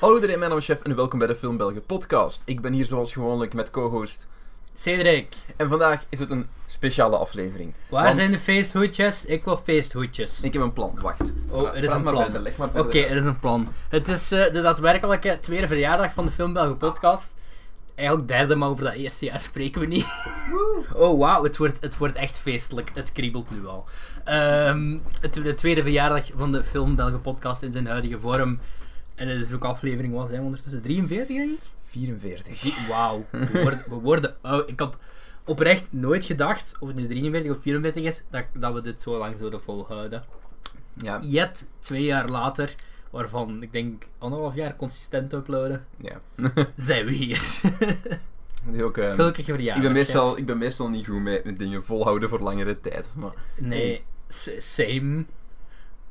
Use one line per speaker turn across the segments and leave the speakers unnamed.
Hallo iedereen, mijn naam is Chef en welkom bij de Film Belgen podcast. Ik ben hier zoals gewoonlijk met co-host.
Cedric,
En vandaag is het een speciale aflevering.
waar
Want-
zijn de feesthoedjes? Ik wil feesthoedjes.
Ik heb een plan, wacht.
Oh, er is
Praat
een
maar
plan.
verder, leg maar
Oké,
verder
er
uit.
is een plan. Het is eh, de daadwerkelijke tweede verjaardag van de Film Belgen podcast. Eigenlijk derde, maar over dat eerste jaar spreken we niet. Oh wauw, het wordt, het wordt echt feestelijk. Het kriebelt nu al. Ehm, het, de tweede verjaardag van de Film Belgen podcast in zijn huidige vorm. En het is ook aflevering, wat zijn we ondertussen? 43 denk ik?
44.
Die- Wauw, we worden, we worden oud. Ik had oprecht nooit gedacht, of het nu 43 of 44 is, dat, dat we dit zo lang zouden volhouden.
Ja,
Yet, twee jaar later, waarvan ik denk anderhalf jaar consistent uploaden,
ja.
zijn we hier.
Die ook, ehm,
Gelukkig verjaardag.
ik, ben
hè.
meestal, ik ben meestal niet goed met, met dingen volhouden voor langere tijd. Maar,
Nee, s- same.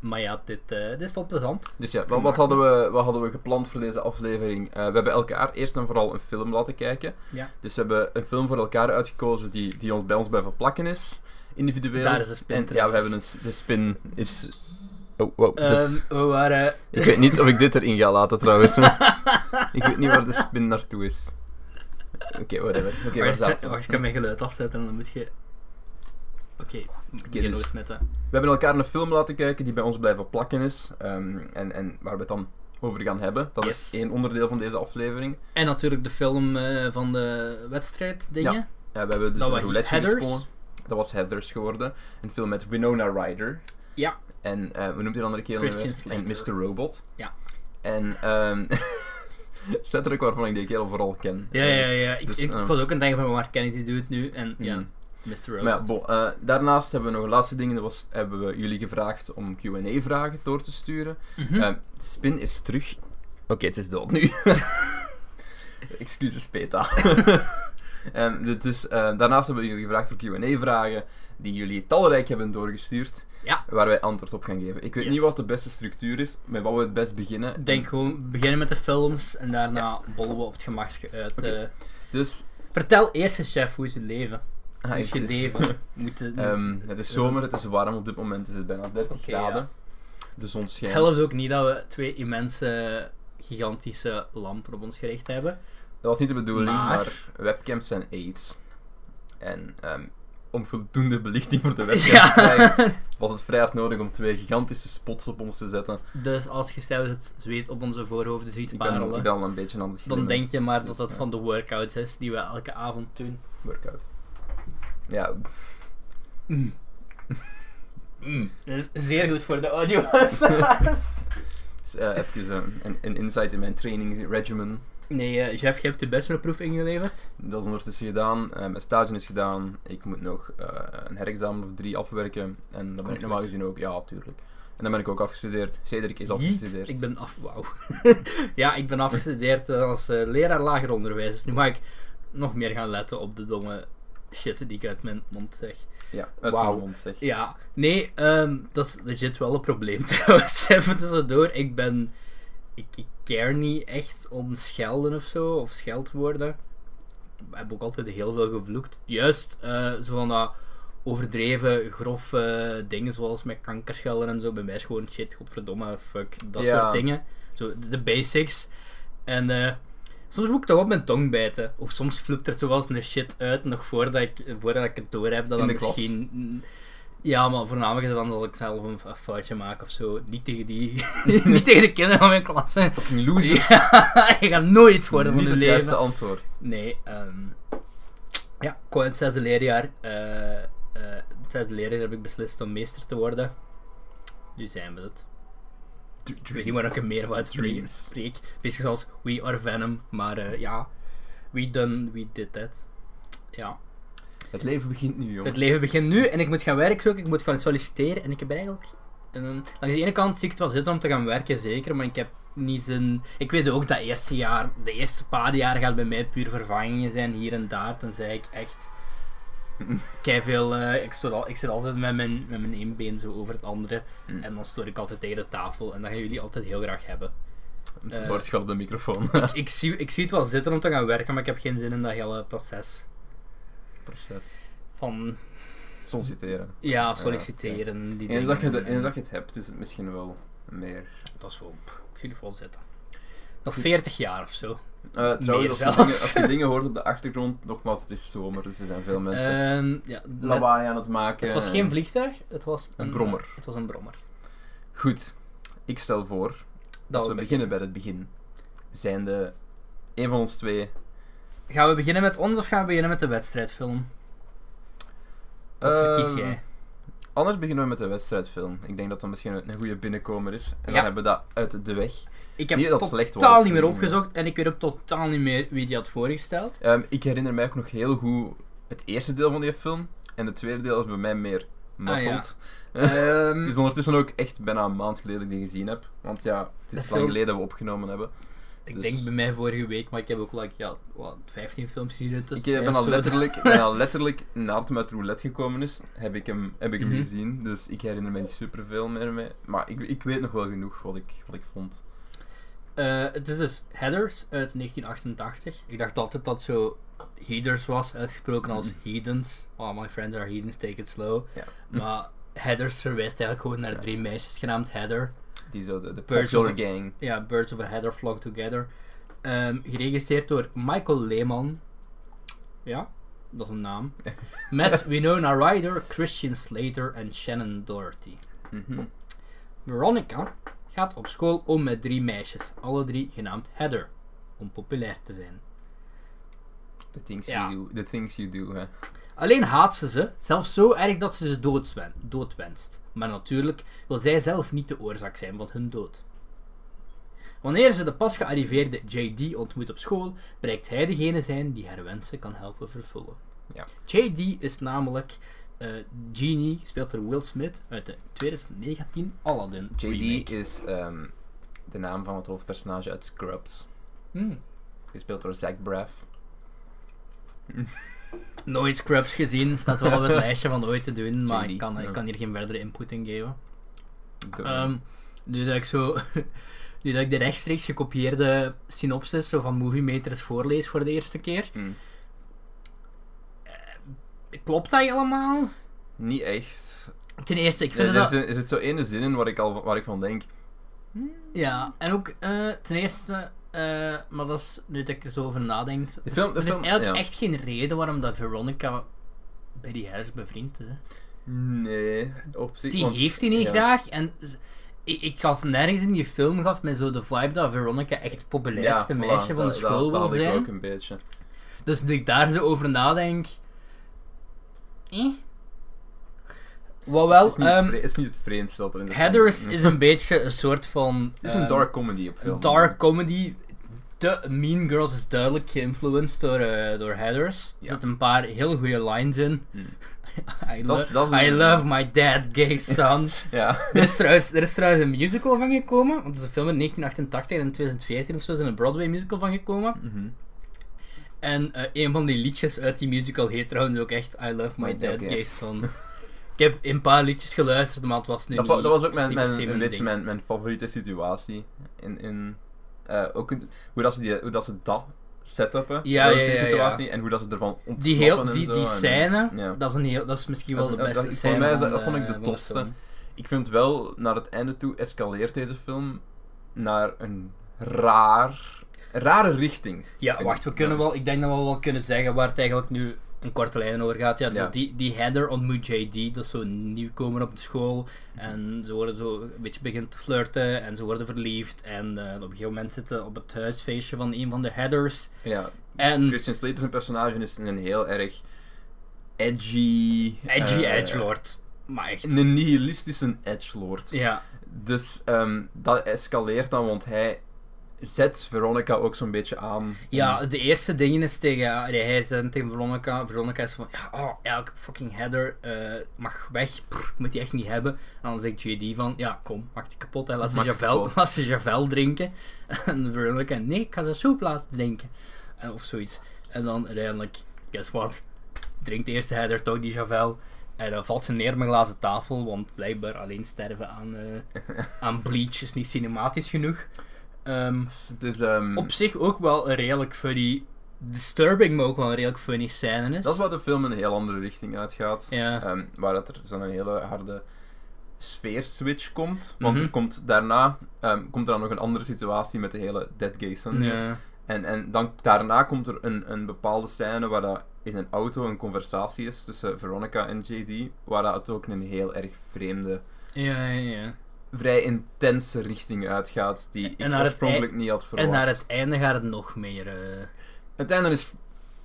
Maar ja, dit, eh, dit is wel plezant.
dus ja, wat, wat hadden we, wat hadden we gepland voor deze aflevering? Eh, we hebben elkaar eerst en vooral een film laten kijken.
Ja.
Dus we hebben een film voor elkaar uitgekozen die, die ons bij ons bij verplakken is. Individueel.
Daar is de spin
En, ja, we
trouwens.
hebben een, s- de spin is... Oh, wow, dat is-
Ehm, we waren...
Ik weet niet of ik dit erin ga laten trouwens. maar ik weet niet waar de spin naartoe is. Oké, whatever. Oké, waar
wacht,
zaten we?
wacht, ik kan mijn geluid afzetten en dan moet je... Oké, ik begin
dus-
nog eens met de...
We hebben elkaar een film laten kijken die bij ons blijven plakken is. ehm, en, en waar we het dan over gaan hebben. Dat
Yes.
is één onderdeel van deze aflevering.
En natuurlijk de film eh, van de wedstrijd dingen.
Ja. Ja, we hebben dus
Dat
een
was
roulette
Heathers.
gespeeld. Dat was Heathers geworden. Een film met Winona Ryder.
Ja.
En eh, we noemen die andere keer
Christian
weer? en Mr.
Slater.
Robot.
Ja.
En ehm Cedric, waarvan ik die kerel vooral ken.
Ja, ja, ja. Ik,
Dus,
ik, ik
ehm,
was ook aan het denken van waar ken ik die dude nu? En ja,
Mhm.
Mr. Robot.
Maar ja, bon, eh, daarnaast hebben we nog een laatste ding. Dat was, hebben we jullie gevraagd om Q&A-vragen door te sturen.
Mhm.
Eh, de spin is terug. Oké, het is dood nu. Excuses, Peta. Ehm, dus, dus, eh, daarnaast hebben we jullie gevraagd voor Q&A-vragen die jullie talrijk hebben doorgestuurd.
Ja.
Waar wij antwoord op gaan geven. Ik weet
Yes.
niet wat de beste structuur is, met wat we het best beginnen. Ehm,
Denk gewoon, beginnen met de films en daarna bollen we op het gemak uit.
Oké.
eh.
Dus,
vertel eerst eens, chef, hoe is het leven?
ah,
Hoe is
ik-
je leven? Moet het-
Ehm,
moet-
het is zomer, het is warm op dit moment. Het is bijna 30
Oké,
graden.
ja.
De zon
Het
schijnt.
helpt ook niet dat we twee immense, gigantische lampen op ons gericht hebben.
Dat was niet de bedoeling, maar,
Maar-
webcams zijn aids. En ehm, om voldoende belichting voor de webcam te
Ja.
krijgen, was het vrij hard nodig om twee gigantische spots op ons te zetten.
Dus als je zelfs het zweet op onze voorhoofden ziet
Ik ben, al-
parelen,
ik ben al een beetje aan het
dan
glimmen.
denk je maar
Dus,
dat dat
ja.
van de workouts is die we elke avond doen.
Workout. Ja, Mm.
Dat is zeer goed voor de audio.
dus, eh, even eh, een, een insight in mijn training regimen.
nee, eh, Jeff, je hebt de bachelorproef ingeleverd.
Dat is ondertussen gedaan, eh, mijn stage is gedaan, ik moet nog eh, een herexamen of drie afwerken. En dan ben ik
Komt
normaal
goed.
gezien ook, ja, tuurlijk. En dan ben ik ook afgestudeerd. Cedric is afgestudeerd.
Jeet, Ik ben af... Wauw. ja, ik ben afgestudeerd eh, als eh, leraar lager onderwijs. Dus nu mag ik nog meer gaan letten op de domme shit die ik uit mijn mond zeg.
Ja, uit
Wauw.
mijn mond zeg.
Ja, nee, ehm, dat is legit wel een probleem trouwens. Even tussendoor, ik ben... Ik, ik care niet echt om schelden of zo, of scheldwoorden. Ik heb ook altijd heel veel gevloekt. Juist, eh, zo van dat overdreven, grof eh, dingen zoals met kankerschelden en zo. Bij mij is gewoon shit, godverdomme, fuck, dat
Ja.
soort dingen. Zo, de, de basics. En eh, soms moet ik toch op mijn tong bijten. Of soms vloept er zo wel eens een shit uit, nog voordat ik, voordat ik het door heb. Dat
In
dan
de klas.
misschien... Ja, maar voornamelijk is het dan dat ik zelf een, een foutje maak of zo. Niet tegen die... niet tegen de kinderen van mijn klas. hè.
Fucking loser.
Ja, je gaat nooit iets worden
Niet
van je
het
leven.
juiste antwoord.
Nee, ehm ja, ik wou in het zesde leerjaar. eh, eh, het zesde leerjaar heb ik beslist om meester te worden. Nu zijn we het. Ik weet niet waar ik er meer van uit spreek.
Dreams.
spreek. Beetje zoals We Are Venom, maar eh, ja. We done, we did that. Ja.
Het leven begint nu, jongens.
Het leven begint nu en ik moet gaan werken zoeken, ik moet gaan solliciteren en ik heb eigenlijk... ehm, langs de ene kant zie ik het wel zitten om te gaan werken, zeker, maar ik heb niet zin... Ik weet ook dat eerste jaar, de eerste paar jaar gaat bij mij puur vervangingen zijn, hier en daar, tenzij ik echt... Keiveel, eh ik, zit al, ik zit altijd met mijn, met mijn één been zo over het andere
Mm.
en dan stoor ik altijd tegen de tafel en dat gaan jullie altijd heel graag hebben.
Het
eh,
woord gaat Mm. op de microfoon.
Ik zie, ik zie het wel zitten om te gaan werken, maar ik heb geen zin in dat hele proces
Proces.
van...
Solliciteren.
Ja, solliciteren, die
Eens
dingen.
dat, je de,
en-
eens dat je het hebt, is het misschien wel meer.
Dat is wel... pff, Ik zie het wel zitten. Nog 40 jaar of zo.
Eh, trouwens,
Meer
als
zelfs.
je, dingen, als je dingen hoort op de achtergrond, nogmaals, het is zomer, dus er zijn veel mensen
Ehm, ja, net-
lawaai aan het maken.
het was
en-
geen vliegtuig, het was een,
brommer.
Het was een brommer.
Goed, ik stel voor dat,
Dat
we beginnen bij het begin. Zijn de een van ons twee.
Gaan we beginnen met ons of gaan we beginnen met de wedstrijdfilm? Wat verkies
Ehm,
jij?
Anders beginnen we met de wedstrijdfilm. Ik denk dat dat misschien een goede binnenkomer is. En
Ja.
dan hebben we dat uit de weg.
Ik heb
niet dat het slecht
totaal
wordt,
niet meer
maar-
opgezocht en ik weet ook totaal niet meer wie die had voorgesteld.
Ehm, ik herinner mij ook nog heel goed het eerste deel van die film. En het tweede deel is bij mij meer muffled.
Ehm,
Het is ondertussen ook echt bijna een maand geleden dat ik die gezien heb. Want ja, het is
De
lang
film-
geleden dat we opgenomen hebben.
ik
dus-
denk bij mij vorige week, maar ik heb ook like, ja, wat, 15 films gezien in
Ik
tussen.
eh, ben al letterlijk, ben al letterlijk nadat hem uit roulette gekomen is, heb ik hem, heb ik hem
Mhm.
gezien. Dus ik herinner me niet superveel meer mee. Maar ik, ik weet nog wel genoeg wat ik, wat ik vond.
Eh, het is dus Headers uit 1988. Ik dacht altijd dat zo Headers was, uitgesproken als Heathens. Oh, my friends are Heathens, take it slow.
Ja.
Maar Headers verwijst eigenlijk gewoon naar drie meisjes genaamd Heather.
Die zo, de, de
Birds of-
Popular Gang.
Ja, Birds of a Heather Flock Together. Ehm, geregisseerd door Michael Lehman. Ja, dat is een naam. Met Winona Ryder, Christian Slater en Shannon Doherty.
Mhm.
Veronica gaat op school om met drie meisjes, alle drie genaamd Heather, om populair te zijn.
The things
Ja.
you do. The things you do, hè.
Alleen haat ze ze, zelfs zo erg dat ze ze doodswen- doodwenst. Maar natuurlijk wil zij zelf niet de oorzaak zijn van hun dood. Wanneer ze de pas gearriveerde JD ontmoet op school, blijkt hij degene zijn die haar wensen kan helpen vervullen.
Ja.
JD is namelijk eh, Genie, gespeeld door Will Smith uit de 2019 Aladdin.
JD
remake.
is ehm, de naam van het hoofdpersonage uit Scrubs.
Hmm.
Gespeeld door Zach Braff.
Nooit Scrubs gezien, staat wel op het lijstje van ooit te doen, maar
JD,
ik kan,
ja.
ik kan hier geen verdere input in geven.
Door-
Ehm, nu dat ik zo... Nu dat ik de rechtstreeks gekopieerde synopsis zo van Movie Meters voorlees voor de eerste keer.
Mm.
Klopt dat helemaal?
Niet echt.
Ten eerste, ik
Er,
vind
er
dat...
is, een- er zit zo ene zin in waar ik, al, waar ik van denk.
Ja, en ook eh, ten eerste... eh, maar dat is, nu dat ik er zo over nadenk... er is-
film-
er
de
is
film-
eigenlijk
ja.
echt geen reden waarom dat Veronica bij die huis bevriend is. Hè.
Nee, op zich.
Die
want-
heeft hij niet
ja.
graag. En z- ik, ik had nergens in die film gaf mij zo de vibe dat Veronica echt het populairste
voilà,
meisje van de
dat- dat, dat
school wil
had
zijn.
ik ook een beetje.
Dus dat ik daar zo over nadenk. Eh? Wat
Het
wel,
is niet, het
ehm,
vre- het is niet het vreemdste dat er in de film
Headers
Mm.
is een beetje een soort van.
Het is een
ehm,
dark comedy op film.
een dark comedy. De mean Girls is duidelijk geïnfluenced door, eh, door Headers.
Ja.
Er zitten een paar heel goede lines in.
Mm.
I,
Dat is-
lo-
dat is
I
een-
love my dad, gay son.
Ja.
er, is trouwens, er is trouwens een musical van gekomen. Want het is een film in 1988 en in 2014 of zo is er een Broadway musical van gekomen.
Mhm.
En eh, een van die liedjes uit die musical heet trouwens ook echt I Love My
Oké,
Dead
oké.
Gay Son. Ik heb een paar liedjes geluisterd, maar het was nu
Dat,
niet...
wa- dat was ook
het
mijn,
niet per se
mijn, een
mijn
beetje
ding.
mijn, mijn favoriete situatie. In, in, eh, ook in- hoe, dat ze die, hoe dat ze dat setupen.
Ja,
dat is
ja,
die
ja, ja.
situatie. En hoe dat ze ervan ontsnappen
Die, heel,
en
die,
zo,
die
en-
scène,
ja.
dat, is een heel, dat is misschien
Dat
wel
is-
de
dat-
beste
dat- voor
scène eh,
mij is dat-
van
dat vond ik de
van
tofste.
film.
Ik vind wel, naar het einde toe escaleert deze film naar een raar, rare richting.
Ja,
Vind
wacht, we
ik,
kunnen
ja.
wel... Ik denk dat we wel kunnen zeggen waar het eigenlijk nu een korte lijn over gaat. Ja, dus
Ja.
Die, die header ontmoet JD, dat is zo'n nieuwkomer op de school. En ze worden zo een beetje beginnen te flirten en ze worden verliefd. En eh, op een gegeven moment zitten ze op het huisfeestje van een van de headers.
Ja.
En
Christian Slater zijn personage is een heel erg edgy...
edgy
eh,
edgelord. Maar echt.
Een nihilistische edgelord.
Ja.
Dus ehm, dat escaleert dan, want hij zet Veronica ook zo'n beetje aan.
ja, de eerste dingen is tegen... ja, nee, hij zegt tegen Veronica. Veronica is van... Ja, oh, elke fucking header eh, mag weg. Pff, moet die echt niet hebben. En dan zegt JD van... Ja, kom, maak die kapot. En laat ze
Maak ze
Javel,
kapot.
laat ze Javel drinken. En Veronica... Nee, ik ga ze soep laten drinken. En, of zoiets. En dan uiteindelijk... Guess what? Drinkt de eerste header toch die Javel. En dan valt ze neer op een glazen tafel. Want blijkbaar alleen sterven aan... eh, aan Bleach is niet cinematisch genoeg. Ehm,
Dus ehm,
op zich ook wel een redelijk funny, disturbing, maar ook wel een redelijk funny scène is.
dat is waar de film in een heel andere richting uitgaat.
Ja.
Ehm, waar dat er zo'n hele harde sfeerswitch komt. Want
Mhm.
er komt daarna ehm, komt er dan nog een andere situatie met de hele Dead Gay Sunday.
Ja.
En, en dan, daarna komt er een, een bepaalde scène waar dat in een auto een conversatie is tussen Veronica en JD. Waar dat het ook een heel erg vreemde,
Ja, ja, ja.
vrij intense richting uitgaat. Die ik
En naar het
oorspronkelijk niet had verwacht.
En naar het einde gaat het nog meer. eh,
Het einde is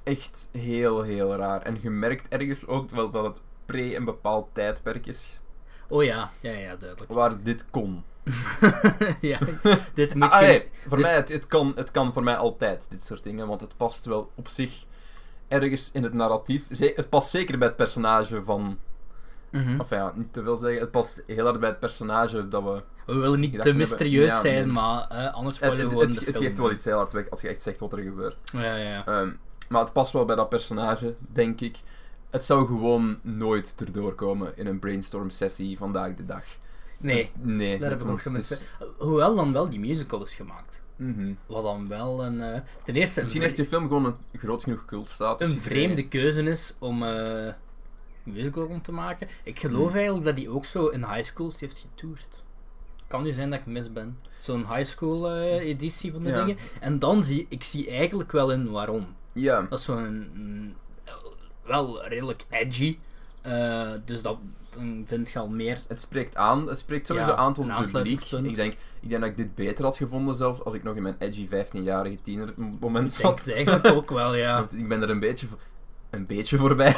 echt heel, heel raar. En je merkt ergens ook wel dat het pre een bepaald tijdperk is
Oh ja, ja, ja, duidelijk.
waar dit kon.
ja, dit moet
Oh. Ah, ah,
je-
nee, voor
dit-
mij, het, het, kan, het kan voor mij altijd, dit soort dingen, want het past wel op zich ergens in het narratief. Ze- het past zeker bij het personage van...
Mhm.
Of ja, niet te veel zeggen, het past heel hard bij het personage dat we...
We willen
Ik
niet
dacht,
te
we hebben-
mysterieus
ja,
zijn,
nee.
maar eh, anders
Het,
spoilen we
het,
gewoon
het-
de
het
film.
geeft wel iets heel hard weg als je echt zegt wat er gebeurt.
Ja, ja.
Ehm, maar het past wel bij dat personage, denk ik. Het zou gewoon nooit erdoor komen in een brainstorm sessie vandaag de dag. Eh,
Nee,
Nee.
daar
dat
hebben we ook zo
want
met...
het is-
Hoewel dan wel die musical is gemaakt.
Mhm.
Wat dan wel een... eh, ten eerste een,
Misschien heeft
vre-
die film gewoon een groot genoeg cultstatus.
een vreemde keuze is om eh, een musical om te maken. Ik geloof
Hmm.
eigenlijk dat die ook zo in high schools heeft getoerd. Kan nu zijn dat ik mis ben. Zo'n high school eh, editie van de
Ja.
dingen. En dan zie ik zie eigenlijk wel in waarom.
Ja.
Dat is zo'n. mm, wel redelijk edgy. Eh, dus dat dan vind je al meer.
Het spreekt aan, het spreekt sowieso
Ja,
aan tot
een
het publiek.
aansluitingspunt.
Ik denk, ik denk dat ik dit beter had gevonden zelfs als ik nog in mijn edgy 15-jarige tiener moment
Ik denk
zat.
het eigenlijk ook wel, ja.
Want ik ben er een beetje, vo- een beetje voorbij.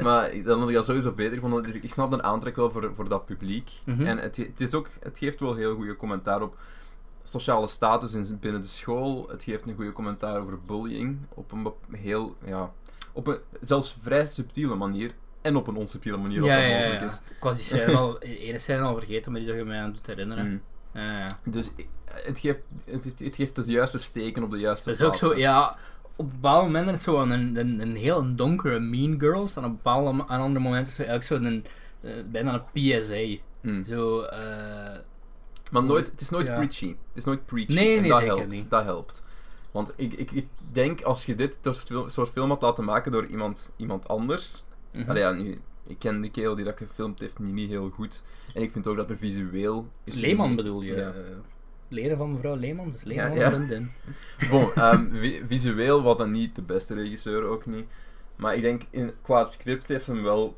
maar dan had ik dat sowieso beter gevonden. Dus ik, ik snap de aantrek wel voor, voor dat publiek.
Mhm.
En het, ge- het, is ook, het geeft wel heel goede commentaar op sociale status in, binnen de school. Het geeft een goede commentaar over bullying. Op een bep- heel, ja, op een zelfs vrij subtiele manier. En op een onsubtiele manier als
Ja,
dat
ja,
mogelijk
ja.
is.
Ik was die scène al, die ene scène al vergeten, maar die dat je mij aan doet herinneren.
Mm.
Ja, ja.
Dus i- het geeft, het, het- het geeft de juiste steken op de juiste
Dat is ook zo,
plaatsen.
ja. Op bepaalde momenten is het zo een, een, een heel donkere Mean Girls. En op bepaalde mo- aan andere momenten is het eigenlijk zo'n. eh, bijna een PSA.
Mm.
Zo, eh,
Maar nooit, het is nooit
Ja.
preachy. Het is nooit preachy.
Nee,
en
nee,
dat
zeker
helpt.
niet.
Dat helpt. Want ik, ik, ik denk als je dit tot fil- soort film had laten maken door iemand, iemand anders.
mhm.
Allee, ja, nu, ik ken de kerel die dat gefilmd heeft niet, niet heel goed. En ik vind ook dat er visueel. Is
Leeman
niet-
bedoel je?
Ja.
eh, leren van mevrouw Leeman, dus Leeman
Ja,
van
ja.
Vriendin.
Bon, ehm, vi- visueel was dat niet de beste regisseur ook niet. Maar ik denk in, qua het script heeft hem wel.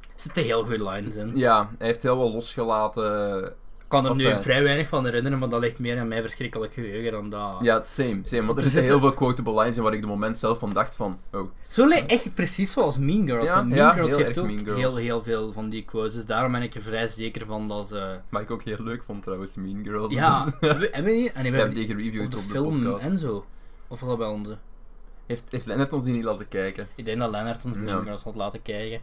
Er zitten heel goede lines in.
Ja, hij heeft heel wel losgelaten.
Ik kan er
Of,
nu
eh,
vrij weinig van herinneren, maar dat ligt meer aan mijn verschrikkelijk geheugen dan dat.
Ja, het same, same. Want er
Er
zitten heel
zitten-
veel quotable lines in waar ik de moment zelf van dacht van. Oh,
Zo lijkt echt precies zoals Mean Girls.
Ja,
want Mean
ja,
Girls
heel
heeft
erg
ook
Mean Girls.
heel heel veel van die quotes, dus daarom ben ik er vrij zeker van dat ze...
Maar ik ook heel leuk vond trouwens, Mean Girls.
Ja,
Dus,
hebben we- hebben we niet? En
we
we
hebben
hebben
die
die op
gereviewd
de
op de,
film
podcast.
en zo. Of was dat bij onze?
Heeft, heeft Lennart ons die niet laten kijken?
Ik denk dat Lennart ons Mean
Ja.
Girls had laten kijken.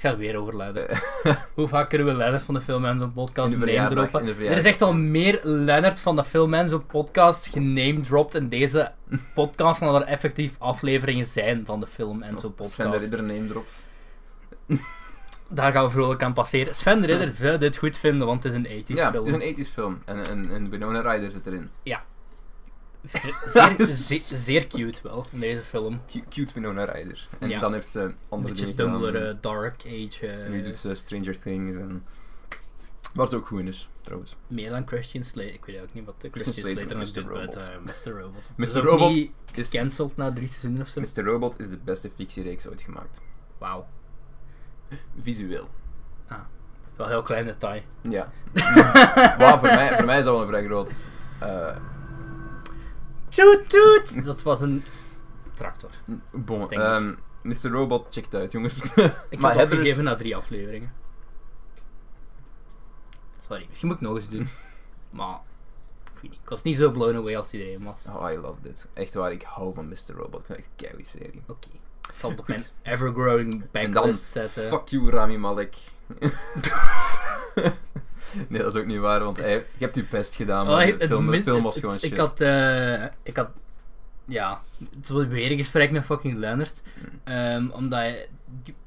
Het gaat weer over Lennart. Hoe vaak kunnen we Lennart van de film en zo'n podcast
Eh. in de
name
verjaardag.
droppen?
In de
Er is
verjaardag.
echt al meer Leonard van de Film en zo'n podcast genamedropt in deze podcast dan er effectief afleveringen zijn van de film en zo'n
Sven de
podcast.
Ridder name drops.
Daar gaan we vrolijk aan passeren. Sven de Ridder zou dit goed vinden, want het is een 80s
Ja,
film.
het is een e- 80s film. En, en, en Winona Ryder zit erin.
Zeer, ze- zeer cute wel, in deze film.
Cu- Cute Winona Ryder. En
Ja.
dan heeft ze
Een
andere
beetje
dingen gedaan.
Tumblr, eh, Dark Age, eh,
nu doet ze Stranger Things en... Waar ze ook goed in is, trouwens.
meer dan Christian Slater. Ik weet ook niet wat de Christian,
Christian
Slater nog doet,
Slater, Mr.
buiten eh, Mr. Robot.
Mr.
Is ook
Robot
niet
Is
gecanceld na drie seizoenen of zo.
Mr. Robot is de beste fictiereeks ooit gemaakt.
Wauw. Ah.
Visueel.
Wel een heel klein detail.
Ja. Wauw, voor, mij, voor mij is dat wel een vrij groot... eh,
Toet toet! Dat was een tractor.
bon,
Denk
ehm, Mr. Robot, check het uit, jongens.
Ik
Maar
heb het
Heather is-
gegeven na drie afleveringen. Sorry, misschien moet ik nog eens doen. maar, ik weet niet. Ik was niet zo blown away als iedereen was.
Oh, I love dit. Echt waar, ik hou van Mr. Robot. Ik vind het echt een keigoeie serie.
Oké. Ik zal het op mijn ever-growing
En dan,
backlist zetten.
fuck you Rami Malek. nee, dat is ook niet waar, want hij, je hebt je best gedaan,
Oh,
maar
het
de, film, de
min-
film was
het-
gewoon
het-
shit.
Ik had, eh, ik had, ja, het was weer een gesprek met fucking Leonard. Ehm, omdat hij-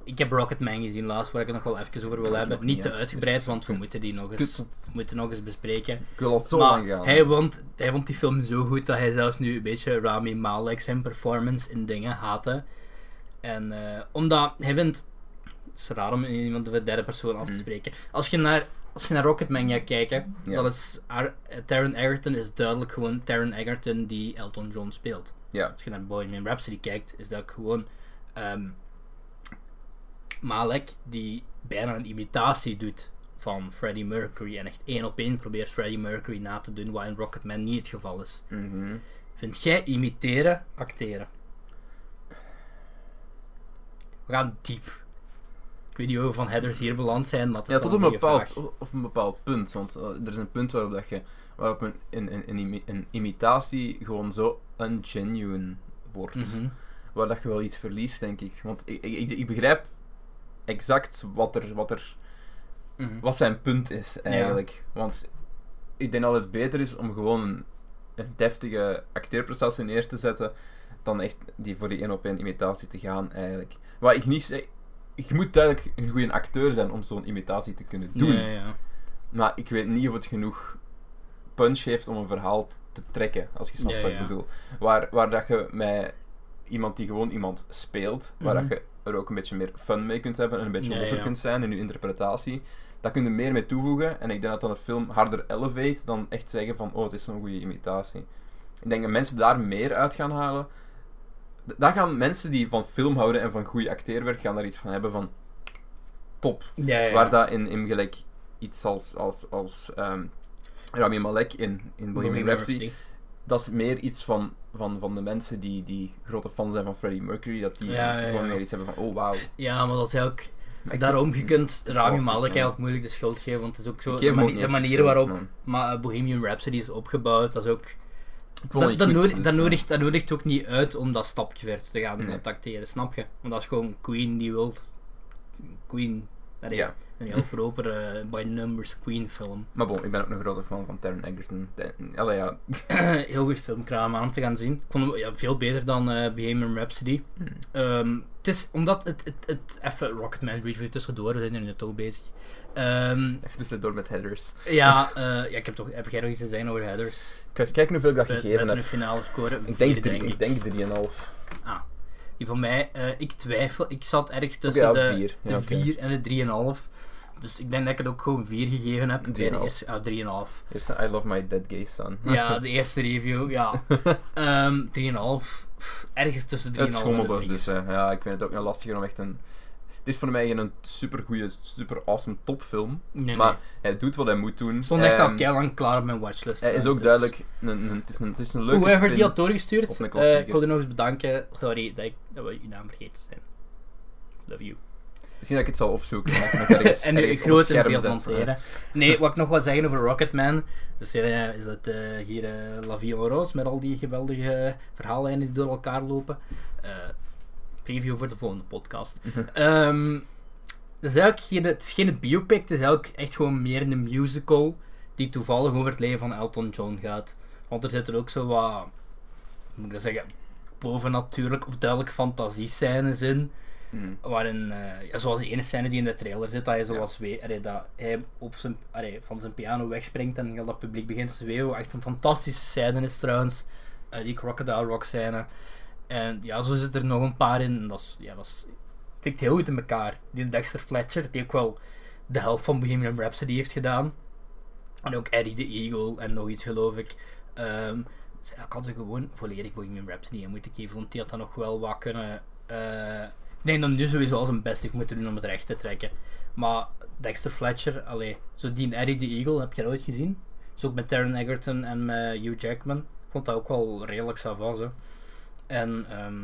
ik heb Rocketman gezien laatst, waar ik het nog wel even over wil
Ik
hebben.
nog
Niet
niet,
te
ja.
uitgebreid, want we moeten die nog eens,
Kut.
we moeten nog eens bespreken.
Ik wil al zo
Maar
lang gaan.
Hij vond, hij vond die film zo goed dat hij zelfs nu een beetje Rami Malek zijn performance in dingen haatte. En eh, omdat hij vindt Het is raar om iemand de derde persoon af te spreken. Als je naar, als je naar Rocketman gaat kijken,
Mhm. Ja.
dan is Ar- eh, Taron Egerton is duidelijk gewoon Taron Egerton die Elton John speelt.
Ja,
Als je naar Bohemian Rhapsody kijkt, is dat gewoon ehm, Malek die bijna een imitatie doet van Freddie Mercury en echt één op één probeert Freddie Mercury na te doen wat in Rocketman niet het geval is.
mhm.
Vind jij imiteren acteren? We gaan diep. Ik weet niet hoe we van headers hier beland zijn, maar het is
ja
wel
tot een
goeie
bepaald,
vraag.
op op een bepaald punt. Want eh, er is een punt waarop, dat je, waarop een, een, een, een imi- een imitatie gewoon zo ungenuine wordt.
Mhm.
waar dat je wel iets verliest, denk ik. Want ik, ik, ik- ik begrijp exact wat, er, wat, er,
Mhm.
wat zijn punt is, eigenlijk. Want ik denk dat het beter is om gewoon een, een deftige acteerprestatie neer te zetten, dan echt die voor die één-op-één imitatie te gaan, eigenlijk. Wat ik niet zeg... Je moet duidelijk een goede acteur zijn om zo'n imitatie te kunnen doen.
Ja, ja.
Maar ik weet niet of het genoeg punch heeft om een verhaal t- te trekken, als je snapt
Ja,
wat
ja.
ik bedoel. Waar, waar dat je met iemand die gewoon iemand speelt, waar
Mhm.
dat je er ook een beetje meer fun mee kunt hebben en een beetje
Ja,
losser
ja.
kunt zijn in je interpretatie, daar kun je meer mee toevoegen. En ik denk dat dan een film harder elevate dan echt zeggen van, oh, het is zo'n goede imitatie. Ik denk dat mensen daar meer uit gaan halen. D- Daar gaan mensen die van film houden en van goede acteerwerk, gaan daar iets van hebben van, top.
Ja, ja, ja.
Waar dat in, in gelijk iets als, als, als ehm, Rami Malek in, in Bohemian Rhapsody, dat is meer iets van, van, van de mensen die, die grote fan zijn van Freddie Mercury, dat die
Ja, ja,
gewoon
ja.
meer iets hebben van, oh wauw.
Ja, maar dat is eigenlijk...
Ik-
Daarom, je kunt
is
Rami
lastig,
Malek
ja.
eigenlijk moeilijk de schuld geven, want het is ook zo...
ik
De,
geef hem ook
mani- de
niet echt
manier
schuld,
waarop
man.
Ma- eh, Bohemian Rhapsody is opgebouwd, dat is ook...
Ik vond
Dat,
het
dat,
goed,
nodig,
dus,
dat,
eh,
nodigt, dat nodigt ook niet uit om dat stapje verder te gaan
Nee.
eh, tacteren, snap je? Want dat is gewoon Queen die wil... Queen... Allee,
Ja.
Een heel propere by numbers Queen film.
Maar bon, ik ben ook een grote fan van Taron Egerton. De- Allee, ja.
heel goed filmkraam aan om te gaan zien. Ik vond hem ja, veel beter dan eh Bohemian Rhapsody.
Hmm.
Ehm, het is omdat het, het, het even Rocketman review tussendoor, we zijn er nu toch bezig. Ehm,
Even tussendoor met headers.
ja, eh, ja, ik heb toch, heb jij nog iets te zeggen over headers?
Kijk, kijk hoeveel ik dat
Met,
gegeven
met een
heb.
finale score,
Ik
vier,
denk, drie,
denk ik.
ik denk 3,5.
Ah, die van mij, eh, ik twijfel. Ik zat erg
Oké,
tussen
ja,
de,
4.
de 4 en de 3,5. Dus ik denk dat ik het ook gewoon 4 gegeven heb. Bij de
3,5.
eerste, ah, 3,5.
Eerst een I Love My Dead Gay Son.
Ja, de eerste review, ja. Ehm 3,5. Pff, Ergens tussen 3,5 en
Het
de
schommelde
vier.
dus. Hè. Ja, ik vind het ook heel lastig om echt een. Het is voor mij geen super goede, super awesome topfilm.
Nee, nee.
Maar hij doet wat hij moet doen.
Het stond echt al
Ehm,
keilang klaar op mijn watchlist.
Hij is
trouwens,
ook
dus-
duidelijk. Een, een- het, is een, het is een leuke
Whoever
spin.
die had
op
doorgestuurd,
een
eh
klassieker.
ik wilde nog eens bedanken. Sorry dat, ik, dat we uw naam vergeten zijn. Love you.
Misschien dat ik het zal opzoeken. maar ik moet ergens-
en nu
ergens
ik
op het
groot in
scherm
beeld
zetten.
monteren. Nee, wat ik nog wil zeggen over Rocketman. Dus eh, is dat eh, hier eh La Vie en Rose met al die geweldige eh, verhalen die door elkaar lopen. Eh, preview voor de volgende podcast. Ehm dus eigenlijk geen, het is geen biopic, het is eigenlijk echt gewoon meer een musical die toevallig over het leven van Elton John gaat. Want er zitten ook zo wat, hoe moet ik dat zeggen, bovennatuurlijk of duidelijk fantasiescènes in
Mm.
waarin, eh, ja, zoals die ene scène die in de trailer zit, dat je zoals weet, allee, dat hij op zijn, allee, van zijn piano wegspringt en heel dat publiek begint te weeuwen. Wat Echt een fantastische scène is trouwens, eh, die Crocodile Rock scène. En ja, zo zit er nog een paar in en dat, is, ja, dat is, stikt heel goed in elkaar. Die Dexter Fletcher, die ook wel de helft van Bohemian Rhapsody heeft gedaan. En ook Eddie the Eagle en nog iets geloof ik. Ehm dus eigenlijk had ze gewoon volledig Bohemian Rhapsody in moeten geven, want die had dan nog wel wat kunnen... eh, ik denk dat hij nu sowieso al zijn best heeft moeten doen om het recht te trekken. Maar Dexter Fletcher, allee, zo die Eddie the Eagle, heb je dat ooit gezien? Dus ook met Taron Egerton en met Hugh Jackman. Ik vond dat ook wel redelijk savant, zo. En ehm,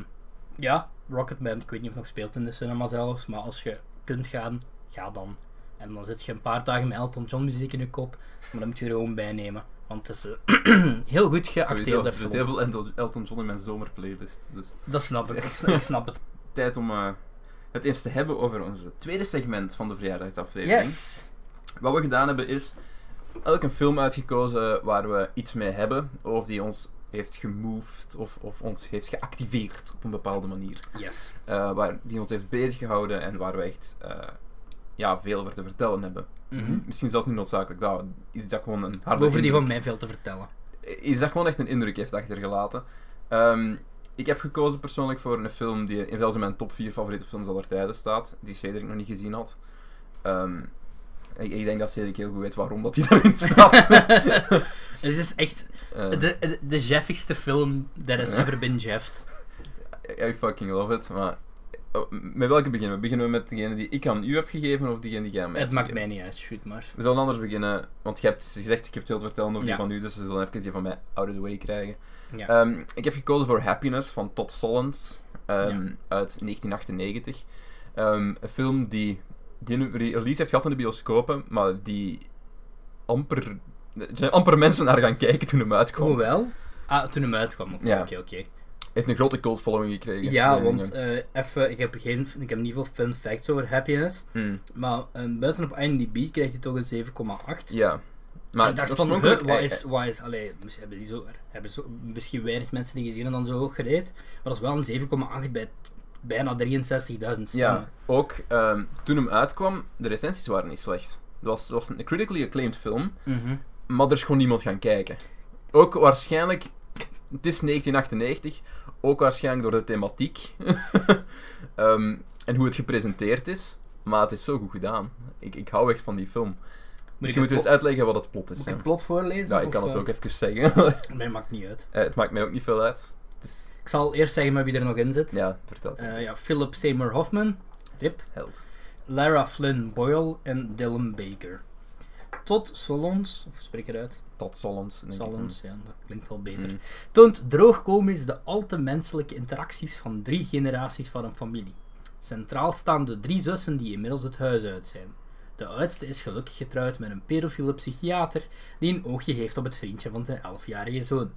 ja, Rocketman, ik weet niet of het nog speelt in de cinema zelfs, maar als je kunt gaan, ga dan. En dan zit je een paar dagen met Elton John muziek in je kop, maar dan moet je er gewoon bij nemen. Want het is eh, heel goed
Sowieso.
geacteerd.
Er zit heel veel Elton- Elton John in mijn zomerplaylist. Dus
Dat snap ik, ik snap, ik snap het.
tijd om eh, het eens te hebben over ons tweede segment van de verjaardagsaflevering.
Yes!
Wat we gedaan hebben is elk een film uitgekozen waar we iets mee hebben, of die ons heeft gemoved of, of ons heeft geactiveerd op een bepaalde manier.
Yes.
Eh, waar, die ons heeft bezig gehouden en waar we echt eh, ja, veel over te vertellen hebben.
Mhm.
Misschien zelfs niet noodzakelijk, dat, is dat gewoon een harde
Boven die
indruk-
van mij veel te vertellen.
Is dat gewoon echt een indruk heeft achtergelaten. Ehm, Ik heb gekozen persoonlijk voor een film die in zelfs in mijn top 4 favoriete films aller tijden staat, die Cedric nog niet gezien had. Ehm, ik, ik denk dat Cedric heel goed weet waarom dat hij daarin staat.
Het is echt
Eh,
de, de, de jeffigste film that has
Ja.
ever been jeffed.
I fucking love it, maar... oh, met welke beginnen we? Beginnen we met degene die ik aan u heb gegeven of degene die jij aan mij
Het
hebt
maakt
gegeven?
mij niet uit, shoot maar.
We zullen anders beginnen, want je hebt gezegd, ik heb veel te vertellen over
Ja.
die van u, dus we zullen even die van mij out of the way krijgen.
Ja.
Ehm, ik heb gekozen voor Happiness van Todd Solondz ehm, uit 1998. Ehm, een film die, die een re- release heeft gehad in de bioscopen, maar die amper... Er zijn amper mensen naar gaan kijken toen hem uitkwam.
Hoewel. Ah, toen hem uitkwam. Oké,
Ja.
oké, oké.
heeft een grote cult following gekregen.
Ja,
Nee,
want
nee.
eh, even, ik heb, geen, ik heb niet veel fun facts over happiness.
Mm,
Maar eh, buiten op IMDb krijgt hij toch een 7,8.
ja.
Maar
Maar
ik dacht
dat
van, huh,
oorspronkelijk-
wat is, wat is, allee, misschien hebben die zo, hebben zo, misschien weinig mensen die gezien en dan zo hoog gereed, maar dat is wel een 7,8 bij t- bijna 63.000 stemmen.
Ja, ook ehm, toen hem uitkwam, de recensies waren niet slecht. Het was, het was een critically acclaimed film,
Mhm.
maar er is gewoon niemand gaan kijken. Ook waarschijnlijk, het is 1998, ook waarschijnlijk door de thematiek Ehm, en hoe het gepresenteerd is. Maar het is zo goed gedaan. Ik, ik hou echt van die film.
Moet ik
Misschien
het
moeten we eens
plot-
uitleggen wat het plot is.
moet ik
hè?
het plot voorlezen?
Ja, ik
of,
kan het
eh,
ook even zeggen. Eh,
Nee, maakt niet uit.
het maakt mij ook niet veel uit. Het is,
Ik zal eerst zeggen met wie er nog in zit.
ja, vertel. het
Eh,
eens.
ja, Philip Seymour Hoffman, Rip,
Held.
Lara Flynn Boyle en Dylan Baker. Tot Solons, of spreek het uit?
Tot Solons. denk ik.
Solons, ja, dat klinkt wel beter.
Mm.
toont droogkomisch de al te menselijke interacties van drie generaties van een familie. Centraal staan de drie zussen die inmiddels het huis uit zijn. De oudste is gelukkig getrouwd met een pedofiele psychiater die een oogje heeft op het vriendje van zijn 11-jarige zoon.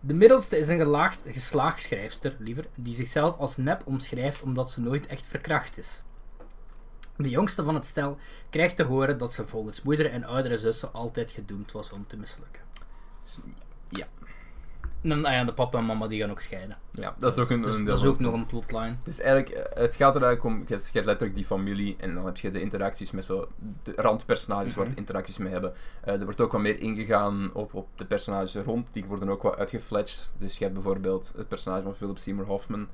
De middelste is een gelaagd, geslaagd schrijfster, liever, die zichzelf als nep omschrijft omdat ze nooit echt verkracht is. De jongste van het stel krijgt te horen dat ze volgens moeder en oudere zussen altijd gedoemd was om te mislukken.
Ja.
En dan, ah ja, de papa en mama die gaan ook scheiden.
Ja, dat is ook een,
Dus
een
dat is
deel
ook
van-
nog een plotline.
Dus eigenlijk, eh, het gaat er eigenlijk om, je hebt je hebt letterlijk die familie en dan heb je de interacties met zo de randpersonages waar ze interacties mee hebben. Eh, er wordt ook wat meer ingegaan op, op de personages er rond, die worden ook wat uitgefletcht. Dus je hebt bijvoorbeeld het personage van Philip Seymour Hoffman,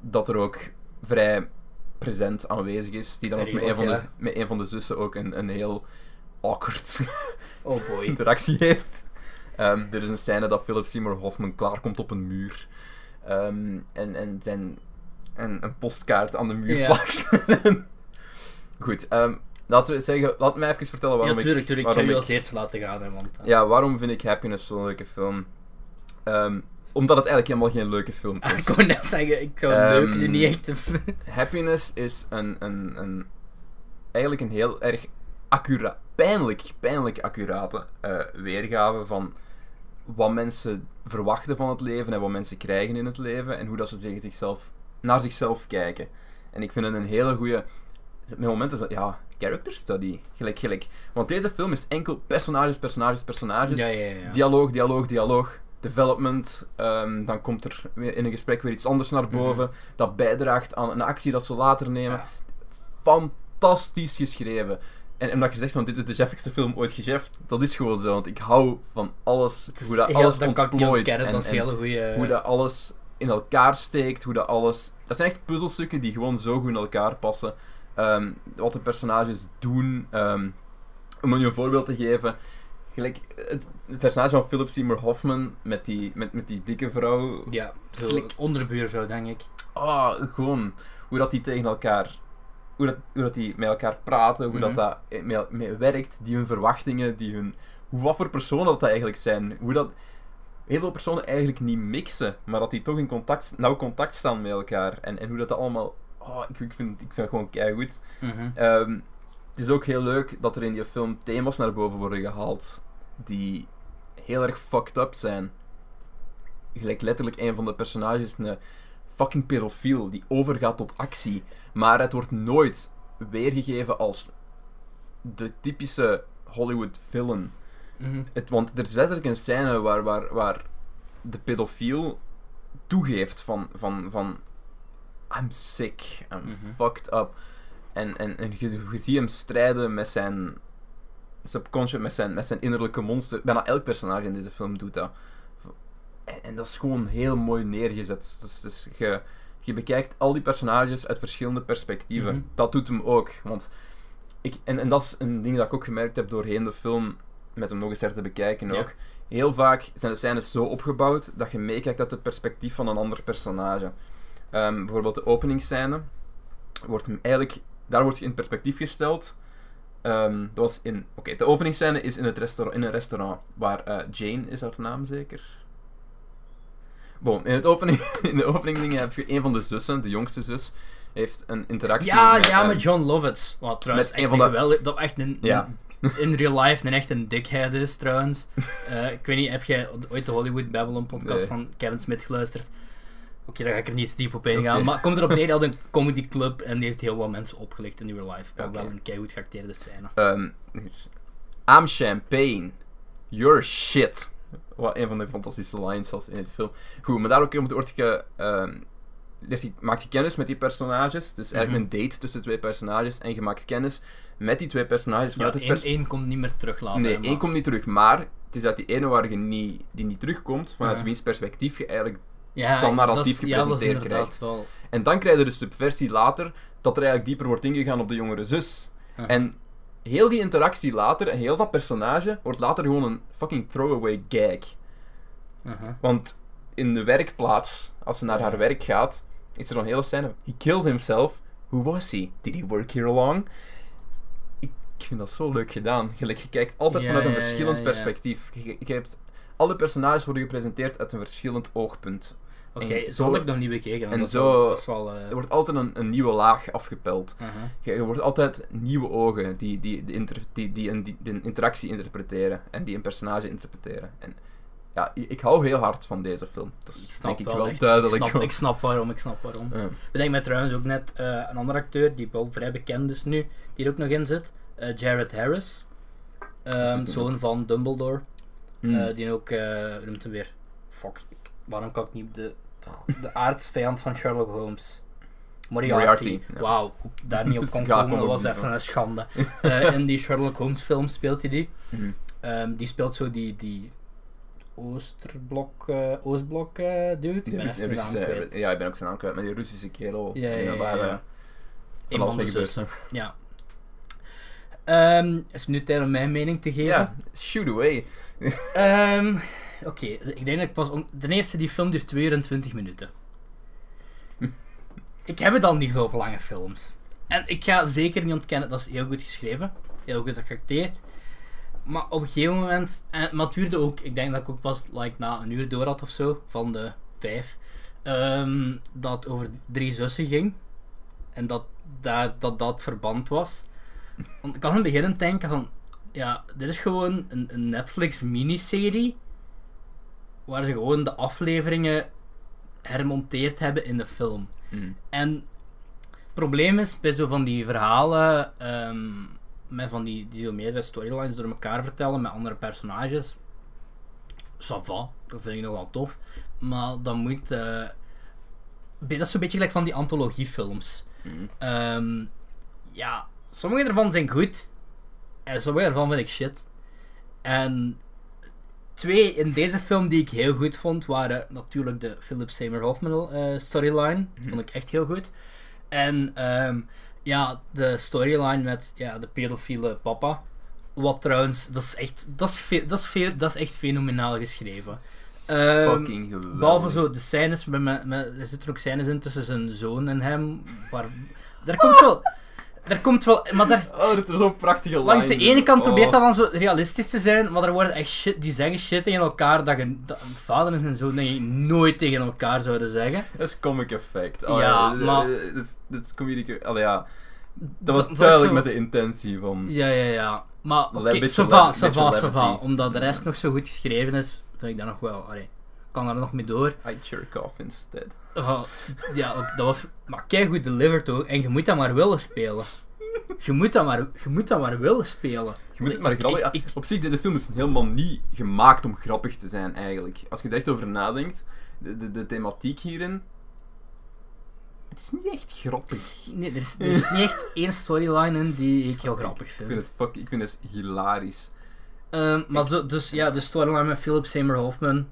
dat er ook vrij present aanwezig is, die dan ook met
Redelijk,
een van de,
ja.
met een van de zussen ook een, een heel awkward
Oh boy.
interactie heeft. Ehm, er is een scène dat Philip Seymour Hoffman klaarkomt op een muur. Ehm, en, en zijn en een postkaart aan de muur
Ja.
plakt. Goed, ehm, laten we zeggen, laat mij even vertellen
Ja,
waarom
tuurlijk,
ik...
tuurlijk. Ik ga
waarom
je als eerste laten gaan, hè, want... eh,
Ja, waarom vind ik Happiness zo'n leuke film? Ehm, omdat het eigenlijk helemaal geen leuke film
ah, ik
is.
kon net zeggen, ik zou
Ehm,
leuk nu niet echt... te-
Happiness is een, een, een, eigenlijk een heel erg accura, pijnlijk, pijnlijk accurate eh, weergave van wat mensen verwachten van het leven en wat mensen krijgen in het leven en hoe dat ze tegen zichzelf, naar zichzelf kijken. En ik vind het een hele goede. Mijn moment is dat, ja, character study. Gelijk, gelijk. Want deze film is enkel personages, personages, personages.
ja, ja, ja.
Dialoog, dialoog, dialoog. Development. ehm, dan komt er weer in een gesprek weer iets anders naar boven. Dat bijdraagt aan een actie dat ze later nemen.
Mhm. Ja.
Fantastisch geschreven. En omdat je zegt, want dit is de jeffigste film ooit gejeft, dat is gewoon zo. Want ik hou van alles,
Het is
hoe dat
heel-
alles
dat kan ik niet
ontplooit.
ontkennen,
en-
dat is een
en
hele eh, goede...
hoe dat alles in elkaar steekt, hoe dat alles... Dat zijn echt puzzelstukken die gewoon zo goed in elkaar passen. Ehm, wat de personages doen. ehm, om je een voorbeeld te geven... Gelijk, eh, het, het personage van Philip Seymour Hoffman met die, met, met die dikke vrouw.
Ja, zo,
Klik.
onderbuurvrouw, denk ik.
Ah, gewoon hoe dat die tegen elkaar... Hoe dat, hoe dat die met elkaar praten, hoe
Mhm.
dat, eh, dat mee, mee werkt, die hun verwachtingen, die hun... Hoe, wat voor personen dat, dat eigenlijk zijn. Hoe dat heel veel personen eigenlijk niet mixen, maar dat die toch in contact, nauw contact staan met elkaar. En, en hoe dat, dat allemaal... Oh, ik, ik, vind, ik vind het gewoon keigoed.
Mhm.
Ehm, het is ook heel leuk dat er in die film thema's naar boven worden gehaald die heel erg fucked up zijn. Gelijk letterlijk een van de personages, een fucking pedofiel, die overgaat tot actie. Maar het wordt nooit weergegeven als de typische Hollywood villain.
Mhm.
Het, want er is letterlijk een scène waar, waar, waar de pedofiel toegeeft van, van, van I'm sick, I'm
Mhm.
fucked up. En, en, en je, je ziet hem strijden met zijn subconscious, met zijn, met zijn innerlijke monster. Bijna elk personage in deze film doet dat. En, en dat is gewoon heel mooi neergezet. Dus, dus je, je bekijkt al die personages uit verschillende perspectieven.
Mhm.
Dat doet hem ook. Want ik, en, en dat is een ding dat ik ook gemerkt heb doorheen de film, met hem nog eens her te bekijken
Ja.
ook. Heel vaak zijn de scènes zo opgebouwd dat je meekijkt uit het perspectief van een ander personage. Ehm, bijvoorbeeld de openingsscène, wordt hem eigenlijk, daar wordt je in perspectief gesteld. Ehm, dat was in, oké, de openingsscène is in, het restaurant, in een restaurant waar eh, Jane is haar naam zeker. Bon, in, het opening, in de opening heb je een van de zussen, de jongste zus, heeft een interactie
Ja,
met,
ja,
ehm,
met John Lovitz. Wat trouwens
met
echt
een
een
van de-
geweldig- Dat echt een,
Ja.
een- in real life een echt een dikheid is, trouwens. Eh, ik weet niet, heb jij ooit de Hollywood Babylon podcast
Nee.
van Kevin Smith geluisterd? Oké, daar ga ik er niet diep op ingaan.
Oké.
Maar het komt erop neer, die had een comedy club en die heeft heel wat mensen opgelicht in real life. Maar
Oké.
wel een keihard geacteerde scène.
Ehm, I'm champagne. You're shit. Wat een van de fantastische lines was in het film. Goed, maar daar ook om wordt ge, ehm, leert je- maakt je kennis met die personages. Dus eigenlijk
Mhm.
een date tussen twee personages. En je maakt kennis met die twee personages.
Ja,
Vanuit het
één,
pers-
één komt niet meer terug later.
nee,
hè, maar-
één komt niet terug. Maar het is uit die ene waar je niet, die niet terugkomt. Vanuit
Ja.
wiens perspectief je eigenlijk
ja,
dan maar al
dat is-
diep
ja, dat
gepresenteerd
is inderdaad wel...
En dan krijg je dus de versie later dat er eigenlijk dieper wordt ingegaan op de jongere zus.
Ja.
En heel die interactie later en heel dat personage wordt later gewoon een fucking throwaway gag.
Aha.
Want in de werkplaats, als ze naar haar werk gaat, is er een hele scène. He killed himself. Who was he? Did he work here long? Ik, ik vind dat zo leuk gedaan. Gelijk, je kijkt altijd
Ja,
vanuit een
ja,
verschillend
ja, ja.
perspectief. Je, je hebt, alle personages worden gepresenteerd uit een verschillend oogpunt.
Oké,
En zo-
zo had ik nog niet bekeken. want
en
dat is
zo-
wel- dat is wel, eh, uh-huh.
Er wordt altijd een, een nieuwe laag afgepeld.
aha.
Je, je wordt altijd nieuwe ogen die, die, de inter- die, die, een- die, de interactie interpreteren en die een personage interpreteren. En ja, i- ik hou heel hard van deze film. Dat is
Ik snap
denk ik
wel,
wel
echt.
duidelijk.
Ik snap,
hoor.
ik snap waarom, ik snap waarom.
Ja.
Bedenk me trouwens ook net eh, een andere acteur, die wel vrij bekend is nu, die er ook nog in zit. eh, Jared Harris. Ehm,
doet hij
zoon van Dumbledore.
Mm.
eh, die ook, eh, hoe noemt hem weer? Fuck, ik- waarom kan ik niet op de, de aardsvijand van Sherlock Holmes? Moriarty.
Moriarty, ja.
Wauw, hoe ik daar niet op
Dus
kon
ik ga
komen,
ook
dat was
niet
even
op.
een schande. Eh, in die Sherlock Holmes film speelt hij die.
Mhm.
Ehm, die speelt zo die, die Oosterblok, eh, Oostblok eh, dude. Ik
Die
ben echt
Russische-
zijn naam
Russische-
kwijt.
ja, ik ben ook zijn naam kwijt, maar die Russische kerel.
Ja, ja,
die
ja,
daar,
ja.
eh,
Een
alles
van de
mee gebeurt.
zussen. Ja. Ehm, is het nu tijd om mijn mening te geven?
Ja, shoot away.
Ehm, Oké, ik denk dat ik pas... on- Ten eerste, die film duurt 22 minuten. ik heb het al niet zo op lange films. En ik ga zeker niet ontkennen, dat is heel goed geschreven. Heel goed geacteerd. Maar op een gegeven moment... En, maar het duurde ook... Ik denk dat ik ook pas like, na een uur door had of zo. Van de vijf. ehm, dat het over drie zussen ging. En dat dat, dat, dat verband was. Want ik had in het begin aan het denken van... Ja, dit is gewoon een, een Netflix miniserie. Waar ze gewoon de afleveringen hermonteerd hebben in de film.
Mm.
En het probleem is bij zo van die verhalen, ehm, met van die, die zo meerdere storylines door elkaar vertellen met andere personages. Ça va, dat vind ik nog wel tof. Maar dan moet. eh, be- dat is zo'n beetje gelijk van die antologiefilms.
Mhm.
Ehm, ja, sommige ervan zijn goed. En sommige ervan vind ik shit. En twee in deze film die ik heel goed vond waren natuurlijk de Philip Seymour Hoffman eh, storyline. Vond ik echt heel goed. En ehm, ja, de storyline met ja, de pedofiele papa. Wat trouwens, dat is echt, dat is fe- dat is fe- dat is echt fenomenaal geschreven. Ehm,
Fucking geweldig.
Behalve zo de scènes, met, met, met- er zitten ook scènes in tussen zijn zoon en hem. Waar, daar komt wel, daar komt wel, maar daar,
Oh, dat is zo'n prachtige lijn.
Langs de ene kant probeert
Oh.
dat dan zo realistisch te zijn, maar er worden echt shit, die zeggen shit tegen elkaar dat, je, dat een vader en zo denk ik nooit tegen elkaar zouden zeggen.
Dat is comic effect. Oh,
Ja,
ja, eh,
maar-
eh, Dat is, dat is comedic... Allee, ja. Dat was
dat ik
duidelijk
zo-
met de intentie van...
Ja, ja, ja. Maar oké,
Een beetje
ça va,
lef-
ça
beetje
va, ça
levity.
va. Omdat de rest nog zo goed geschreven is, vind ik dat nog wel, allee, kan daar nog mee door.
I jerk off instead.
Oh, ja, ook- dat was maar goed delivered ook. En je moet dat maar willen spelen. Je moet dat maar, je moet dat maar willen spelen.
Je moet het maar grappig...
Ik- ik-
Op zich, deze film is helemaal niet gemaakt om grappig te zijn, eigenlijk. Als je er echt over nadenkt, de, de, de thematiek hierin... Het is niet echt grappig.
Nee, er is, er is niet echt één storyline in die ik heel grappig
Ik vind het, fuck, ik vind het hilarisch.
Ehm, maar zo, dus ja, de storyline met Philip Seymour Hoffman,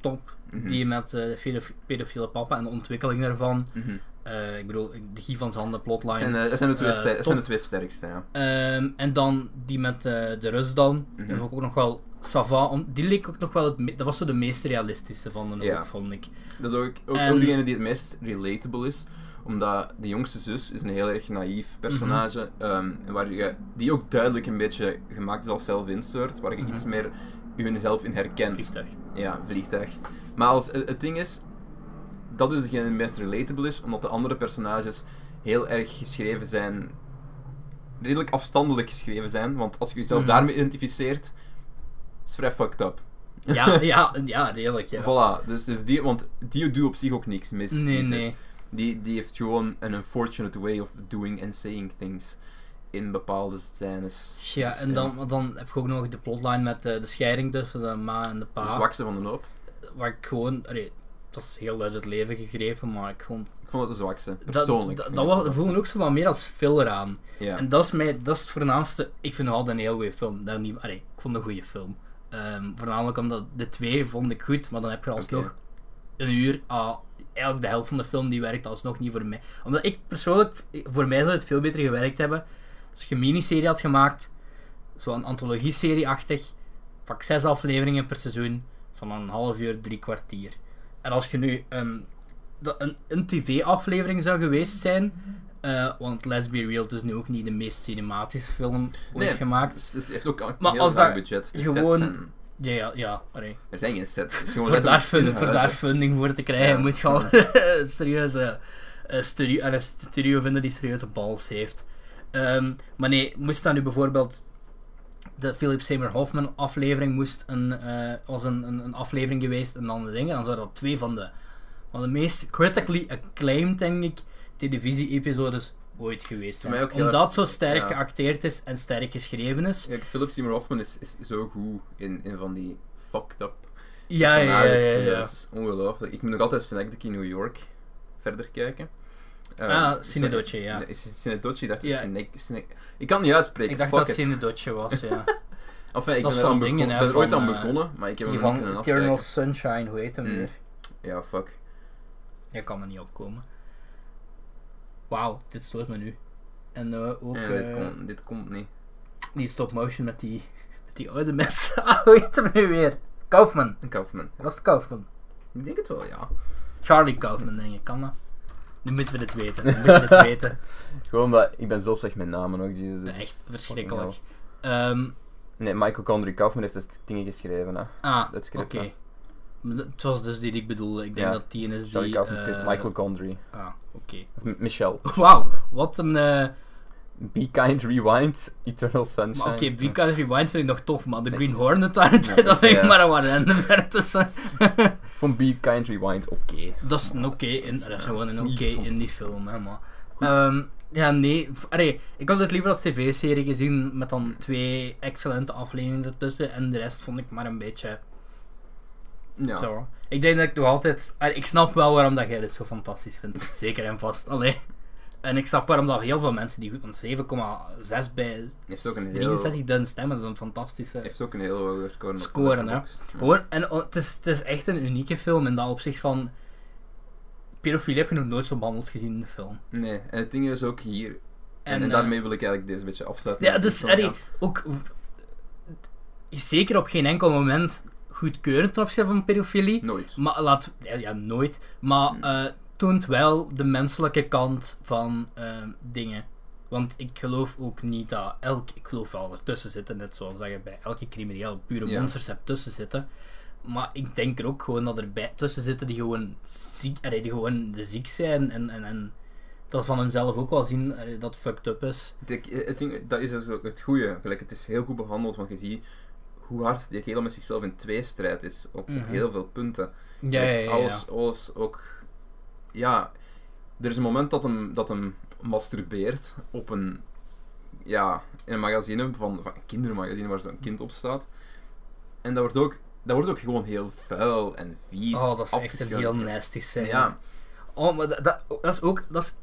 top.
Mhm.
Die met eh, pedof- pedofiele papa en de ontwikkeling daarvan.
Mhm.
Eh, ik bedoel, de Guy van Zanden
Het
plotline.
zijn, eh, het zijn, de twee
Eh,
ster- het
top.
zijn de twee sterkste, ja.
Ehm, en dan die met eh, de Rus dan.
Mhm.
Dat vond ik ook nog wel Sava. om- Die leek ook nog wel het me- Dat was zo de meest realistische van de
Ja.
hoop, vond ik.
Dat is ook, ook,
En-
ook degene die het meest relatable is. Omdat de jongste zus is een heel erg naïef personage.
Mhm.
ehm, en waar je, die ook duidelijk een beetje gemaakt is als zelfinstort. Waar je
Mhm.
iets meer jezelf in herkent.
Vliegtuig.
Ja, vliegtuig. Maar als, het het ding is... Dat is degene die het meest relatable is. Omdat de andere personages heel erg geschreven zijn... Redelijk afstandelijk geschreven zijn. Want als je jezelf
Mhm.
daarmee identificeert... Is vrij fucked up.
Ja, ja, ja, redelijk. Ja.
Voilà, dus, dus die, want die doet op zich ook niks mis.
Nee,
Die zus.
nee.
Die, die heeft gewoon een unfortunate way of doing and saying things in bepaalde scènes.
Ja,
Dus,
en dan, dan heb ik ook nog de plotline met eh, de scheiding tussen de ma en de
De
pa.
zwakste van de hoop.
Waar ik gewoon. allee, dat is heel uit het leven gegrepen, maar ik vond.
Ik vond het de zwakste,
Dat,
persoonlijk.
dat,
vind
dat
ik
was,
de
voelde ook zo wat meer als filler aan.
zwakste. Ja.
En dat is, mij, dat is het voornaamste. Ik vind altijd een heel goede film. Daar niet, allee, ik vond het een goede film. Ehm, voornamelijk omdat de twee vond ik goed, maar dan heb je alsnog
Oké.
een uur. ah, eigenlijk de helft van de film die werkt alsnog niet voor mij. Omdat ik persoonlijk, voor mij zou het veel beter gewerkt hebben als je een miniserie had gemaakt, zo'n antologie-serie-achtig, pak zes afleveringen per seizoen van een half uur, drie kwartier. En als je nu ehm, dat een, een tv-aflevering zou geweest zijn, eh, want Let's Be Real het is dus nu ook niet de meest cinematische film ooit
Nee.
gemaakt.
Dus, dus het heeft ook een
Maar
heel
als
laag
dat
budget. De
gewoon-
sets zijn,
Ja, ja, ja. Allee.
er zijn geen sets. Het is gewoon
Voor, daar
letterlijk
fund-
in
voor daar
huizen.
funding voor te krijgen
Ja.
moet je al serieus eh, een studio, en een studio vinden die serieuze balls heeft. Ehm, maar nee, moest dan nu bijvoorbeeld de Philip Seymour Hoffman aflevering moest een, eh, was een, een, een aflevering geweest en dan de dingen, dan zou dat twee van de, van de meest critically acclaimed, denk ik, televisie-episodes ooit geweest
mij
zijn.
ook heel
Omdat
hard-
zo sterk
ja.
geacteerd is en sterk geschreven is.
Ja, Philip Seymour Hoffman is, is zo goed in, in van die fucked up
Ja, ja, ja.
personages.
ja, ja.
Dat is ongelooflijk. Ik moet nog altijd Synecdoche in New York verder kijken. Ehm,
Ah, Synecdoche,
Syne-
ja.
Is het Synecdoche? Ik dacht ja.
Ja.
Ik kan het niet uitspreken,
Ik dacht
fuck
dat
it.
het Dutje was, ja.
Enfin, ik
dat
ben
is
er,
van
aan
dingen,
begonnen-
hè,
ben er ooit
van,
aan
eh,
begonnen, maar ik heb
Die
hem niet
van
kunnen
Eternal
afkijken.
Sunshine, hoe heet hem
Mm.
weer?
Ja, fuck.
Ja, kan me niet opkomen. Wauw, dit stoort me nu. En eh, ook
Ja, dit,
eh,
komt, dit komt niet.
die stop-motion met die, met die oude mensen. Ah, hoe heet hem nu weer? Kaufman.
Een Kaufman.
Was het Kaufman?
Ik denk het wel, ja.
Charlie Kaufman, denk ik. Kan dat? Nu moeten we dit weten. Nu moeten we dit weten.
Gewoon dat ik ben zelf slecht met namen ook. die- dus-
Echt verschrikkelijk. Ehm,
Nee, Michael Condry Kaufman heeft dus dingen geschreven. Hè.
ah,
Dat
oké.
script, hè.
Maar dat- Het was dus die die ik bedoelde. Ik denk
Ja,
dat die een is die...
Charlie Kaufman script.
eh,
Michael Condry.
Ah, oké.
Of M- Michelle.
Wauw, wat een... eh,
Be Kind, Rewind, Eternal Sunshine.
Maar oké, okay, Be Kind Rewind vind ik nog tof, maar de
Nee.
Green Hornet daar,
Nee,
dat vind ik
ja.
maar een wat random daartussen.
Van Be Kind, Rewind, oké.
dat is een oké,
is-
in- dat is gewoon
dat is
een oké
niet vond-
in die film, hè, maar... Ehm, ja, nee, v- allee, ik had het liever als tv-serie gezien, met dan twee excellente afleveringen ertussen, en de rest vond ik maar een beetje...
Ja.
Zo. Ik denk dat ik nog altijd... allee, ik snap wel waarom dat jij dit zo fantastisch vindt, zeker en vast, alleen... En ik snap waarom dat heel veel mensen die goed... Want 7,6 bij
Is ook een heel-
63.000 stemmen, dat is een fantastische...
Heeft ook een heel hoge score. op
Scoren, hè.
Letterboxd. Ja.
Gewoon, en oh, het is, het is echt een unieke film in dat opzicht van... Pedofilie heb je nog nooit zo behandeld gezien in de film.
Nee, en het ding is ook hier. En,
En,
en
eh,
daarmee wil ik eigenlijk deze beetje afsluiten.
Ja, dus,
Zo,
allee, ook... Zeker op geen enkel moment goedkeurend ten opzichte van pedofilie.
Nooit.
Maar laat... Ja, ja, nooit. Maar
Hmm.
eh toont wel de menselijke kant van eh, dingen. Want ik geloof ook niet dat elk... Ik geloof wel er tussen zitten, net zoals dat je bij elke crimineel pure
Ja.
monsters hebt tussen zitten. Maar ik denk er ook gewoon dat er bij tussen zitten die gewoon ziek, allee, die gewoon ziek zijn en, en, en dat van hunzelf ook wel zien allee, dat fucked up is.
Ik, het ding, dat is dus ook het goede. Gelijk, het is heel goed behandeld, want je ziet hoe hard die kerel met zichzelf in tweestrijd is. Op, op
Mhm.
heel veel punten.
Ja, ja,
Gelijk,
ja, ja.
Alles, alles ook. Ja, er is een moment dat hem, dat hem masturbeert op een. Ja, in een magazine van, van een kindermagazine waar zo'n kind op staat. En dat wordt ook. Dat wordt ook gewoon heel vuil en vies.
Oh, dat is echt een heel
afgeschuurd.
nasty scène.
Ja,
Oh, maar dat, dat, dat is ook... Dat is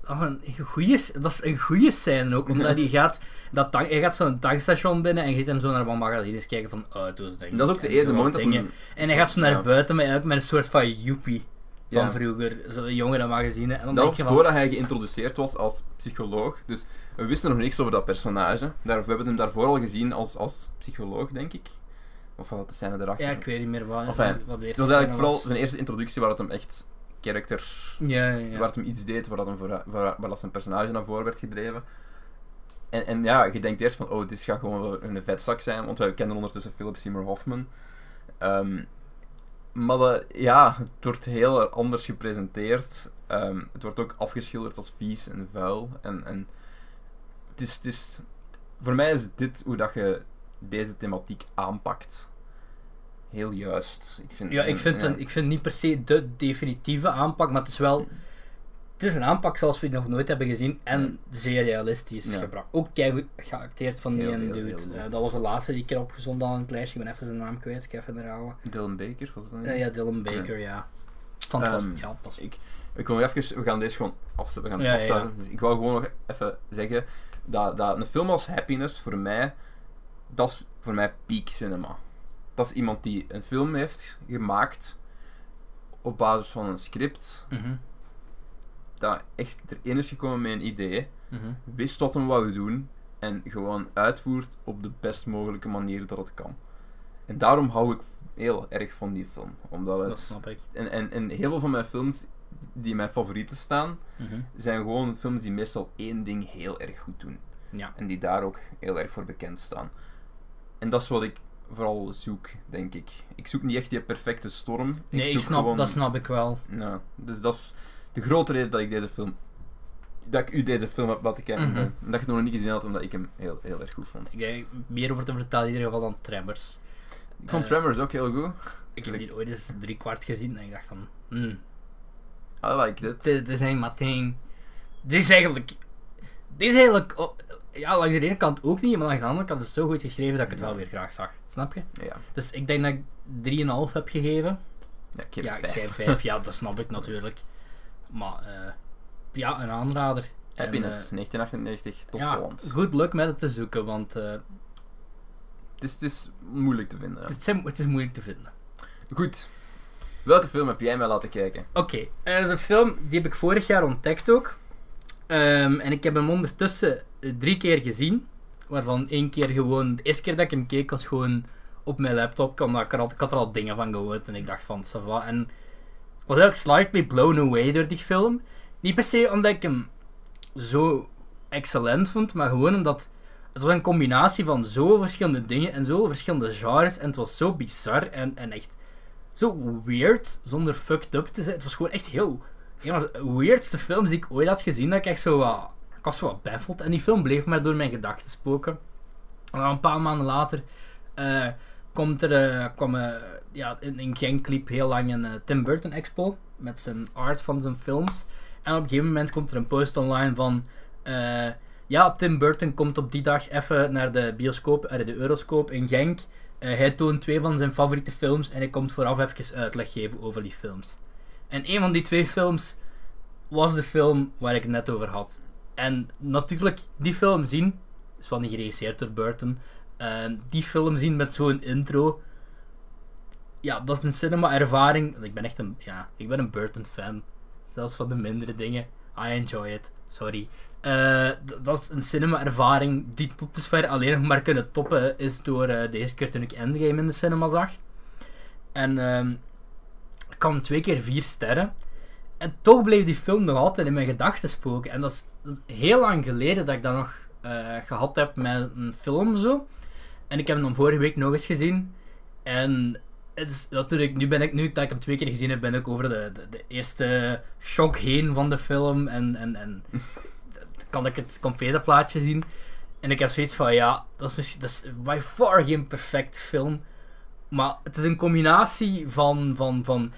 dat is een goeie, s- dat is een goeie scène ook, omdat hij gaat, dat tank, hij gaat zo'n tankstation binnen en je ziet hem zo naar wat magazines kijken van oh, auto's, denk ik.
Dat is ook de
en
ene
zo wat
moment dat
dingen.
hem-
En hij gaat zo naar
Ja.
buiten met, eigenlijk met een soort van joepie van
Ja.
vroeger, zo'n jongere magazine. En dan
Dat
denk
was
je van,
voordat hij geïntroduceerd was als psycholoog. Dus we wisten nog niks over dat personage. Daar, we hebben hem daarvoor al gezien als, als psycholoog, denk ik. Of was dat de scène erachter?
ja, ik weet niet meer wat,
Enfin,
wat de
Het
eerste
was
scène
eigenlijk vooral
was.
zijn eerste introductie waar het hem echt character...
Ja, ja, ja.
Waar het hem iets deed, waar, dat hem voor, waar, waar dat zijn personage naar voren werd gedreven. En, en ja, je denkt eerst van, oh, dit gaat gewoon wel een vetzak zijn, want wij kennen ondertussen Philip Seymour Hoffman. Ehm, maar dat- ja, het wordt heel anders gepresenteerd. Ehm, het wordt ook afgeschilderd als vies en vuil. En, en het is, het is, voor mij is dit hoe dat je deze thematiek aanpakt. Heel juist. Ik vind,
Ja, ik vind,
ja.
Een, ik vind niet per se de definitieve aanpak, maar het is wel... Het is een aanpak zoals we die nog nooit hebben gezien en zeer realistisch
Ja.
gebracht. Ook keigoed geacteerd van die
Heel,
ene
heel,
dude.
heel goed.
Eh, dat was de laatste die ik heb opgezonden aan het lijstje. Ik ben even zijn naam kwijt, ik ga even herhalen.
Dylan Baker, was dat niet?
Eh, ja, Dylan Baker, ja. Fantastisch.
Ehm,
ja, pas.
ik, ik wil even, we gaan deze gewoon afzetten. We gaan het
Ja, ja,
afsluiten. Dus ik wou gewoon nog even zeggen dat, dat een film als Happiness voor mij, dat is voor mij peak cinema. Dat is iemand die een film heeft gemaakt op basis van een script,
Mhm,
dat echt erin is gekomen met een idee,
mhm.
wist wat hem wou doen en gewoon uitvoert op de best mogelijke manier dat het kan. En daarom hou ik heel erg van die film. Omdat
Dat
het,
snap ik.
en, en, en heel veel van mijn films die mijn favorieten staan,
Mhm.
zijn gewoon films die meestal één ding heel erg goed doen.
Ja.
En die daar ook heel erg voor bekend staan. En dat is wat ik vooral zoek, denk ik. Ik zoek niet echt die perfecte storm.
Nee, ik
zoek
snap,
gewoon-
dat snap ik wel.
Ja, dus dat is de grote reden dat ik deze film... Dat ik u deze film heb laten kijken.
Mhm.
eh, Omdat je het nog niet gezien had, omdat ik hem heel, heel erg goed vond.
Ik heb er meer over te vertellen in ieder geval dan Tremors.
Ik vond
Eh,
Tremors ook heel goed.
Ik heb die ooit eens drie kwart gezien en ik dacht van... hmm,
I like it.
Het is, het is eigenlijk maar één- Dit is eigenlijk. Dit is eigenlijk. oh, ja, langs de ene kant ook niet, maar langs de andere kant is het zo goed geschreven dat ik het wel weer graag zag. Snap je?
Ja,
Dus ik denk dat ik 3,5 heb gegeven.
ja ik heb
ja,
het
jij
vijf.
vijf, ja, dat snap ik natuurlijk. Maar eh, ja, een aanrader. En,
Happiness, 1998,
eh,
tot
ja,
Holland.
Goed luck met het te zoeken, want eh,
Het is, het is moeilijk te vinden.
het, zijn, het is moeilijk te vinden.
Goed. Welke film heb jij mij laten kijken?
Oké, eh, dat is een film die heb ik vorig jaar ontdekt ook. Ehm, en ik heb hem ondertussen eh, drie keer gezien. Waarvan één keer gewoon... De eerste keer dat ik hem keek was gewoon op mijn laptop. Omdat ik, er al, ik had er al dingen van gehoord. En ik dacht van, ça va. En ik was eigenlijk slightly blown away door die film. Niet per se omdat ik hem zo excellent vond. Maar gewoon omdat... Het was een combinatie van zo verschillende dingen en zo verschillende genres. En het was zo bizar en, en echt zo weird, zonder fucked up te zijn. Het was gewoon echt heel... Een van de weirdste films die ik ooit had gezien, dat ik echt zo wat... Ik was zo wat baffled. En die film bleef maar door mijn gedachten spoken. En dan een paar maanden later eh, komt er, eh, kwam eh, ja, in, in Genk liep heel lang een eh, Tim Burton expo met zijn art van zijn films. En op een gegeven moment komt er een post online van... eh, ja, Tim Burton komt op die dag even naar de bioscoop, eh, de Euroscoop in Genk. Eh, hij toont twee van zijn favoriete films en hij komt vooraf even uitleg geven over die films. En een van die twee films was de film waar ik het net over had. En natuurlijk, die film zien, is wel niet geregisseerd door Burton, eh, die film zien met zo'n intro, ja, dat is een cinema-ervaring. Ik ben echt een, ja, ik ben een Burton-fan. Zelfs van de mindere dingen. I enjoy it, sorry. Eh, d- dat is een cinema-ervaring die tot dusver alleen nog maar kunnen toppen is door eh, deze keer toen ik Endgame in de cinema zag. En ehm, ik kwam twee keer vier sterren. En toch bleef die film nog altijd in mijn gedachten spoken. En dat is, dat is heel lang geleden dat ik dat nog eh, gehad heb met een film zo. En ik heb hem dan vorige week nog eens gezien. En het is natuurlijk, nu ben ik, nu dat ik hem twee keer gezien heb, ben ik over de, de, de eerste shock heen van de film. En, en, en dat- kan ik het complete plaatje zien. En ik heb zoiets van, ja, dat is misschien, dat is by far geen perfect film. Maar het is een combinatie van, van, van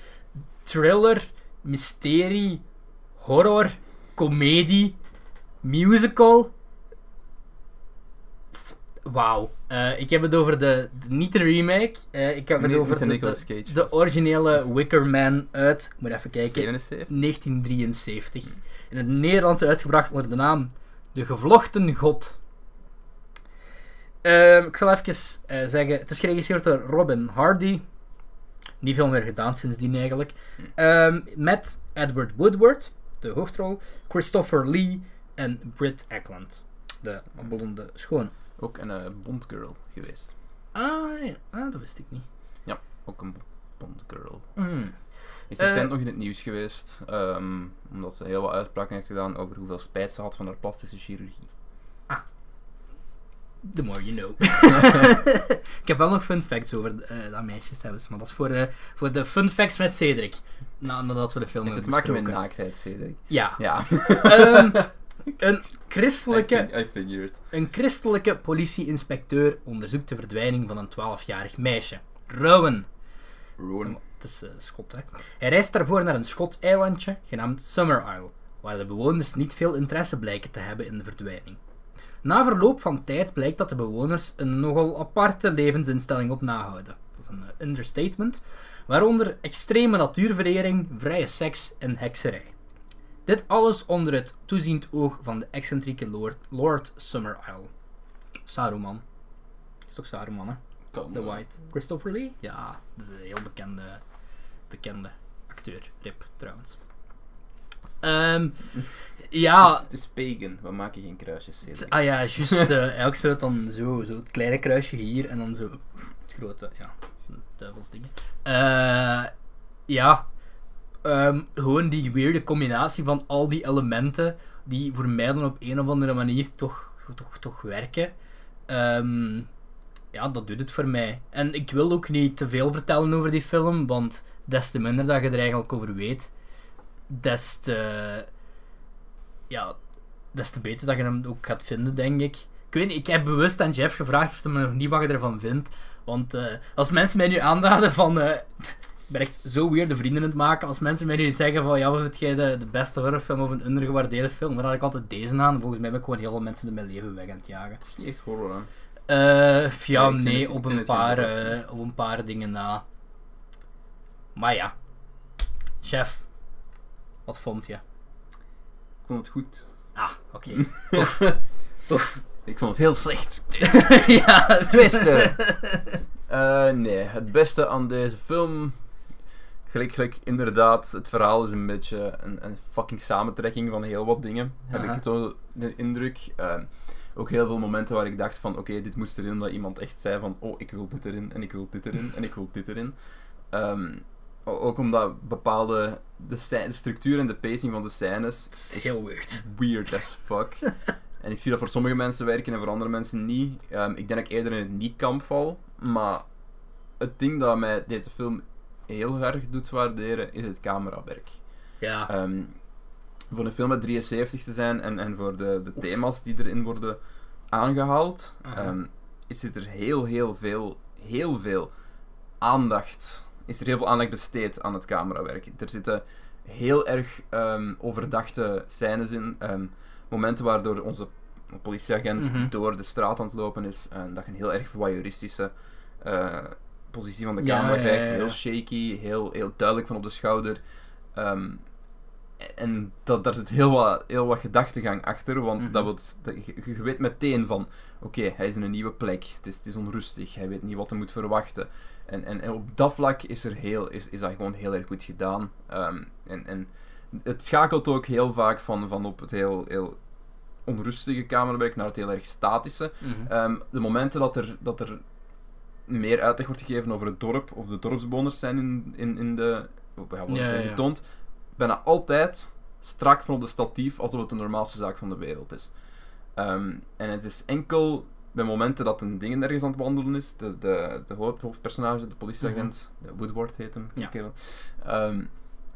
thriller, mysterie, horror, komedie, musical. F- Wauw. Eh, ik heb het over de, de- niet de remake. eh, ik heb het
Nee,
over
niet de
de,
Nicolas
de-
Cage.
de originele Wicker Man uit. Moet even kijken.
77?
1973. In het Nederlands uitgebracht onder de naam De Gevlochten God. Ehm, ik zal even eh, zeggen, het is geregisseerd door Robin Hardy. Niet veel meer gedaan sindsdien eigenlijk. Ehm, met Edward Woodward, de hoofdrol, Christopher Lee en Britt Eklund, de blonde schoon.
Ook een eh, Bond girl geweest.
Ah, ja. ah, dat wist ik niet.
Ook een Bond girl.
Mm.
Is
Eh.
recent nog in het nieuws geweest, ehm, omdat ze heel wat uitspraken heeft gedaan over hoeveel spijt ze had van haar plastische chirurgie.
The more you know. ik heb wel nog fun facts over eh dat meisjes hebben, maar dat is voor, eh, voor de fun facts met Cedric. Na, nadat we de film
Heeft het
hebben
te maken met
besproken.
naaktheid, Cedric?
Ja.
Ja,
Ehm, een,
I,
christelijke,
fig- I figured.
een christelijke politie-inspecteur onderzoekt de verdwijning van een 12-jarig meisje. Rowan.
Rowan.
Het is eh, Schot, hè. Hij reist daarvoor naar een Schots eilandje genaamd Summer Isle, waar de bewoners niet veel interesse blijken te hebben in de verdwijning. Na verloop van tijd blijkt dat de bewoners een nogal aparte levensinstelling op nahouden. Dat is een eh, understatement. Waaronder extreme natuurverering, vrije seks en hekserij. Dit alles onder het toeziend oog van de excentrieke Lord, Lord Summer Isle. Saruman. Is toch Saruman, hè?
Kan,
The
eh,
White. Christopher Lee? Ja, dat is een heel bekende, bekende acteur. Rip, trouwens. Ehm,
Het is-
ja,
het is pagan, we maken geen kruisjes, Cedric.
ah ja, juist. eh, elk soort dan zo, zo het kleine kruisje hier en dan zo het grote, ja, zo'n duivelsdingen. Eh, ja, ehm, gewoon die weirde combinatie van al die elementen die voor mij dan op een of andere manier toch, toch, toch werken. Ehm, ja, dat doet het voor mij. En ik wil ook niet te veel vertellen over die film, want des te minder dat je er eigenlijk over weet, des te... Ja, des te beter dat je hem ook gaat vinden, denk ik. Ik weet niet, ik heb bewust aan Jeff gevraagd of hij me nog niet wat je ervan vindt. Want eh, als mensen mij nu aanraden van... eh, ik ben echt zo weer de vrienden aan het maken. Als mensen mij nu zeggen van... Ja, wat vind jij de, de beste horrorfilm of een ondergewaardeerde film? Dan raad ik altijd deze aan. Volgens mij ben ik gewoon heel veel mensen in mijn leven weg aan het jagen.
Het is niet echt horror, hè.
Eh, ja,
Nee, ik vind
nee,
het- ik
op,
vind
een
het geen
paar,
horror.
eh, op een paar dingen na. Maar ja. Chef. Wat vond je?
Ik vond het goed.
Ah, oké.
Ik vond het heel slecht.
ja,
Twisten. Eh, nee, het beste aan deze film. Gelijk, gelijk, inderdaad, het verhaal is een beetje een, een fucking samentrekking van heel wat dingen. Heb
Aha.
ik zo de indruk. Eh, ook heel veel momenten waar ik dacht van, oké, dit moest erin. Dat iemand echt zei van, oh, ik wil dit erin, en ik wil dit erin, en ik wil dit erin. Ehm, o- ook omdat bepaalde... De, scè- de structuur en de pacing van de scènes
Dat is heel weird.
weird as fuck. en ik zie dat voor sommige mensen werken en voor andere mensen niet. Ehm, ik denk dat ik eerder in het niet-kamp val. Maar het ding dat mij deze film heel erg doet waarderen, is het camerawerk.
Ja.
Ehm, voor een film met 73 te zijn en, en voor de, de thema's die erin worden aangehaald,
Aha.
ehm, is zit er heel, heel veel, heel veel aandacht. Is er heel veel aandacht besteed aan het camerawerk. Er zitten heel erg ehm, overdachte scènes in. ehm, momenten waardoor onze politieagent
Mhm.
door de straat aan het lopen is. En dat je een heel erg voyeuristische eh, positie van de
Ja,
camera
ja, ja,
krijgt.
ja.
Heel shaky, heel, heel duidelijk van op de schouder. Ehm, en dat, daar zit heel wat, heel wat gedachtegang achter, want
Mhm.
dat wil, s- dat- je, je weet meteen van, oké, hij is in een nieuwe plek, het is, het is onrustig, hij weet niet wat hij moet verwachten. En, en, en op dat vlak is, er heel, is, is dat gewoon heel erg goed gedaan. Ehm, en, en het schakelt ook heel vaak van, van op het heel, heel onrustige camerawerk naar het heel erg statische.
Mhm.
Ehm, de momenten dat er, dat er meer uitleg wordt gegeven over het dorp, of de dorpsbewoners zijn in, in, in de. oh, Ja, wordt
Ja,
het
ja, ja.
getoond, bijna altijd strak van op de statief alsof het de normaalste zaak van de wereld is. Ehm, en het is enkel bij momenten dat een ding ergens aan het wandelen is, de, de, de hoofd- hoofdpersonage, de politieagent, de Woodward heet hem, die
Ja.
kerel, ehm,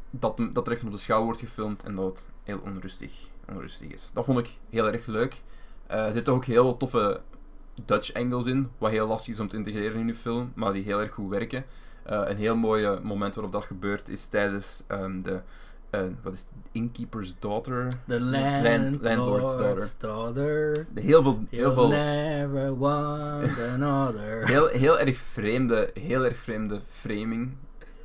dat, hem- dat er even op de schouw wordt gefilmd en dat het heel onrustig, onrustig is. Dat vond ik heel erg leuk. Eh, er zitten ook heel wat toffe Dutch angles in, wat heel lastig is om te integreren in uw film, maar die heel erg goed werken. Eh, een heel mooi eh, moment waarop dat gebeurt is tijdens ehm, de eh, wat is het? Innkeeper's Daughter.
The
Eh, Land-
landlord's,
landlord's daughter.
daughter.
Heel veel, heel
You'll
veel,
never want another.
heel, heel erg vreemde, heel erg vreemde framing.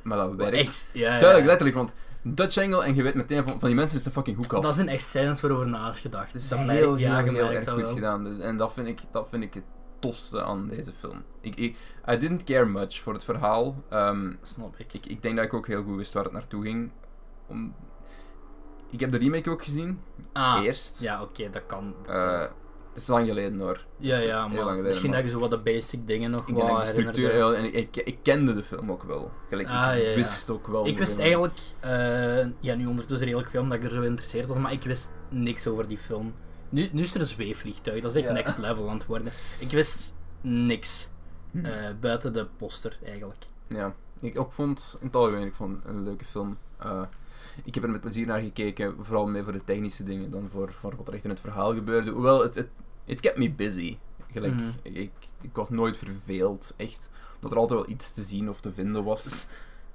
Maar dat werkt.
Echt, ja, ja.
Duidelijk, letterlijk, want Dutch Angle en je weet meteen van, van die mensen is de fucking hoek af.
Dat zijn echt scènes waarover nagedacht.
Dat is
Dat
heel,
merk-
heel,
ja, je
heel,
merkt
erg
dat
goed
wel.
gedaan. Dus- En dat vind ik, dat vind ik het tofste aan deze film. Ik, ik, I didn't care much voor het verhaal. Ehm,
Snap ik.
ik, ik denk dat ik ook heel goed wist waar het naartoe ging. Om... Ik heb de remake ook gezien,
Ah,
eerst.
ja, oké, dat kan. Dat-
Eh, het is lang geleden hoor.
ja,
het is
ja,
heel lang
maar
geleden,
misschien
maar-
dat je zo wat de basic dingen nog
Ik
wel
denk dat ik de
herinnert,
structuur
hè.
heel... En ik, ik, ik kende de film ook wel. Gelijk,
Ah,
ik
ja, ja.
wist ook wel...
Ik wist
hoeveel-
eigenlijk, eh, ja, nu ondertussen redelijk veel omdat ik er zo geïnteresseerd was, maar ik wist niks over die film. Nu, nu is er een zweefvliegtuig, dat is echt
Ja.
next level aan het worden. Ik wist niks
Hm.
eh, buiten de poster eigenlijk.
Ja, ik ook vond in het algemeen ik vond het een leuke film. Eh, ik heb er met plezier naar gekeken, vooral meer voor de technische dingen dan voor, voor wat er echt in het verhaal gebeurde. Hoewel, het het it kept me busy. Gelijk,
Mhm.
ik, ik, ik was nooit verveeld, echt. Omdat er altijd wel iets te zien of te vinden was.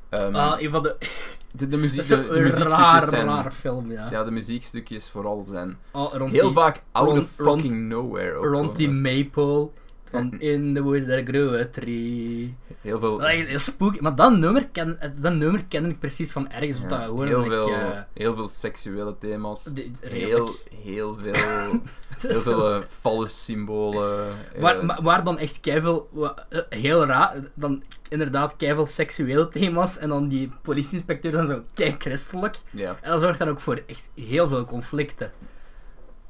Ehm,
Ah, een van de,
de, de
dat
muziek,
is
de,
een
de muziekstukjes
raar,
zijn...
raar film, ja.
Ja, de muziekstukjes vooral zijn
Ah, rond
heel
die,
vaak out
rond-
of fucking nowhere. Ook
rond die
gewoon.
maple, van
Ja.
in the woods there grew a tree.
Heel veel...
Dat is echt heel spooky, maar dat nummer, ken, dat nummer ken ik precies van ergens, of
ja,
dat hoorde
heel,
ik...
veel,
eh,
heel veel seksuele thema's.
dit-
Heel,
redelijk.
heel veel...
Het
Heel
is zo-
veel eh, fallus-symbolen. eh,
Waar, maar waar dan echt keiveel, wa- eh, heel raar, dan inderdaad keiveel seksuele thema's en dan die politieinspecteurs dan zo kei christelijk.
ja.
En dat zorgt dan ook voor echt heel veel conflicten.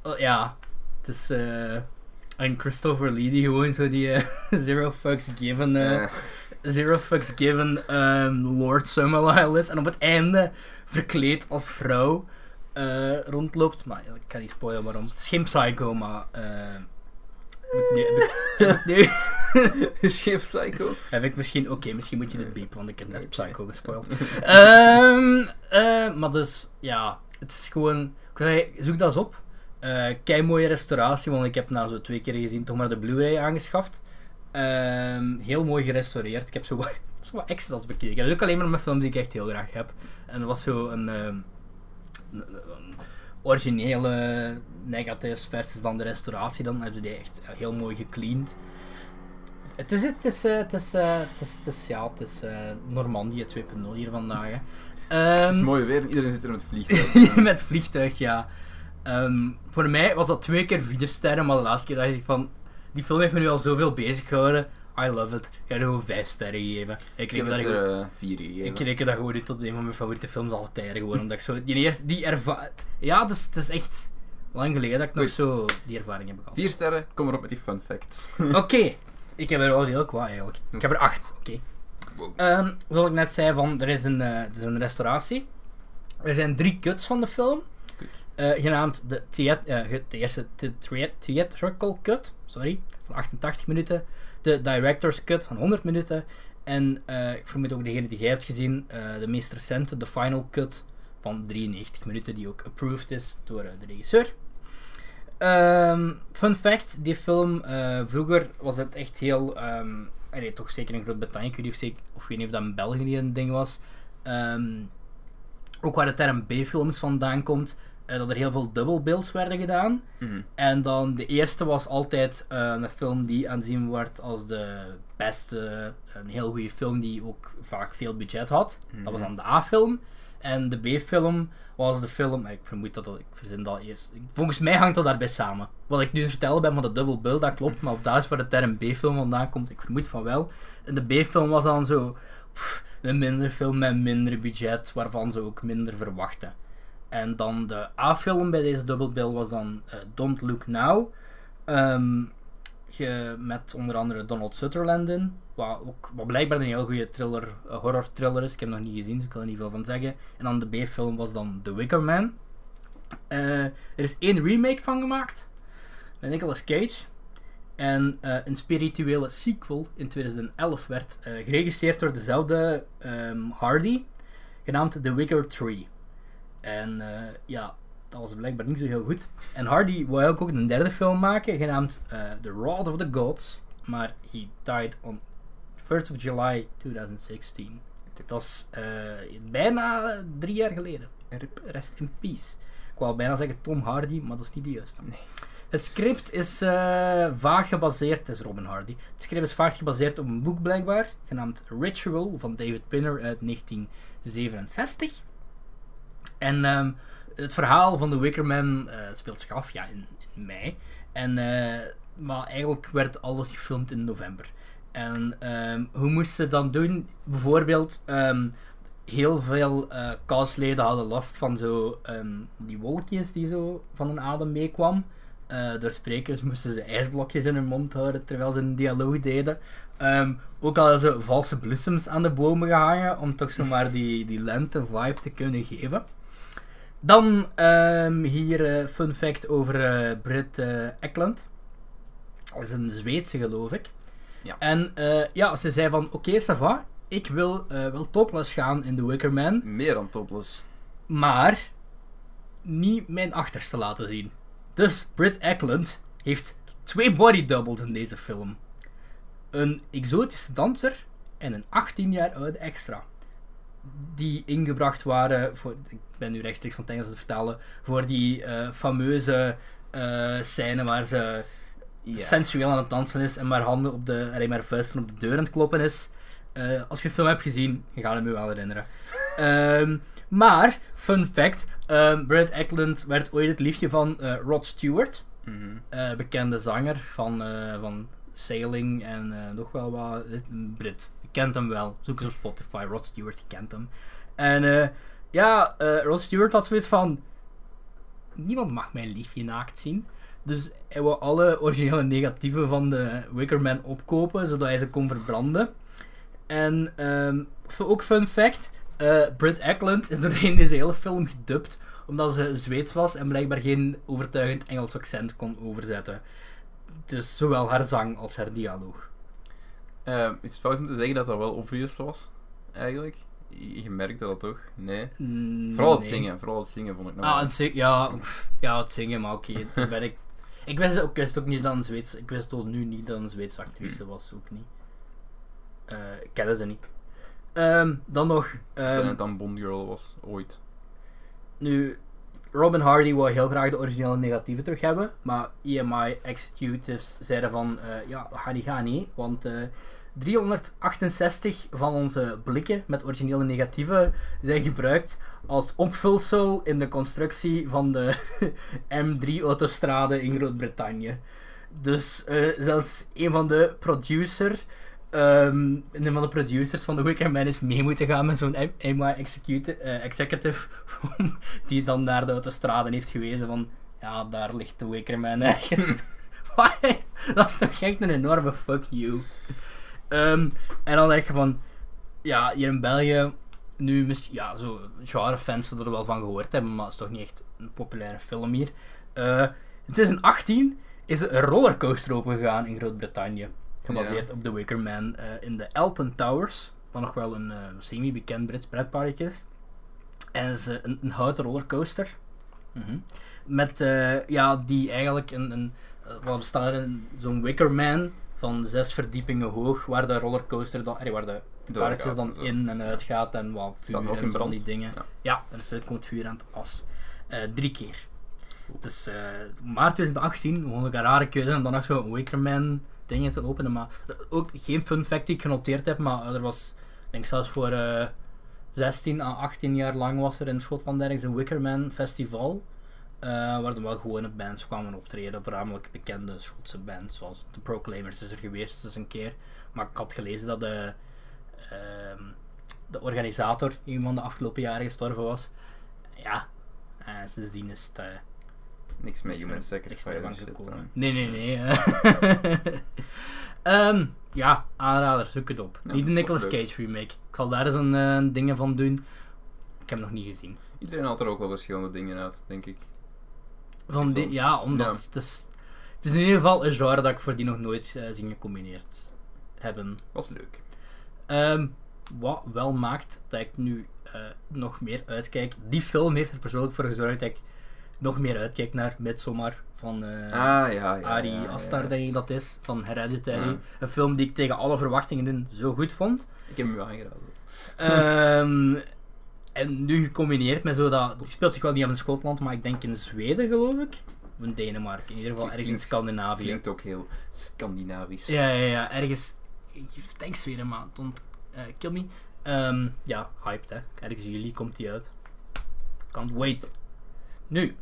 Oh, ja, het is. eh, en Christopher Lee die gewoon zo die eh, zero fucks given, eh,
Eh,
zero fucks given ehm, Lord Summerlyle is en op het einde verkleed als vrouw eh, rondloopt. Maar ja, ik kan niet spoilen waarom. Schim psycho, maar. eh, heb ik nu- heb ik- heb ik nu-
Scheef Psycho.
Heb ik misschien... Oké, misschien moet je dit
Nee.
beepen, want ik heb net
Oké.
Psycho gespoild. Ehm, eh, maar dus, ja. Het is gewoon... Ik zou zeggen, zoek dat eens op. Eh kei mooie restauratie, want ik heb na zo twee keer gezien toch maar de Blu-ray aangeschaft. Ehm, heel mooi gerestaureerd. Ik heb zo wat, zo wat extra's bekeken. Dat doe ik alleen maar met films die ik echt heel graag heb. En er was zo een... ehm, een- een originele negatives versus dan de restauratie. Dan hebben ze die echt heel mooi gecleaned. Het is, het is, eh, het is, eh, het is, het is, ja, het is eh, Normandië 2.0 hier vandaag. Hè.
Het is
Ehm,
mooi weer, iedereen zit er met vliegtuig.
met vliegtuig, ja. Ehm, voor mij was dat twee keer vier sterren, maar de laatste keer dacht ik van... Die film heeft me nu al zoveel bezig gehouden. I love it. Ik ga er gewoon vijf sterren geven. Ik
Ik
kreeg
heb
dat
het
gewoon...
er eh, vier gegeven.
Ik reken dat gewoon nu tot een van mijn favoriete films alle tijden gewoon, omdat ik zo die eerste, die ervaring... Ja, dus het is echt lang geleden dat ik nog
Goed.
zo die ervaring heb gehad.
Vier sterren, kom erop met die fun facts.
Oké, ik heb er al heel qua eigenlijk. Ik heb er acht, oké.
Wow.
Ehm, zoals ik net zei, van, er, is een, eh, er is een restauratie. Er zijn drie cuts van de film.
Kut.
Eh, genaamd de, theat- eh, ge- de eerste the- threa- theatrical cut, sorry, van 88 minuten. De director's cut van 100 minuten. En eh, ik vermoed ook degene die jij hebt gezien, eh, de meest recente, de final cut van 93 minuten, die ook approved is door eh, de regisseur. Ehm, fun fact, die film, eh, vroeger was het echt heel, ehm allee, toch zeker in Groot-Brittannië, ik weet niet of, zeker- of ik weet niet of dat in België niet een ding was. Ehm, ook waar de term B-films vandaan komt, eh, dat er heel veel dubbelbeelds werden gedaan.
Mhm.
En dan de eerste was altijd eh, een film die aanzien wordt als de beste, een heel goede film die ook vaak veel budget had. Dat was dan de A-film. En de B-film was de film, ik vermoed dat dat, ik verzin dat eerst. Volgens mij hangt dat daarbij samen. Wat ik nu vertelde ben van de dubbelbeeld, dat klopt, maar of daar is waar de term B-film vandaan komt, ik vermoed van wel. En de B-film was dan zo pff, een minder film met minder budget, waarvan ze ook minder verwachten. En dan de A-film bij deze dubbelbeeld was dan eh, Don't Look Now. Ehm, ge- met onder andere Donald Sutherland in. Wat, ook, wat blijkbaar een heel goede thriller, eh, horror thriller is. Ik heb hem nog niet gezien, dus ik kan er niet veel van zeggen. En dan de B-film was dan The Wicker Man. Eh, er is één remake van gemaakt. Met Nicolas Cage. En eh, een spirituele sequel in 2011 werd eh, geregisseerd door dezelfde ehm, Hardy. Genaamd The Wicker Tree. En eh, ja, dat was blijkbaar niet zo heel goed. En Hardy wou ook, ook een derde film maken, genaamd eh, The Rod of the Gods. Maar he died on 1st of July 2016. Dat is eh, bijna eh, drie jaar geleden. Rip- Rest in peace. Ik wou bijna zeggen Tom Hardy, maar dat is niet de juiste.
Nee.
Het script is eh, vaag gebaseerd, het is Robin Hardy. Het script is vaag gebaseerd op een boek blijkbaar, genaamd Ritual van David Pinner uit 1967. En ehm, het verhaal van de Wickerman eh, speelt zich af ja, in, in mei. En, eh, maar eigenlijk werd alles gefilmd in november. En ehm, hoe moesten ze dan doen? Bijvoorbeeld, ehm, heel veel eh castleden hadden last van zo, ehm, die wolkjes die zo van hun adem meekwam. Eh, door sprekers moesten ze ijsblokjes in hun mond houden terwijl ze een dialoog deden. Ehm, ook hadden ze valse bloesems aan de bomen gehangen om toch zomaar die, die lente-vibe te kunnen geven. Dan ehm, hier eh, fun fact over eh, Britt eh, Eklund. Dat is een Zweedse geloof ik.
Ja.
En eh, ja, ze zei van oké Sava, ik wil eh, wel topless gaan in The Wicker Man,
Meer dan topless.
maar niet mijn achterste laten zien. Dus Britt Eklund heeft twee body doubles in deze film. Een exotische danser en een 18 jaar oude extra. Die ingebracht waren, voor, ik ben nu rechtstreeks van het Engels aan het vertalen, voor die eh, fameuze eh, scène waar ze sensueel aan het dansen is en maar handen op de, alleen maar vuisten op de deur aan het kloppen is. Eh, als je de film hebt gezien, je gaat hem je wel herinneren. Ehm, maar, fun fact, ehm Brad Eklund werd ooit het liefje van eh, Rod Stewart,
Mhm.
eh, bekende zanger van, eh, van Sailing en eh, nog wel wat, eh, een Brit. Je kent hem wel, zoek eens op Spotify, Rod Stewart, je kent hem. En eh, ja, eh, Rod Stewart had zoiets van, niemand mag mijn liefje naakt zien. Dus hij wou alle originele negatieven van de Wickerman opkopen, zodat hij ze kon verbranden. En ehm, f- ook fun fact, eh Britt Eklund is doorheen deze hele film gedubt, omdat ze Zweeds was en blijkbaar geen overtuigend Engels accent kon overzetten. Dus zowel haar zang als haar dialoog.
Ehm, is het fout om te zeggen dat dat wel obvious was? Eigenlijk? Je je merkte dat toch? Nee.
Mm,
Vooral het
nee.
zingen, vooral het zingen vond ik nog.
Ah,
wel.
het zingen, ja, pff, ja, het zingen, maar oké, toen ben ik... Ik wist, ook, ik wist ook niet dat een Zweeds... Ik wist tot nu niet dat een Zweedse
Hm.
actrice was, ook niet. Eh, ik kennen ze niet. Ehm, dan nog...
Zodat
ehm,
het dan Bond Girl was, ooit.
Nu, Robin Hardy wou heel graag de originele negatieven terug hebben, maar EMI executives zeiden van, eh, ja, dat gaat niet gaan, nee, want eh, 368 van onze blikken met originele negatieven zijn gebruikt als opvulsel in de constructie van de M3-autostrade in Groot-Brittannië. Dus eh, zelfs een van de producer, ehm, een van de producers van de Wicker Man is mee moeten gaan met zo'n EMI execute- eh, executive, die dan naar de autostrade heeft gewezen van, ja, daar ligt de Wicker Man ergens. Wat? Dat is toch echt een enorme fuck you. Ehm, en dan denk je van, ja, hier in België, nu misschien, ja, zo, genrefans zullen er wel van gehoord hebben, maar het is toch niet echt een populaire film hier. Eh, in 2018 is er een rollercoaster opengegaan in Groot-Brittannië, gebaseerd op The Wicker Man eh, in de Elton Towers, wat nog wel een eh, semi-bekend Brits pretparkje is. En is eh, een, een houten rollercoaster. Mhm. Met, eh, ja, die eigenlijk een, een eh, wat bestaat er in zo'n Wicker Man van zes verdiepingen hoog, waar de rollercoaster dan, eh, waar de karretjes
Doorgaat
dan
en zo.
in en uit gaat en wat vuur
Staat er ook
en
in
zo van die
brand?
dingen. Ja,
Ja.
er zit- komt vuur aan het as. Eh, drie keer. Dus eh, maart 2018 vond ik een rare keuze om dan nog zo'n Wicker Man dingen te openen. Maar ook geen fun fact die ik genoteerd heb, maar er was, ik denk zelfs voor eh, 16 à 18 jaar lang was er in Schotland ergens een Wicker Man festival. eh, waar dan wel gewone bands kwamen optreden, voornamelijk bekende Schotse bands, zoals The Proclaimers is er geweest dus een keer. Maar ik had gelezen dat de, ehm, de organisator, iemand van de afgelopen jaren gestorven was. Ja, eh, sindsdien is het... eh,
Niks met
Niks meer-
human
niks meer
sacrifice
van
en shit.
gekomen.
dan.
Nee, nee, nee. eh. Ehm, ja, aanrader, zoek het op.
Ja,
niet de
dat
Nicolas
was leuk.
Cage remake. Ik zal daar eens een eh, dingen van doen. Ik heb hem nog niet gezien.
Iedereen had er ook wel verschillende dingen uit, denk ik.
Van die,
vond-
ja, omdat
ja.
Het, is, het is in ieder geval een genre dat ik voor die nog nooit eh, zien gecombineerd hebben.
Was leuk.
Ehm, wat wel maakt dat ik nu eh, nog meer uitkijk. Die film heeft er persoonlijk voor gezorgd dat ik nog meer uitkijk naar Midsommar van eh,
ah ja, ja.
Ari
ja, ja,
Aster,
juist.
denk ik dat is, van Hereditary.
Ja.
Een film die ik tegen alle verwachtingen in zo goed vond.
Ik heb hem u aangeraden.
Ehm, En nu gecombineerd met zo dat... Die speelt zich wel niet af in Schotland, maar ik denk in Zweden, geloof ik. Of in Denemarken, in ieder geval ergens in
Klinkt-
Scandinavië.
Klinkt ook heel Scandinavisch.
Ja, ja, ja, ergens... Ik denk Zweden, maar don't eh, kill me. Ehm, ja, hyped, hè. Ergens in juli komt die uit. Can't wait. Nu.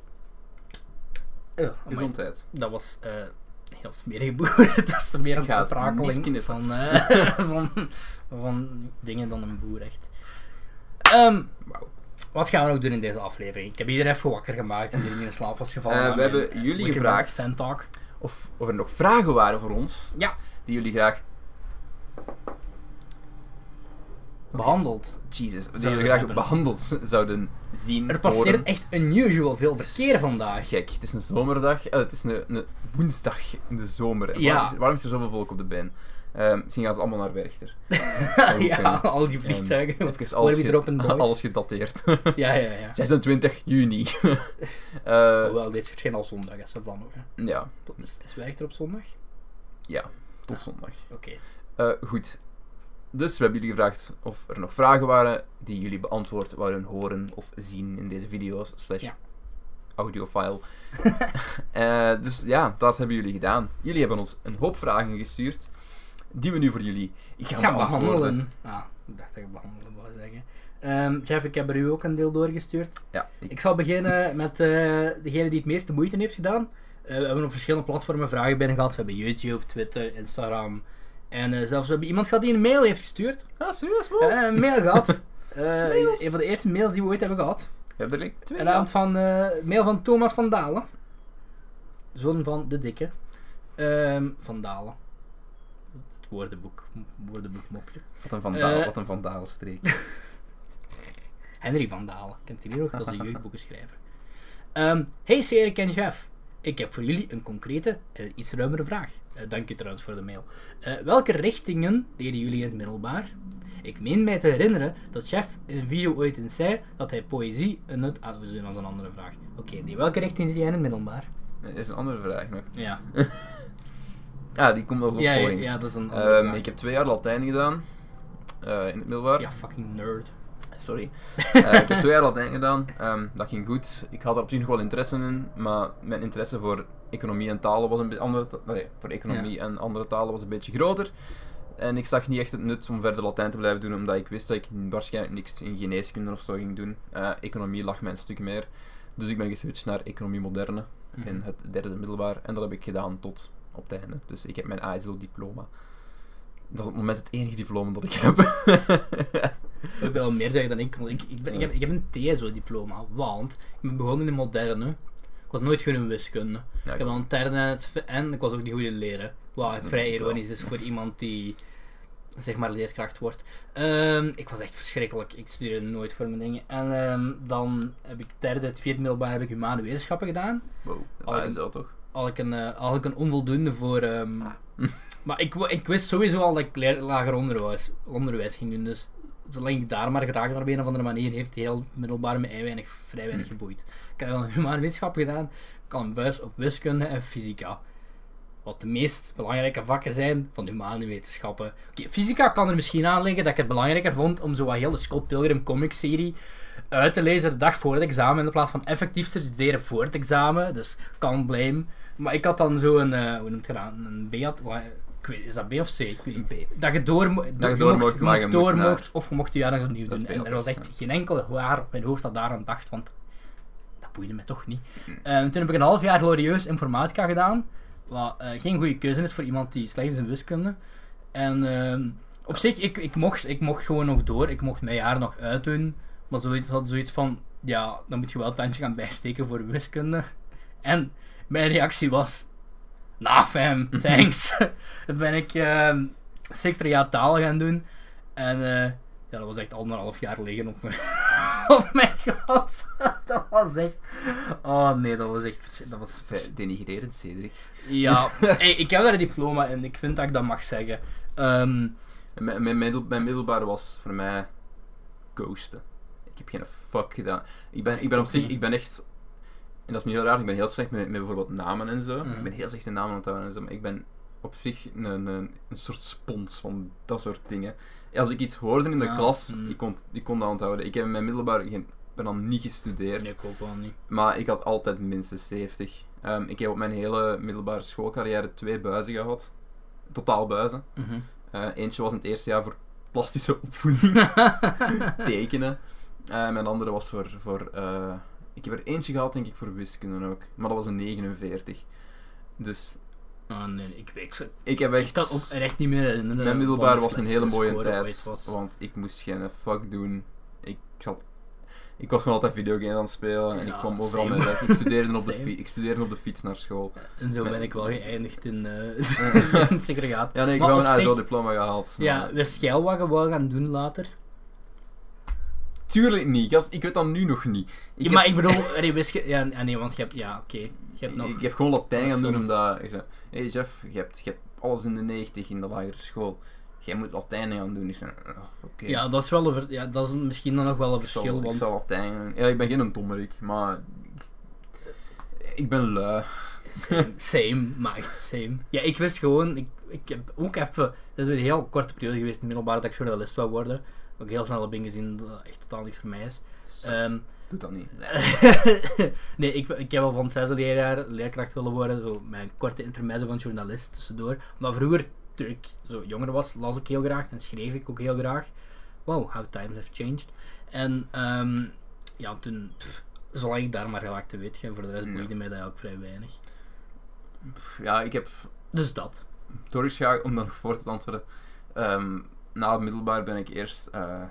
Eh, amai,
Gezondheid.
dat was eh, een heel smerige boer. dat is meer een
Ik ga het niet
ontrakeling
knippen.
van, eh, van, van dingen dan een boer, echt. Ehm,
Wauw.
wat gaan we nog doen in deze aflevering? Ik heb iedereen even wakker gemaakt en iedereen in slaap was gevallen.
Eh,
na
we
mijn,
hebben
eh,
jullie
Wicked
gevraagd.
Fan Talk.
Of, of er nog vragen waren voor ons
Ja,
die jullie graag.
behandeld.
Jesus, die
Zouden
jullie graag
hebben.
behandeld zouden zien.
Er passeert
horen.
echt unusual veel verkeer vandaag.
Gek, het is een zomerdag. eh, het is een, een woensdag in de zomer. En
Ja.
Waarom, is er, waarom is er zoveel volk op de been? Ehm, misschien gaan ze allemaal naar Werchter. Zou ook kunnen.
ja, eh, al die
Ehm,
vliegtuigen.
even
Worden
alles,
we
ge-
erop en boos?
alles gedateerd.
Ja, ja, ja.
26 juni. Eh,
Hoewel, dit verscheen al zondag, hè, ze van nog. hè.
ja,
Tot- Is, is werkt er op zondag?
tot zondag.
Oké.
Eh, goed. Dus we hebben jullie gevraagd of er nog vragen waren die jullie beantwoord wouden horen of zien in deze video's slash
Ja.
audiofile. Eh, dus ja, dat hebben jullie gedaan. Jullie hebben ons een hoop vragen gestuurd die we nu voor jullie gaan,
gaan
beantwoorden.
behandelen. Ah, ik dacht dat ik behandelen wou zeggen. Ehm Jeff, ik heb er u ook een deel doorgestuurd.
Ja, ik,
Ik zal beginnen met eh, degene die het meeste moeite heeft gedaan. Eh, we hebben op verschillende platformen vragen binnen gehad. We hebben YouTube, Twitter, Instagram. En eh, zelfs we hebben iemand gehad die een mail heeft gestuurd.
ah, serieus,
Eh,
wow.
een mail gehad. Eh,
Mails.
een van de eerste mails die we ooit hebben gehad.
We hebben er like twee
Een naam van eh, mail van Thomas van Dalen. Zoon van de dikke. Ehm, van Dalen. Het woordenboek. Woordenboekmopje.
Wat een Van
Eh,
Dalen- wat een Van Dalen streek.
Henry van Dalen. Kent hij nu nog? Dat is een jeugdboekenschrijver. Ehm hey Serik en Jeff. Ik heb voor jullie een concrete, en iets ruimere vraag. Eh, dank je trouwens voor de mail. Eh, welke richtingen deden jullie in het middelbaar? Ik meen mij te herinneren dat Jeff in een video ooit eens zei dat hij poëzie een... nut- Ah, we doen als een andere vraag. Oké, nee, welke richting deed jij in het middelbaar?
Dat is een andere vraag nog.
Ja,
Ah, die komt als
ja, ja,
opvolging.
ja, dat is een andere
Ehm,
vraag.
ik heb twee jaar Latijn gedaan. eh, in het middelbaar.
Ja, fucking nerd.
Sorry. Eh, ik heb twee jaar Latijn gedaan. Ehm, dat ging goed. Ik had er op zich nog wel interesse in, maar mijn interesse voor economie en talen was een beetje andere. ta- Nee, voor economie en andere talen was een beetje groter. En ik zag niet echt het nut om verder Latijn te blijven doen, omdat ik wist dat ik waarschijnlijk niks in geneeskunde of zo ging doen. Eh, economie lag mij een stuk meer. Dus ik ben geswitcht naar economie moderne
Mhm. Mm.
in het derde middelbaar. En dat heb ik gedaan tot op het einde. Dus ik heb mijn ASL-diploma. Dat is op het moment het enige diploma dat ik heb.
Ik wil wel meer zeggen dan ik. want Ik, ik, ben, ik, heb, ik heb een TSO-diploma, want ik ben begonnen in moderne. Ik was nooit goed in wiskunde.
Ja,
Ik heb al een interne en het v- en ik was ook niet goed in leren. Wat vrij
Mm, ik wel.
ironisch is voor iemand die, zeg maar, leerkracht wordt. Ehm, ik was echt verschrikkelijk. Ik studeerde nooit voor mijn dingen. En ehm, dan heb ik derde, het vierde middelbaar heb ik humane wetenschappen gedaan.
Wow, Ah,
Al
dat
een-
is zo toch?
Al ik een, eh, had ik een onvoldoende voor... ehm,
Ah.
Maar ik, wa- ik wist sowieso al dat ik leer- lager onderwijs, onderwijs ging doen. Dus zolang ik daar maar geraakt op een of andere manier, heeft die heel middelbaar me ei weinig, vrij weinig geboeid. Ik heb dan humane wetenschappen gedaan, ik had een buis op wiskunde en fysica. Wat de meest belangrijke vakken zijn van humane wetenschappen. Oké, fysica kan er misschien aan liggen dat ik het belangrijker vond om zo wat heel de Scott Pilgrim comic serie uit te lezen de dag voor het examen in plaats van effectief te studeren voor het examen. Dus kan blame. Maar ik had dan zo een, eh, hoe noemt je dat? Een B had, wat- ik weet, is dat B of C? Ik weet niet. Dat je door, mo-
je
je
door
mocht,
mocht,
je
maar
mocht
je
door
moet naar-
mocht of je mocht je jaar nog opnieuw
Dat
doen.
is
En er was
bijna
echt geen enkel waar op mijn hoofd dat daaraan dacht, want dat boeide me toch niet. Eh, toen heb ik een half jaar glorieus informatica gedaan, wat eh, geen goede keuze is voor iemand die slecht is in wiskunde. En ehm, op zich, ik, ik, mocht, ik mocht gewoon nog door, ik mocht mijn jaar nog uitdoen, maar zoiets had zoiets van, ja, dan moet je wel het tandje gaan bijsteken voor wiskunde. En mijn reactie was, nah fam, thanks. dan ben ik ehm secretariaat taal gaan doen en... eh, ja, dat was echt anderhalf jaar liggen op mijn, op mijn glas. Dat was echt... Oh nee, dat was echt... vers- Dat was...
Vrij Denigrerend, Cedric.
Ja, hey, ik heb daar een diploma in. Ik vind dat ik dat mag zeggen. Ehm,
En Mijn, mijn, middel, mijn middelbare was voor mij ghosten. Ik heb geen fuck gedaan. Ik ben, ik ben op zich, ik ben echt. En dat is niet heel raar, ik ben heel slecht met, met bijvoorbeeld namen en zo.
Mhm.
Ik ben heel slecht in namen onthouden en zo, maar ik ben op zich een, een, een soort spons van dat soort dingen. Als ik iets hoorde in de
Ja,
klas,
mm.
ik kon, ik kon dat onthouden. Ik heb in mijn middelbare geen, ben dan niet gestudeerd,
Nee, ik ook wel niet.
maar ik had altijd minstens 70. Ehm, ik heb op mijn hele middelbare schoolcarrière twee buizen gehad. Totaal buizen.
Mhm.
Eh, eentje was in het eerste jaar voor plastische opvoeding tekenen. Ehm, en mijn andere was voor. voor eh, ik heb er eentje gehad, denk ik, voor wiskunde ook. Maar dat was een 49. Dus
Ah, nee, ik weet ze.
ik heb echt.
Ik kan ook echt niet meer herinneren.
mijn
wat
middelbaar
de
was een hele
slechtste
mooie
score ooit
tijd.
was.
Want ik moest geen fuck doen. Ik, zat, ik was gewoon altijd videogames aan het spelen. En
Ja,
ik kwam overal
same.
mee weg. Ik studeerde, op de
Same.
fi- ik studeerde op de fiets naar school.
En zo
Met-
ben ik wel geëindigd in, eh
Ja.
in segregaat.
Ja, nee, ik
Maar
heb wel
op
een
zich-
ASO-diploma gehaald.
Ja,
maar-
de schijl wat je wou gaan doen later.
Tuurlijk niet, gast. Ik weet dat nu nog niet. Ik
Ja,
heb-
maar ik bedoel, er is ge- ja, ja, nee, want je hebt, ja, oké. Je hebt nog.
Ik heb gewoon Latijn gaan doen
Soms.
omdat... Ik zei, hey Jeff, je hebt, je hebt alles in de 90 in de lagere school. Jij moet Latijn gaan doen. Ik zei, "Ah, oké.
Ja, dat is wel een, ver- ja, dat is misschien dan nog wel een
ik zal,
verschil,
ik
want
zal Latijn gaan doen. Ja, ik ben geen dommerik, maar... Ik ben lui.
same, same, maar echt same. Ja, ik wist gewoon, ik, ik heb ook even, dat is een heel korte periode geweest in het middelbaar dat ik journalist wou worden. Ook heel snel heb ingezien dat dat echt totaal niks voor mij is. Ehm,
Doe dat niet.
nee, ik, ik heb al van het zesde leerjaar leerkracht willen worden. Zo, mijn korte intermezzo van journalist tussendoor. Maar vroeger, toen ik zo jonger was, las ik heel graag en schreef ik ook heel graag. Wow, how times have changed. En ehm, ja, toen, pff, zolang ik daar maar raakte, weet je, voor de rest
Ja.
boeide mij dat ook vrij weinig.
Ja, ik heb
Dus dat.
doorgegaan om dan nog voor te antwoorden. Ehm, na het middelbaar ben ik eerst eh,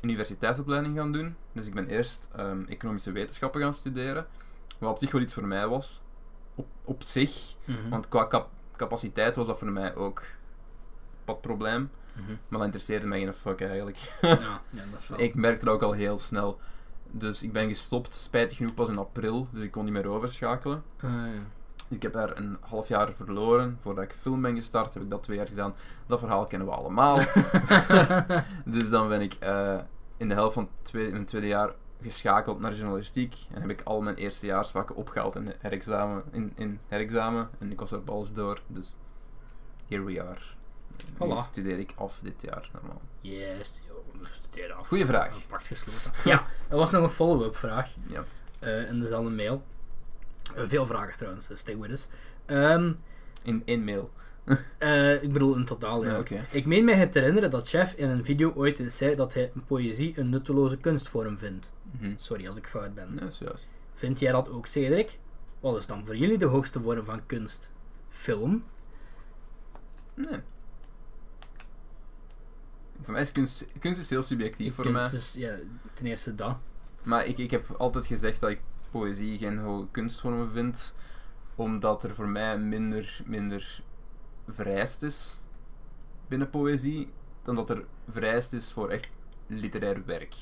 universiteitsopleiding gaan doen. Dus ik ben eerst ehm, economische wetenschappen gaan studeren. Wat op zich wel iets voor mij was. Op, op zich.
Mhm.
Want qua cap- capaciteit was dat voor mij ook wat probleem.
Mhm.
Maar dat interesseerde mij geen fuck eigenlijk.
ja, ja, dat is wel.
ik merkte dat ook al heel snel. Dus ik ben gestopt, spijtig genoeg pas in april. Dus ik kon niet meer overschakelen.
Ah, ja.
Dus ik heb daar een half jaar verloren. Voordat ik film ben gestart, heb ik dat twee jaar gedaan. Dat verhaal kennen we allemaal. dus dan ben ik eh, in de helft van het tweede, mijn tweede jaar geschakeld naar journalistiek. En heb ik al mijn eerstejaarsvakken opgehaald in, herexamen, in, in herexamen. En ik was er alles door. Dus here we are. Nu
Voilà.
studeer ik af dit jaar normaal.
Yes, joh, we studeren af.
Goeie vraag.
Een Pact gesloten. Ja, er was nog een follow-up vraag.
Ja.
Eh, in dezelfde mail. Eh, veel vragen trouwens, dus stay with us. Ehm,
In, in mail.
eh, ik bedoel in totaal, ja.
Ja, oké.
Ik meen mij het te herinneren dat Chef in een video ooit eens zei dat hij poëzie een nutteloze kunstvorm vindt.
Mhm.
Sorry als ik fout ben.
Nee, dat is juist.
Vind jij dat ook, Cedric? Wat is dan voor jullie de hoogste vorm van kunst? Film?
Nee. Voor mij is kunst, kunst is heel subjectief voor
kunst
mij.
is ja, ten eerste dat.
Maar ik, ik heb altijd gezegd dat ik poëzie geen hoge kunstvormen vind, omdat er voor mij minder, minder vereist is binnen poëzie, dan dat er vereist is voor echt literair werk.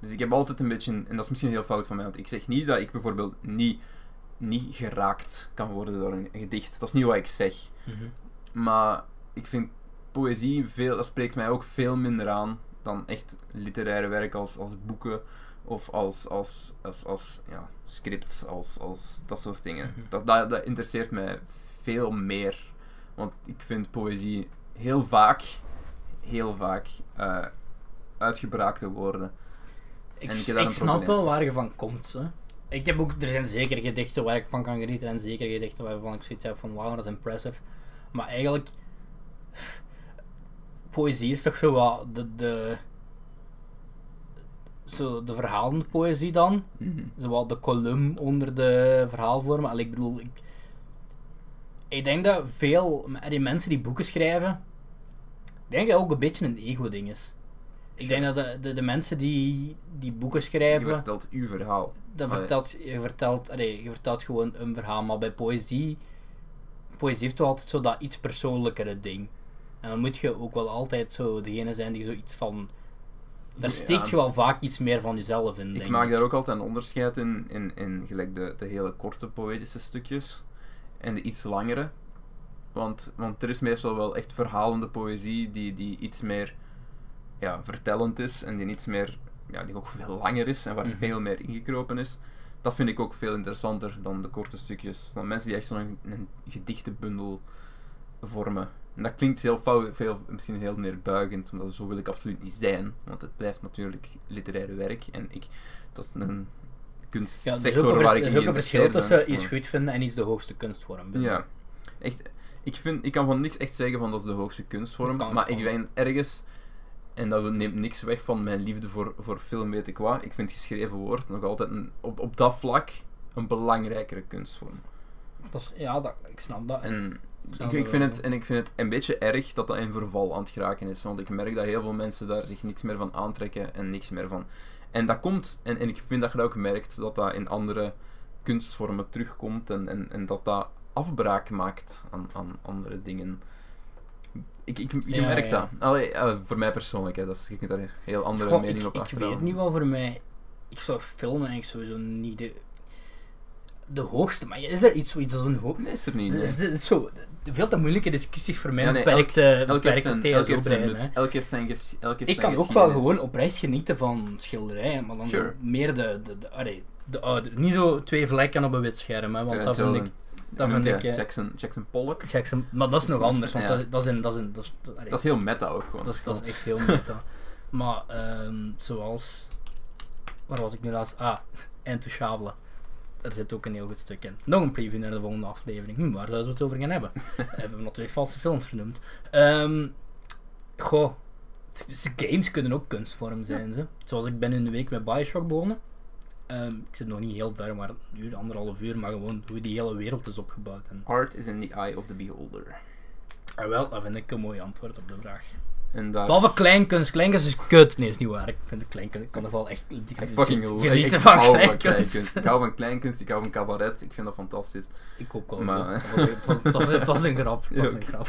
Dus ik heb altijd een beetje, en dat is misschien heel fout van mij, want ik zeg niet dat ik bijvoorbeeld niet, niet geraakt kan worden door een gedicht. Dat is niet wat ik zeg.
Mhm.
Maar ik vind poëzie veel, dat spreekt mij ook veel minder aan dan echt literaire werk als, als boeken of als, als, als, als ja, scripts, als, als dat soort dingen.
Mhm.
dat, dat, dat interesseert mij veel meer. Want ik vind poëzie heel vaak, heel vaak eh, uitgebraakte woorden.
Ik,
En ik
ik,
heb daar een
snap
probleem.
wel waar je van komt. Hè. Ik heb ook, er zijn zeker gedichten waar ik van kan genieten en zeker gedichten waarvan ik zoiets heb van wauw, dat is impressive. Maar eigenlijk, poëzie is toch zo wat de, de, zo de verhalende poëzie dan.
Mhm.
Zowel de column onder de verhaalvormen. Allee, ik bedoel, ik, ik denk dat veel die mensen die boeken schrijven, ik denk dat ook een beetje een ego-ding is. Ik denk dat de, de, de mensen die, die boeken
Je
schrijven,
vertelt uw verhaal.
dat
Allee.
vertelt, je, vertelt, allee, je vertelt gewoon een verhaal. Maar bij poëzie, poëzie heeft toch altijd zo dat iets persoonlijkere ding. En dan moet je ook wel altijd zo degene zijn die zoiets van. Daar
Ja.
steekt je wel vaak iets meer van jezelf in.
Ik
denk
maak daar ook altijd een onderscheid in, in, in gelijk de, de hele korte poëtische stukjes en de iets langere. Want, want er is meestal wel echt verhalende poëzie die, die iets meer ja, vertellend is en die iets meer, ja, die ook veel langer is en waar
Mhm.
veel meer ingekropen is. Dat vind ik ook veel interessanter dan de korte stukjes. Dan mensen die echt zo'n een gedichtenbundel vormen. En dat klinkt heel fout, veel, misschien heel neerbuigend, omdat zo wil ik absoluut niet zijn. Want het blijft natuurlijk literair werk en ik, dat is een
Ja, er is ook
kunstsector
een, vers-
waar
er
ik
is
in
ook een verschil
geïnteresseerd ben.
tussen iets
Ja.
goed vinden en iets de hoogste kunstvorm vinden.
Ja. Echt, ik, vind, ik kan van niks echt zeggen van dat is de hoogste kunstvorm.
Dat kan
Maar
van.
ik ben ergens, en dat neemt niks weg van mijn liefde voor, voor film, weet ik wat. Ik vind geschreven woord nog altijd een, op, op dat vlak een belangrijkere kunstvorm.
Dat is- ja, dat, ik snap dat.
En
snap
ik,
dat
ik vind
wel.
het, en ik vind het een beetje erg dat dat in verval aan het geraken is. Want ik merk dat heel veel mensen daar zich niks meer van aantrekken en niks meer van. En dat komt, en, en ik vind dat je dat ook merkt, dat dat in andere kunstvormen terugkomt en, en, en dat dat afbraak maakt aan, aan andere dingen. Ik, ik, je
Ja,
merkt
ja.
dat. Allee, eh, voor mij persoonlijk, hè, dat is, je kunt daar heel andere
Goh,
mening
ik,
op
ik
achterhalen.
weet niet wat voor mij. Ik zou filmen eigenlijk sowieso niet de, de hoogste. Maar is er iets, zoiets als een hoogste?
Nee, is er niet.
Het
nee.
is, het is zo, de- veel te moeilijke discussies voor mij.
Ja,
Ja,
nee,
beperkte,
Elk heeft
eh, beperkte
zijn, elk heeft zijn,
TSO-brein.
nut,
hè.
elk heeft zijn, ges- elk heeft
Ik
zijn
kan ook wel
geschiedenis.
gewoon oprecht genieten van schilderijen, maar dan zo
Sure.
meer de, de, de, allee, de oude. Niet zo twee vlekken op een wit scherm, hè, want dat vind
Terwijl-
ik. dat
noemt
vind
hij
ik, eh,
Jackson, Jackson Pollock.
Jackson- maar dat is
Dat is
nog
nog-
anders, want
ja.
dat, dat is in. Dat is, in, dat is, allee,
Dat is heel meta ook gewoon.
Dat is, dat is echt heel meta. Maar ehm, zoals... Waar was ik nu laatst? Ah, Intouchable. Daar zit ook een heel goed stuk in. Nog een preview naar de volgende aflevering. Hm, waar zouden we het over gaan hebben? Eh, we hebben nog twee valse films vernoemd. Ehm, goh. Dus games kunnen ook kunstvorm zijn. Ze. Zoals ik ben in de week met Bioshock begonnen. Ehm, ik zit nog niet heel ver, maar een uur, anderhalf uur. Maar gewoon hoe die hele wereld is opgebouwd. En,
Art is in the eye of the beholder.
ah, wel, dat vind ik een mooi antwoord op de vraag.
En daar...
Behalve kleinkunst. Kleinkunst is kut. Nee, is niet waar. Ik vind de kleinkunst... Ik kan er wel echt
Ik
legit
fucking love-
genieten
ik
van
hou van
kleinkunst.
Ik hou van kleinkunst, ik hou van cabaret, ik vind dat fantastisch.
Ik ook wel.
Maar-
zo. Het was- Het, was, het, was, het was een grap. Het
Ja,
was een
oké.
grap.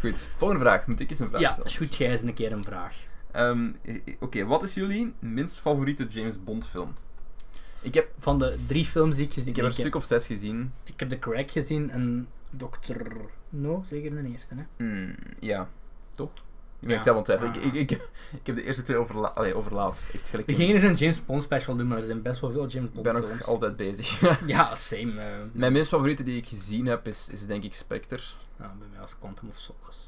Goed, volgende vraag. Moet ik eens een vraag
Ja,
stellen?
shoot jij eens een keer een vraag.
Ehm, eh, eh, Oké, wat is jullie minst favoriete James Bond film? Ik heb,
Van de drie films die ik gezien
ik heb er een
ik heb.
stuk of zes gezien.
Ik heb The Crack gezien en Dr. No, zeker de eerste, hè.
Hmm, ja, toch? Ik ben
Ja.
zelf aan het twijfelen.
Ah.
Ik, ik, ik, ik heb de eerste twee overla allee, overlaatst. Echt gelijk.
We
een-
gingen eens een James Bond special doen, maar er zijn best wel veel James
Ik
Bond
ben ook
films.
altijd bezig.
Ja, same. eh.
Mijn minst favoriete die ik gezien heb is, is denk ik Spectre.
Ja, Ah, bij mij was Quantum of Solace.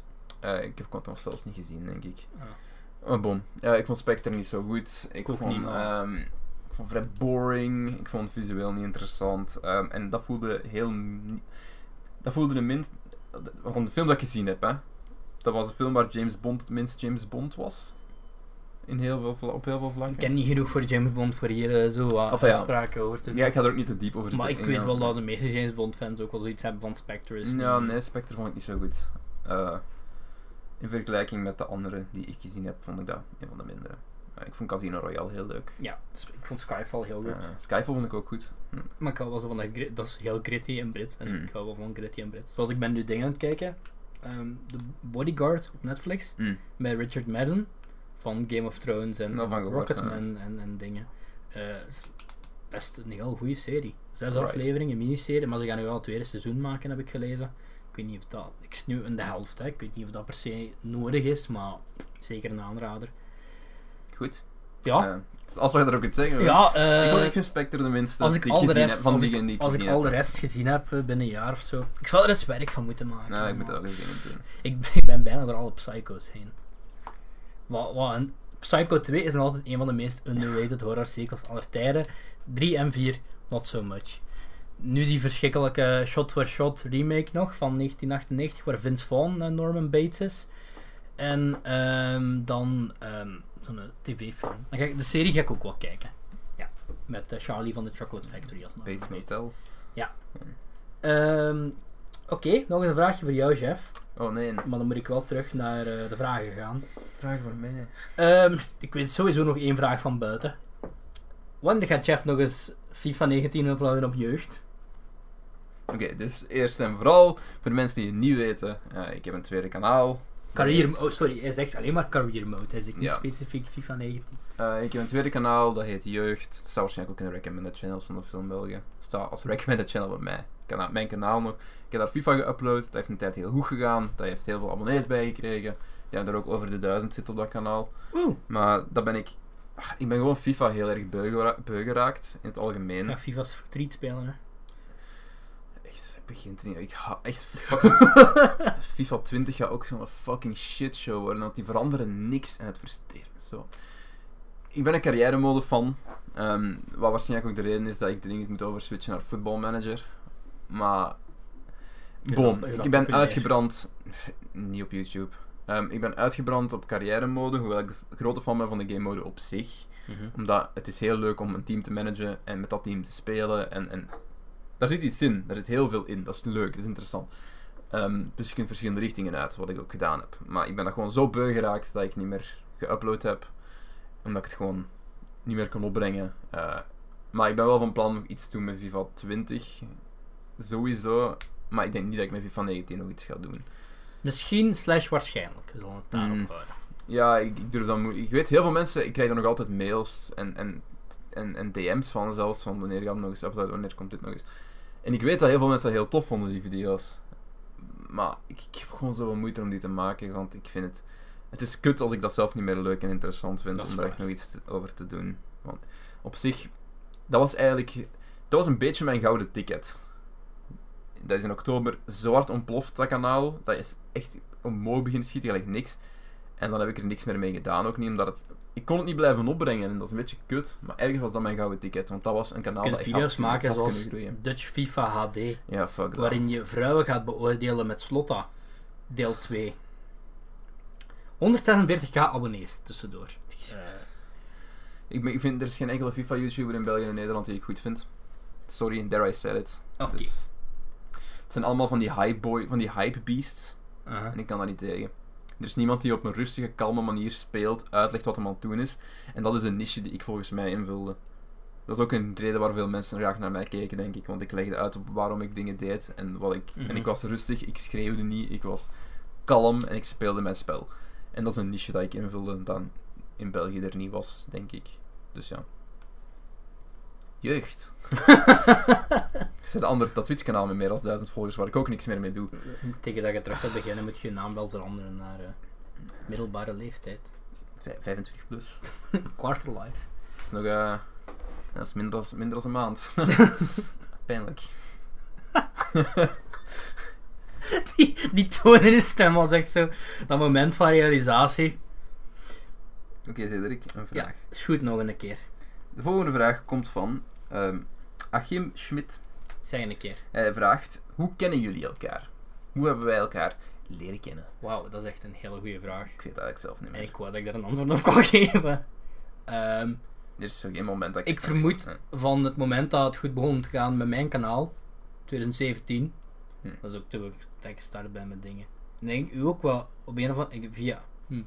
Eh, ik heb Quantum of Solace niet gezien, denk ik.
Ah.
Maar bon, ja, ik vond Spectre niet zo goed. Ik,
Ik ook
vond,
niet, maar-
ehm, ik vond vrij boring. Ik vond het visueel niet interessant. Ehm, en dat voelde heel... ni- Dat voelde de minst... Van de film dat ik gezien heb, hè. Dat was een film waar James Bond het minst James Bond was. In heel veel, vla- op heel veel vlakken.
Ik ken niet genoeg voor James Bond voor hier eh, zo wat
Of ja.
uitspraken over te doen.
Ja, ik ga er ook niet te diep over
Maar
zitten
ik weet wel
ingaan.
dat de meeste James Bond fans ook wel zoiets hebben van Spectre is. eh,
Ja, nee, Spectre vond ik niet zo goed. Eh, in vergelijking met de andere die ik gezien heb, vond ik dat een van de mindere. Eh, ik vond Casino Royale heel leuk.
Ja, dus ik vond Skyfall heel goed.
Eh, Skyfall vond ik ook goed. Hm.
Maar ik hou wel zo van dat, gri- dat is heel gritty en Brits. En
Mm.
ik hou wel van gritty en Brits. Zoals ik ben nu dingen aan het kijken. ehm, The Bodyguard op Netflix.
Mm.
Met Richard Madden. Van Game of Thrones en
Nou, van gehoord,
Rocketman en, en dingen. Eh, is best een heel goede serie. Zes
Right.
afleveringen, miniserie. Maar ze gaan nu wel het tweede seizoen maken, heb ik gelezen. Ik weet niet of dat... Ik zit nu in de helft, hè. Ik weet niet of dat per se nodig is, maar zeker een aanrader.
Goed.
Ja,
Eh, dus als we er ook iets zeggen. hoor.
Ja,
ik
eh,
vond ik Spectre de minste
als ik
die
al de
gezien
rest-
heb, van
als
die
ik-
niet
als
gezien
ik al de
heb.
rest gezien heb eh, binnen een jaar of zo. Ik zou er eens werk van moeten maken.
Nou, ik
maar
moet er ook eens dingen doen.
ik, ben- ik ben bijna er al op Psycho's heen. Wat, wat een- Psycho 2 is nog altijd een van de meest underrated horror sequels aller tijden. 3 en 4, not so much. Nu die verschrikkelijke shot-for-shot remake nog van 1998, waar Vince Vaughn en Norman Bates is. En ehm, dan ehm, zo'n tv-film. Dan ga ik- De serie ga ik ook wel kijken. Ja, met eh, Charlie van de Chocolate Factory als Norman
Bates Motel.
Ehm, Oké, nog eens een vraagje voor jou, Jeff.
Oh nee, een
Maar dan moet ik wel terug naar eh, de vragen gaan.
vraag voor mij.
Ehm, ik weet sowieso nog één vraag van buiten. Wanneer gaat Jeff nog eens FIFA 19 uploaden op jeugd?
Oké, dus eerst en vooral, voor mensen die het niet weten, eh, ik heb een tweede kanaal.
Career
Dat heet-
mode, sorry, hij zegt alleen maar career mode. Hij zegt niet
Ja.
specifiek FIFA 19.
Eh, ik heb een tweede kanaal, dat heet Jeugd. Het staat waarschijnlijk ook in de recommended channels van de film België. Het staat als recommended channel bij mij. Kana- mijn kanaal nog. Ik heb daar FIFA geüpload. Dat heeft een tijd heel goed gegaan. Dat heeft heel veel abonnees bijgekregen. Die hebben er ook over de duizend zitten op dat kanaal.
Oeh.
Maar dat ben ik... ah, Ik ben gewoon FIFA heel erg beu gera- beu geraakt. In het algemeen.
Ja, FIFA's retreat spelen, hè.
Echt. begint er niet. Ik ha echt fucking... FIFA 20 gaat ook zo'n fucking shitshow worden. Want die veranderen niks en het frustreert me zo. Ik ben een carrière-mode fan. ehm, wat waarschijnlijk ook de reden is dat ik dringend moet overswitchen naar Football Manager. Maar...
Is
Boom,
dat- is dat
ik ben
populair?
uitgebrand... Niet op YouTube. Ehm, ik ben uitgebrand op carrière-mode, hoewel ik de grote fan ben van de game-mode op zich.
Mhm.
Omdat het is heel leuk om een team te managen en met dat team te spelen. En, en daar zit iets in. Daar zit heel veel in. Dat is leuk, dat is interessant. Ehm, dus je kunt verschillende richtingen uit, wat ik ook gedaan heb. Maar ik ben dat gewoon zo beu geraakt dat ik niet meer geüpload heb. Omdat ik het gewoon niet meer kon opbrengen. Eh, maar ik ben wel van plan om iets te doen met FIFA 20. Sowieso. Maar ik denk niet dat ik met FIFA 19 nog iets ga doen.
Misschien slash waarschijnlijk. We zullen het eh, daarop
Mm.
houden.
Ja, ik, ik durf dat moe- Ik weet, heel veel mensen, ik krijg daar nog altijd mails en, en, en, en DM's van zelfs, van wanneer gaat het nog eens uploaden, wanneer komt dit nog eens. En ik weet dat heel veel mensen dat heel tof vonden, die video's. Maar ik, ik heb gewoon zoveel moeite om die te maken, want ik vind het... Het is kut als ik dat zelf niet meer leuk en interessant vind,
Dat is
om daar
waar.
echt nog iets te- over te doen. Want op zich, dat was eigenlijk... Dat was een beetje mijn gouden ticket. Dat is in oktober zwart ontploft, dat kanaal. Dat is echt omhoog beginnen schieten, gelijk niks. En dan heb ik er niks meer mee gedaan, ook niet omdat het... Ik kon het niet blijven opbrengen en dat is een beetje kut. Maar ergens was dat mijn gouden ticket, want dat was een kanaal
Je
dat
kunt
echt
video's
had-
maken
had
zoals
kunnen groeien.
Dutch FIFA HD,
Ja, fuck dat.
waarin je vrouwen gaat beoordelen met Slotta, deel 2. 146k abonnees tussendoor. Eh,
Ik, ben- ik vind, er is geen enkele FIFA-YouTuber in België en Nederland die ik goed vind. Sorry, there I said it.
Oké.
Het, is- het zijn allemaal van die hype boy, van die hype beasts.
aha.
En ik kan daar niet tegen. Er is niemand die op een rustige, kalme manier speelt, uitlegt wat hem aan het doen is. En dat is een niche die ik volgens mij invulde. Dat is ook een reden waar veel mensen graag naar mij keken, denk ik. Want ik legde uit op waarom ik dingen deed en wat ik... En
Mhm.
ik was rustig, ik schreeuwde niet, ik was kalm en ik speelde mijn spel. En dat is een niche dat ik invulde dat in België er niet was, denk ik. Dus ja. Jeugd. ik zet een ander dat Twitch-kanaal met meer dan duizend volgers, waar ik ook niks meer mee doe.
Tegen dat je terug gaat beginnen moet je je naam wel veranderen naar eh, middelbare leeftijd.
Vij- 25 plus.
Quarterlife.
Dat is nog eh, dat is minder, als, minder als een maand. Pijnlijk.
Die, die toon in je stem was echt zo. Dat moment van realisatie.
Oké, Cedric, een vraag.
Ja, shoot nog een keer.
De volgende vraag komt van ehm, Achim Schmidt.
Zeg een keer.
Hij vraagt: Hoe kennen jullie elkaar? Hoe hebben wij elkaar leren kennen?
Wauw, dat is echt een hele goede vraag.
Ik weet dat eigenlijk zelf niet
En
meer.
ik wou dat ik daar een antwoord op kon geven. Ehm,
Er is zo geen moment dat ik.
Ik vermoed- van het moment dat het goed begon te gaan met mijn kanaal, 2017,
Hm.
dat is ook toen ik dat ik gestart ben met dingen. En denk ik u ook wel op een of andere ik- via. Hm.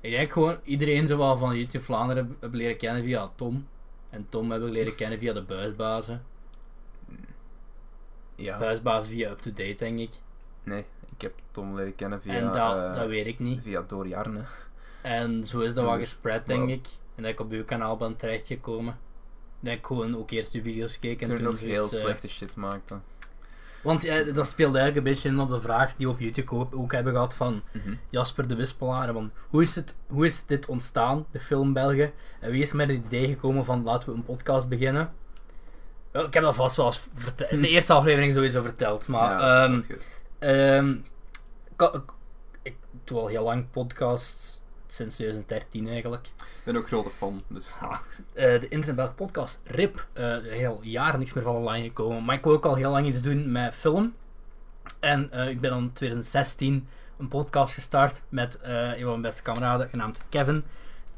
Ik denk gewoon iedereen zo wel van YouTube Vlaanderen heb- heb leren kennen via Tom. En Tom heb ik leren kennen via de buisbazen.
Ja,
Buisbazen via UpToDate, denk ik.
nee, ik heb Tom leren kennen via.
en dat,
eh,
dat weet ik niet.
Via Dori Arne.
En zo is dat wel
Hmm.
gespread, denk
Wauw.
ik. En dat ik op uw kanaal ben terechtgekomen. Dat ik gewoon ook eerst de video's keek en
Toen
toen,
hij nog heel
zoiets, eh,
slechte shit maakte.
Want eh, dat speelde eigenlijk een beetje in op de vraag die we op YouTube ook, ook hebben gehad van
Mhm.
Jasper de Wispelaar. Van hoe, is het, hoe is dit ontstaan, de film België? En wie is met het idee gekomen van laten we een podcast beginnen? Wel, ik heb dat vast wel eens verteld. In de eerste aflevering sowieso verteld. Maar
Hm. ja,
ehm,
dat is goed.
Ehm, ka- ik, ik doe al heel lang podcasts, sinds 2013 eigenlijk.
Ik ben ook grote fan, dus.
Ah, eh, de Internetbelg podcast, RIP, eh, er is heel jaren niks meer van online gekomen. Maar ik wil ook al heel lang iets doen met film. En eh, ik ben dan in 2016 een podcast gestart met eh, een van mijn beste kameraden, genaamd Kevin.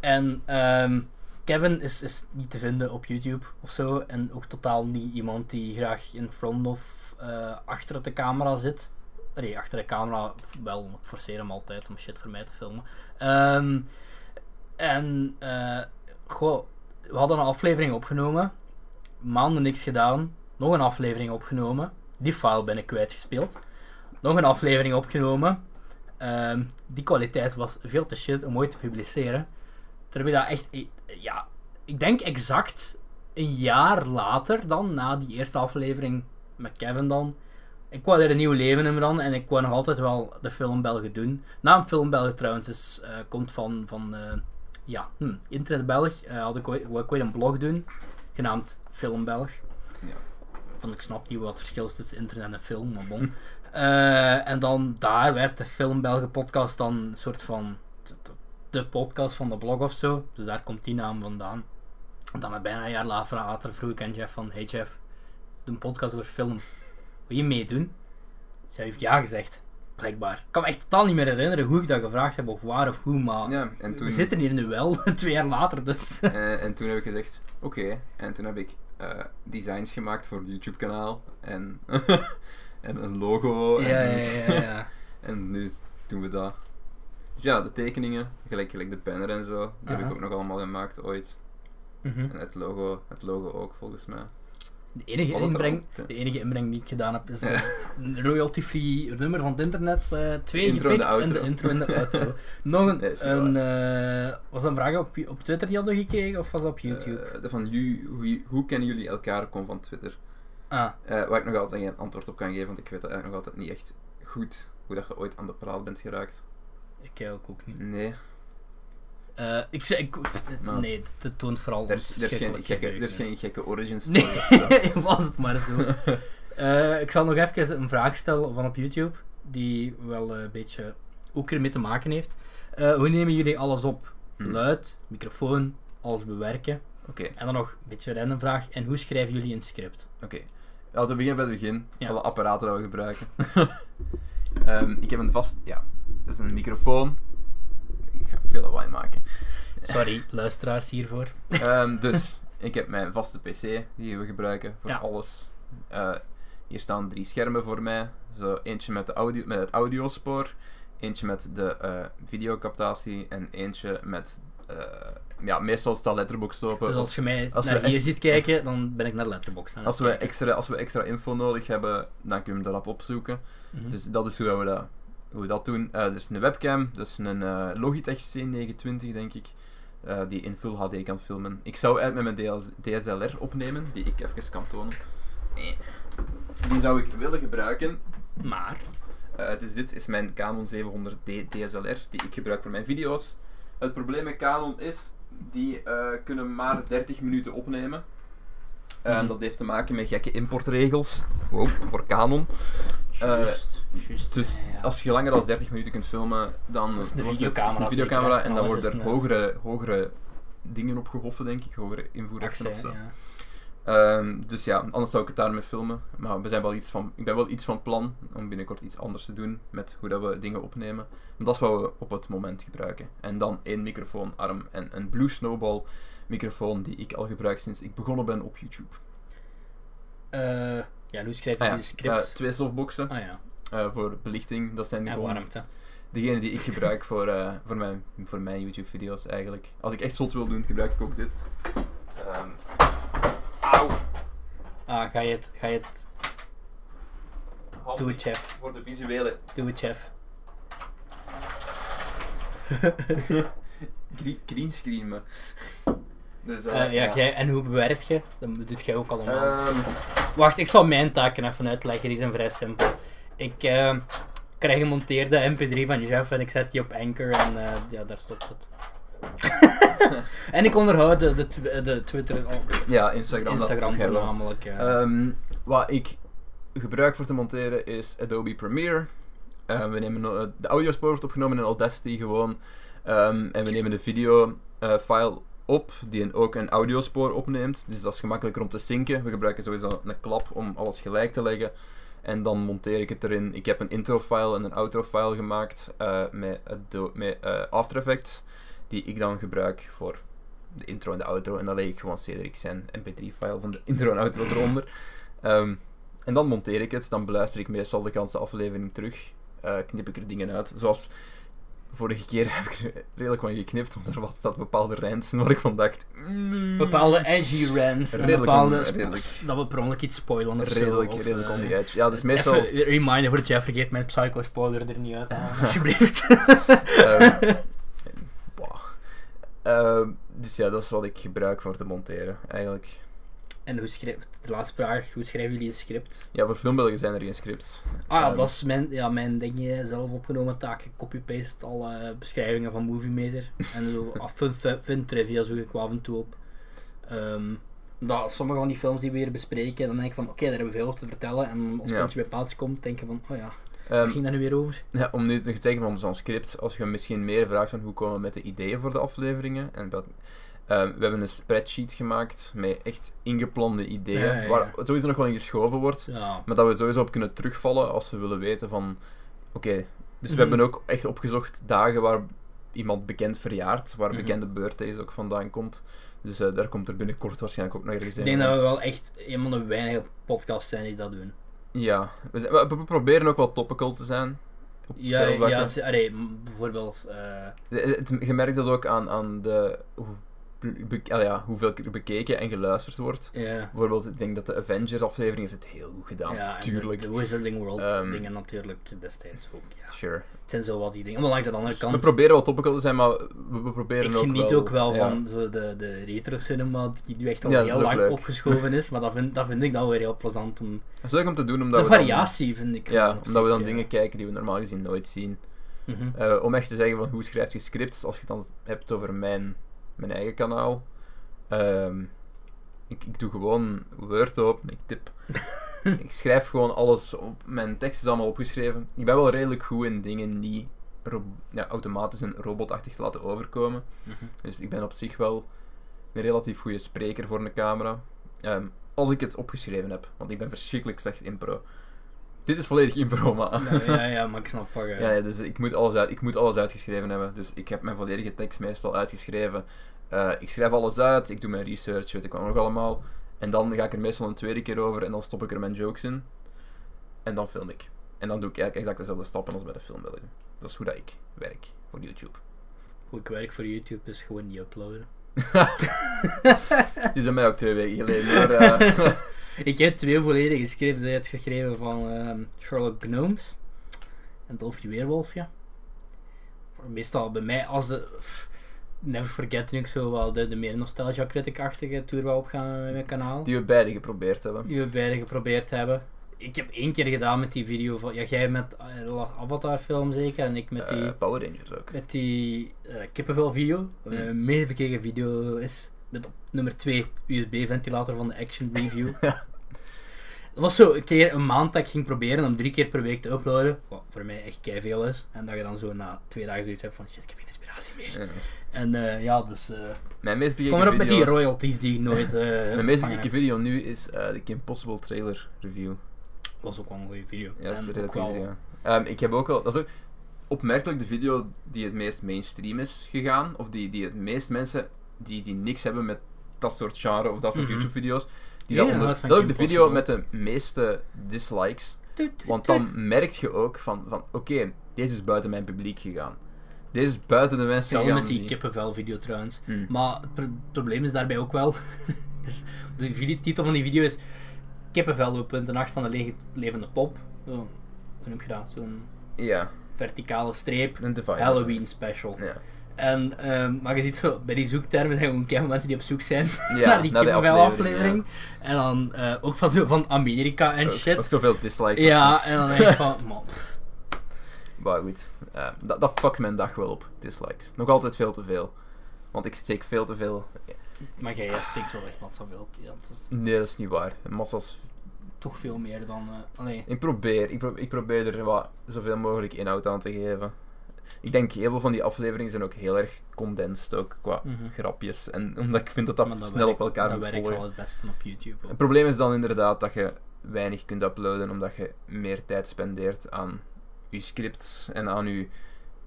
En ehm, Kevin is, is niet te vinden op YouTube of zo. En ook totaal niet iemand die graag in front of eh, achter de camera zit. Nee, achter de camera wel, maar ik forceer hem altijd om shit voor mij te filmen. Ehm, en eh, goh, we hadden een aflevering opgenomen, maanden niks gedaan, nog een aflevering opgenomen, die file ben ik kwijtgespeeld, nog een aflevering opgenomen. Ehm, die kwaliteit was veel te shit om ooit te publiceren. Toen heb ik dat echt, eh, ja, ik denk exact een jaar later dan, na die eerste aflevering met Kevin dan, ik wou er een nieuw leven in dan en ik wou nog altijd wel de film Belgen doen. Naam film Belgen trouwens is, eh, komt van, van eh, ja, hm, Internet Belg. eh, had ik ooit, wou ik ooit een blog doen, genaamd Film Belg.
Ja.
Want ik snap niet wat het verschil is tussen internet en film, maar bon. Eh, en dan daar werd de Film Belgen podcast dan een soort van de, de- de podcast van de blog of zo. Dus daar komt die naam vandaan. En dan een bijna een jaar later vroeg ik aan Jeff van, hey Jeff, doe een podcast over film. Wil je meedoen? Jij heeft ja gezegd, blijkbaar. Ik kan me echt totaal niet meer herinneren hoe ik dat gevraagd heb of waar of hoe, maar
Ja, en toen,
we zitten hier nu wel, twee jaar later dus.
eh, en toen heb ik gezegd, oké. En toen heb ik eh, designs gemaakt voor het YouTube kanaal. En, en een logo.
Ja,
Oh,
ja,
en, dus.
ja, ja.
en nu doen we dat. Dus ja, de tekeningen, gelijk, gelijk de banner en zo, die heb
Aha.
ik ook nog allemaal gemaakt ooit.
Mhm.
En het logo, het logo ook volgens mij.
De enige,
Wat het
inbreng,
erop-
de enige inbreng die ik gedaan heb is
Ja.
eh, een royalty-free nummer van het internet. eh, twee
Intro en de
gepikt en de
outro.
intro en de outro. Nog een,
Nee, is niet
een eh, was dat een vraag op, op Twitter die hadden we gekregen of was dat op YouTube?
Eh, de van ju- hoe, hoe kennen jullie elkaar komt van Twitter.
ah,
Eh, waar ik nog altijd geen antwoord op kan geven, want ik weet dat eigenlijk nog altijd niet echt goed hoe dat je ooit aan de praat bent geraakt.
ik eigenlijk ook niet.
Nee,
Eh, ik zei, ik,
mm. Nou.
nee, het- het toont vooral
er is, er is, geen,
verschrikkelijk
gekke, er
geheugen,
is
hè.
geen gekke origin story. of zo.
Nee, was het maar zo. Eh, ik zal nog even een vraag stellen van op YouTube, die wel eh, een beetje ook ermee te maken heeft. Eh, hoe nemen jullie alles op?
Hm.
Luid, microfoon, alles bewerken.
Oké,
En dan nog een beetje een random vraag. En hoe schrijven jullie een script?
oké. Als we beginnen bij het begin,
Ja.
alle apparaten dat we gebruiken. Ehm, ik heb een vast, ja, dat is een microfoon. Ik ga veel lawaai maken.
Sorry, luisteraars hiervoor.
Ehm, dus, ik heb mijn vaste PC die we gebruiken voor
Ja.
alles. Eh, hier staan drie schermen voor mij. Zo, eentje met, de audio, met het audiospoor, eentje met de eh, videocaptatie en eentje met. eh, ja, meestal staat letterbox open.
Dus als je mij
als we
naar hier
echt-
ziet kijken, dan ben ik naar Letterboxd aan het
Als we,
kijken.
extra, als we extra info nodig hebben, dan kun je hem erop opzoeken.
Mhm.
Dus dat is hoe dat we dat, hoe we dat doen. Eh, er is een webcam, dat is een eh, Logitech C920, denk ik, eh, die in Full HD kan filmen. Ik zou eigenlijk met mijn DLS DSLR opnemen, die ik even kan tonen. Eh. Die zou ik willen gebruiken.
Maar,
Eh, dus dit is mijn Canon 700D DSLR, die ik gebruik voor mijn video's. Het probleem met Canon is, die eh, kunnen maar 30 minuten opnemen. Eh,
Mhm.
Dat heeft te maken met gekke importregels Wow, voor Canon.
juist, juist.
Eh, Dus
ja, ja.
als je langer dan 30 minuten kunt filmen, dan
Dat is de
wordt het-
videocamera
is een
zeker,
videocamera
hè?
en dan
Alles
worden
is
er
een-
hogere, hogere dingen op gehoffen, denk ik. Hogere invoerrechten
Accent,
of zo.
ja.
Ehm, dus ja, anders zou ik het daarmee filmen. Maar we zijn wel iets van, ik ben wel iets van plan om binnenkort iets anders te doen met hoe dat we dingen opnemen. Maar dat is wat we op het moment gebruiken. En dan één microfoonarm en een Blue Snowball microfoon die ik al gebruik sinds ik begonnen ben op YouTube.
Eh, ja, en hoe schrijf je
Ah ja,
je script?
eh, twee softboxen
ah ja,
eh, voor belichting. Dat zijn
en
gewoon
warmte.
degene die ik gebruik voor, eh, voor, mijn, voor mijn YouTube-video's eigenlijk. Als ik echt zot wil doen, gebruik ik ook dit. Ehm, auw!
Ah, ga je het, ga je het, doe het chef,
voor de visuele
doe het chef.
gre- greenscreen. me. Dus, eh,
Eh, ja, Jij, en hoe bewerkt je? Dan doet jij ook allemaal.
Ehm,
Wacht, ik zal mijn taken even uitleggen. Die zijn vrij simpel. Ik eh, krijg een monteerde mp3 van Jeff en ik zet die op Anchor en eh, ja, daar stopt het. en ik onderhoud de, de, tw- de Twitter op
ja, Instagram. dat
Instagram
ook heel wel.
voornamelijk. eh.
Ehm, wat ik gebruik voor te monteren is Adobe Premiere. Ehm, we nemen eh, de audiospoor wordt opgenomen in Audacity gewoon. Ehm, en we nemen de videofile op, die een- ook een audiospoor opneemt. Dus dat is gemakkelijker om te synken. We gebruiken sowieso een klap om alles gelijk te leggen. En dan monteer ik het erin. Ik heb een intro-file en een outro-file gemaakt eh, met, Ado- met eh, After Effects, die ik dan gebruik voor de intro en de outro. En dan leg ik gewoon Cedric zijn mp3-file van de intro en outro eronder. Ehm, en dan monteer ik het. Dan beluister ik meestal de ganse aflevering terug. Eh, knip ik er dingen uit. Zoals vorige keer heb ik er redelijk van geknipt, want er was dat bepaalde ransen waar ik van dacht... mm,
bepaalde edgy rants en
redelijk
bepaalde
on-
sp-
redelijk.
s- dat we per ongelk iets spoilen of zo,
Redelijk,
of,
redelijk
eh,
on the edge. Ja, dus meestal...
Even reminder voor Jeff, vergeet mijn psycho-spoiler er niet uit te halen, alsjeblieft.
Ehm, bah. Ehm, dus ja, dat is wat ik gebruik voor te monteren, eigenlijk.
en hoe schrijf, de laatste vraag, hoe schrijven jullie een script?
Ja, voor filmbeelden zijn er geen scripts.
Ah ja,
Ehm.
dat is mijn, ja, mijn dingetje, zelf opgenomen taak. Ik copy-paste alle beschrijvingen van Movie Meter. En zo, af- fun, fun, fun trivia zoek ik wel af en toe op. Ehm, Omdat sommige van die films die we hier bespreken, dan denk ik van oké, daar hebben we veel over te vertellen. En als
Ja.
puntje bij paaltje komt, denk je van oh ja, waar
Ehm,
ging dat nu weer over?
ja, om nu te zeggen van zo'n script, als je misschien meer vraagt van hoe komen we met de ideeën voor de afleveringen. En dat, ehm, we hebben een spreadsheet gemaakt met echt ingeplande ideeën,
Ah, Ja, ja, ja.
waar sowieso nog wel in geschoven wordt.
Ja.
Maar dat we sowieso op kunnen terugvallen als we willen weten van... Oké, dus
Mhm.
we hebben ook echt opgezocht dagen waar iemand bekend verjaart. Waar
Mhm.
bekende birthdays ook vandaan komt. Dus eh, daar komt er binnenkort waarschijnlijk ook nog ergens
Ik
een.
denk dat we wel echt een van de weinige podcasts zijn die dat doen.
Ja, we, zijn- we- we proberen ook wel topical te zijn. op
Ja,
veel
ja
vlakken.
het, allee, m- bijvoorbeeld, eh,
Eh, het- Je merkt dat ook aan, aan de, hoe, be- ah ja, hoeveel keer bekeken en geluisterd wordt.
ja,
Bijvoorbeeld, ik denk dat de Avengers-aflevering heeft het heel goed gedaan.
ja, en de-
Tuurlijk.
De, Wizarding World
Ehm,
dingen natuurlijk destijds ook. Ja.
Sure.
Het zijn zo wat die dingen. Maar langs de andere
Dus we
kant,
proberen wel topical te zijn, maar we, we proberen
ik
ook wel...
geniet ook wel
ja.
van zo de, de retro cinema, die nu echt al
Ja, dat is
heel
ook
lang
leuk.
opgeschoven is. Maar dat vind, dat vind ik dan weer heel plezant om.
Het is leuk om te doen, omdat
De
we dan-
variatie vind ik.
ja,
gewoon op
omdat we dan
zich, ja.
dingen kijken die we normaal gezien nooit zien.
Mhm.
Eh, om echt te zeggen van hoe schrijf je scripts, als je het dan hebt over mijn, mijn eigen kanaal. Ehm, ik, ik doe gewoon Word open, ik tip. ik schrijf gewoon alles op. Mijn tekst is allemaal opgeschreven. Ik ben wel redelijk goed in dingen niet ro- ja, automatisch en robotachtig te laten overkomen.
Mhm.
Dus ik ben op zich wel een relatief goede spreker voor een camera. Ehm, als ik het opgeschreven heb, want ik ben verschrikkelijk slecht in pro. Dit is volledig impro, maar...
Ja, ja, ja, maar ik snap eh, wat je-
Ja, ja, dus ik moet, alles uit, ik moet alles uitgeschreven hebben. Dus ik heb mijn volledige tekst meestal uitgeschreven. Eh, ik schrijf alles uit, ik doe mijn research, weet ik wat nog allemaal. En dan ga ik er meestal een tweede keer over en dan stop ik er mijn jokes in. En dan film ik. En dan doe ik eigenlijk exact dezelfde stappen als bij de film. wil ik. Dat is hoe dat ik werk voor YouTube.
Hoe ik werk voor YouTube is gewoon niet uploaden.
Het is bij mij ook twee weken geleden. Maar, eh,
Ik heb twee volledige scripts uitgeschreven van ehm, Sherlock Gnomes en Dolf die Weerwolfje. Meestal bij mij, als de. pff, Never Forget, nu ik zo wel de, de meer nostalgia-critic-achtige tour wou opgaan met mijn kanaal.
die we beide geprobeerd hebben.
Die we beide geprobeerd hebben. Ik heb één keer gedaan met die video van. Ja, jij met eh, Avatar-film zeker en ik met die.
Eh, Power Rangers ook.
met die eh, kippenvel video, wat een meest bekeken video is, met op nummer 2 USB-ventilator van de Action Review. Dat was zo een keer een maand dat ik ging proberen om drie keer per week te uploaden, wat voor mij echt kei veel is. En dat je dan zo na twee dagen zoiets hebt van shit, ik heb geen inspiratie meer.
Ja.
En eh, ja, dus eh,
Mijn meest bekeken
kom erop met die
video-
royalties die ik nooit. eh
Mijn meest
ontvangen
bekeken
heb.
video nu is eh, de Kim Possible trailer review.
was ook wel een goede video.
Ja, dat is
En
een redelijk
ook wel-
goede video. Ehm, ik heb ook wel... Dat is ook opmerkelijk de video die het meest mainstream is gegaan. Of die, die het meest mensen die, die niks hebben met dat soort genre of dat soort
Mhm.
YouTube-video's... Die
Iedereen
dat, onder-
houdt van
dat is ook de
Kim
video met
Possible.
de meeste dislikes.
Tut, tut,
Want
tut.
dan merk je ook van... van Oké, deze is buiten mijn publiek gegaan. Deze is buiten de mensen
Hetzelfde
gegaan.
met die kippenvel video trouwens.
Hmm.
Maar het pro- probleem is daarbij ook wel. dus de video- titel van die video is Kippenvel, punt acht van de le- levende pop. Zo, hoe noem je dat? Zo'n
Ja,
verticale streep.
een device.
Halloween special.
Ja.
En, ehm, maar je ziet zo, bij die zoektermen zijn gewoon keihard mensen die op zoek zijn
Ja,
naar die
naar de
kippenvel aflevering.
aflevering,
En dan eh, ook van, zo, van Amerika en
Ook- Ook
shit.
zoveel dislikes.
Ja, en dan denk ik van, man,
Maar goed, eh, dat, dat fuckt mijn dag wel op, dislikes. Nog altijd veel te veel. Want ik steek veel te veel.
maar jij jij stinkt wel echt massa veel. Ja, dat is
Nee, dat is niet waar. Massa's.
toch veel meer dan, eh allee,
Ik probeer, ik, pro- ik probeer er wat, zoveel mogelijk inhoud aan te geven. Ik denk heel veel van die afleveringen zijn ook heel erg condensed ook qua
Mhm.
grapjes. En omdat ik vind dat dat,
maar dat
snel
werkt,
op elkaar
dat
moet
werkt
volgen.
wel het beste op YouTube. ook.
Het probleem is dan inderdaad dat je weinig kunt uploaden, omdat je meer tijd spendeert aan je scripts en aan je,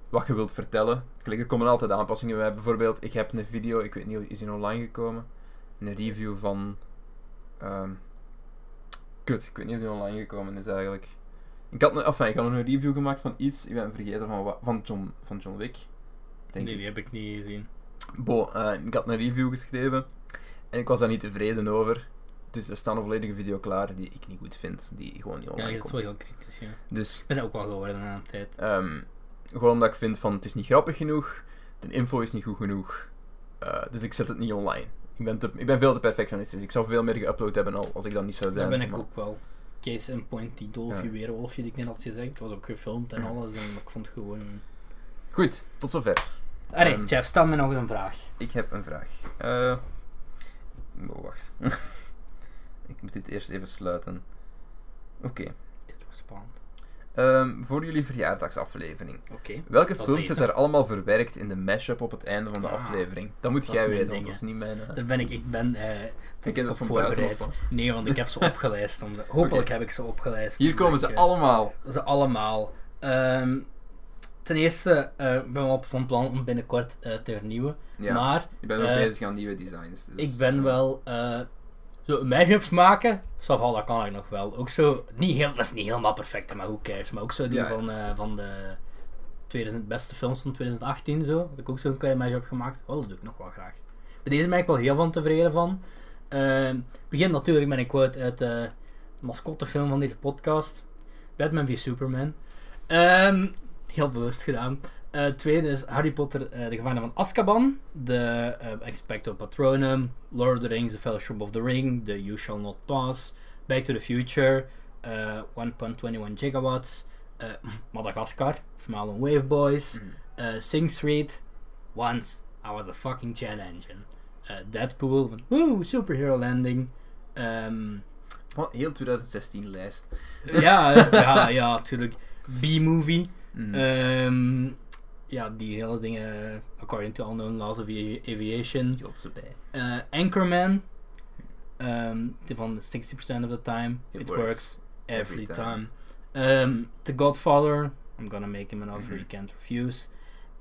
wat je wilt vertellen. Kijk, er komen altijd aanpassingen bij. Bijvoorbeeld, ik heb een video, ik weet niet, is die online gekomen? Een review van... ehm, kut, ik weet niet of die online gekomen is eigenlijk. Ik had, een, enfin, ik had een review gemaakt van iets, ik ben vergeten van wat, van John, van John Wick. Denk
nee,
ik.
die heb ik Oh niet gezien.
Bo, eh, ik had een review geschreven en ik was daar niet tevreden over. Dus er staat een volledige video klaar die ik niet goed vind, die gewoon niet
ja,
online
dat is
komt.
wel heel kritisch, ja.
Dus
Ik ben dat ook wel geworden aan de tijd.
ehm, gewoon omdat ik vind van het is niet grappig genoeg, de info is niet goed genoeg, eh, dus ik zet het niet online. Ik ben, te- ik ben veel te perfectionistisch. Ik zou veel meer geüpload hebben al als ik dat niet zou
Daar
zijn.
ben ik
maar-
ook wel. Case in point, die dolfje
Ja.
weerwolfje die ik net had gezegd, het was ook gefilmd en
Ja.
alles en ik vond gewoon...
Goed, tot zover.
Allee,
Ehm.
Jeff, stel me nog een vraag.
Ik heb een vraag. Eh, Oh, wacht. ik moet dit eerst even sluiten. Oké.
Dit wordt spannend.
Ehm, voor jullie verjaardagsaflevering.
Oké.
Welke
Dat is
films
deze.
zit er allemaal verwerkt in de mashup op het einde van de
Ah,
aflevering? Dat moet
dat
jij
is mijn
weten,
ding,
want dat is niet mijn... eh,
Dan ben ik, ik ben eh
Ik ken dat
op
van
voorbereid.
buitenaf,
Nee, want ik heb ze opgelijst. om de- hopelijk
Oké.
heb ik ze opgelijst.
Hier komen
omdat
ze
ik, eh,
allemaal.
Ze allemaal. Ehm, ten eerste eh, ben ik op van plan om binnenkort eh, te hernieuwen.
Ja,
Maar
ik ben wel
eh,
bezig aan nieuwe designs. dus,
ik ben
eh,
wel. eh zo mashups maken, ça va, dat kan ik nog wel. Ook zo, niet heel, dat is niet helemaal perfect, hè, maar hoe cares. Maar ook zo die
Ja, ja.
van, eh, van de 2000, beste films van 2018 zo. Had ik ook zo'n klein mashup gemaakt. Oh, dat doe ik nog wel graag. Bij deze ben ik wel heel van tevreden van. Ehm, begin natuurlijk met een quote uit eh, de mascottefilm van deze podcast. Batman v Superman. Ehm, heel bewust gedaan. Eh, tweede is Harry Potter, eh, de gevangenen van Azkaban. De eh, Expecto Patronum. Lord of the Rings, The Fellowship of the Ring. The You Shall Not Pass. Back to the Future. eh, 1.21 gigawatts. eh, Madagascar. Smile and Wave Boys.
Mhm.
eh, Sing Street. Once I was a fucking jet engine. Eh, Deadpool. van, Woe, superhero landing. Ehm,
Wat, Oh, heel 2016 lijst.
ja, eh, ja, ja, natuurlijk. B-movie.
Mhm.
Ehm, ja, die hele dingen. According to Unknown Laws of Avi- Aviation.
Jotse bij.
Eh, Anchorman. Ehm, die van 60% of the time. It,
It
works,
works
every,
every
time.
time.
Ehm, The Godfather. I'm gonna make him an offer
Mhm.
he can't refuse.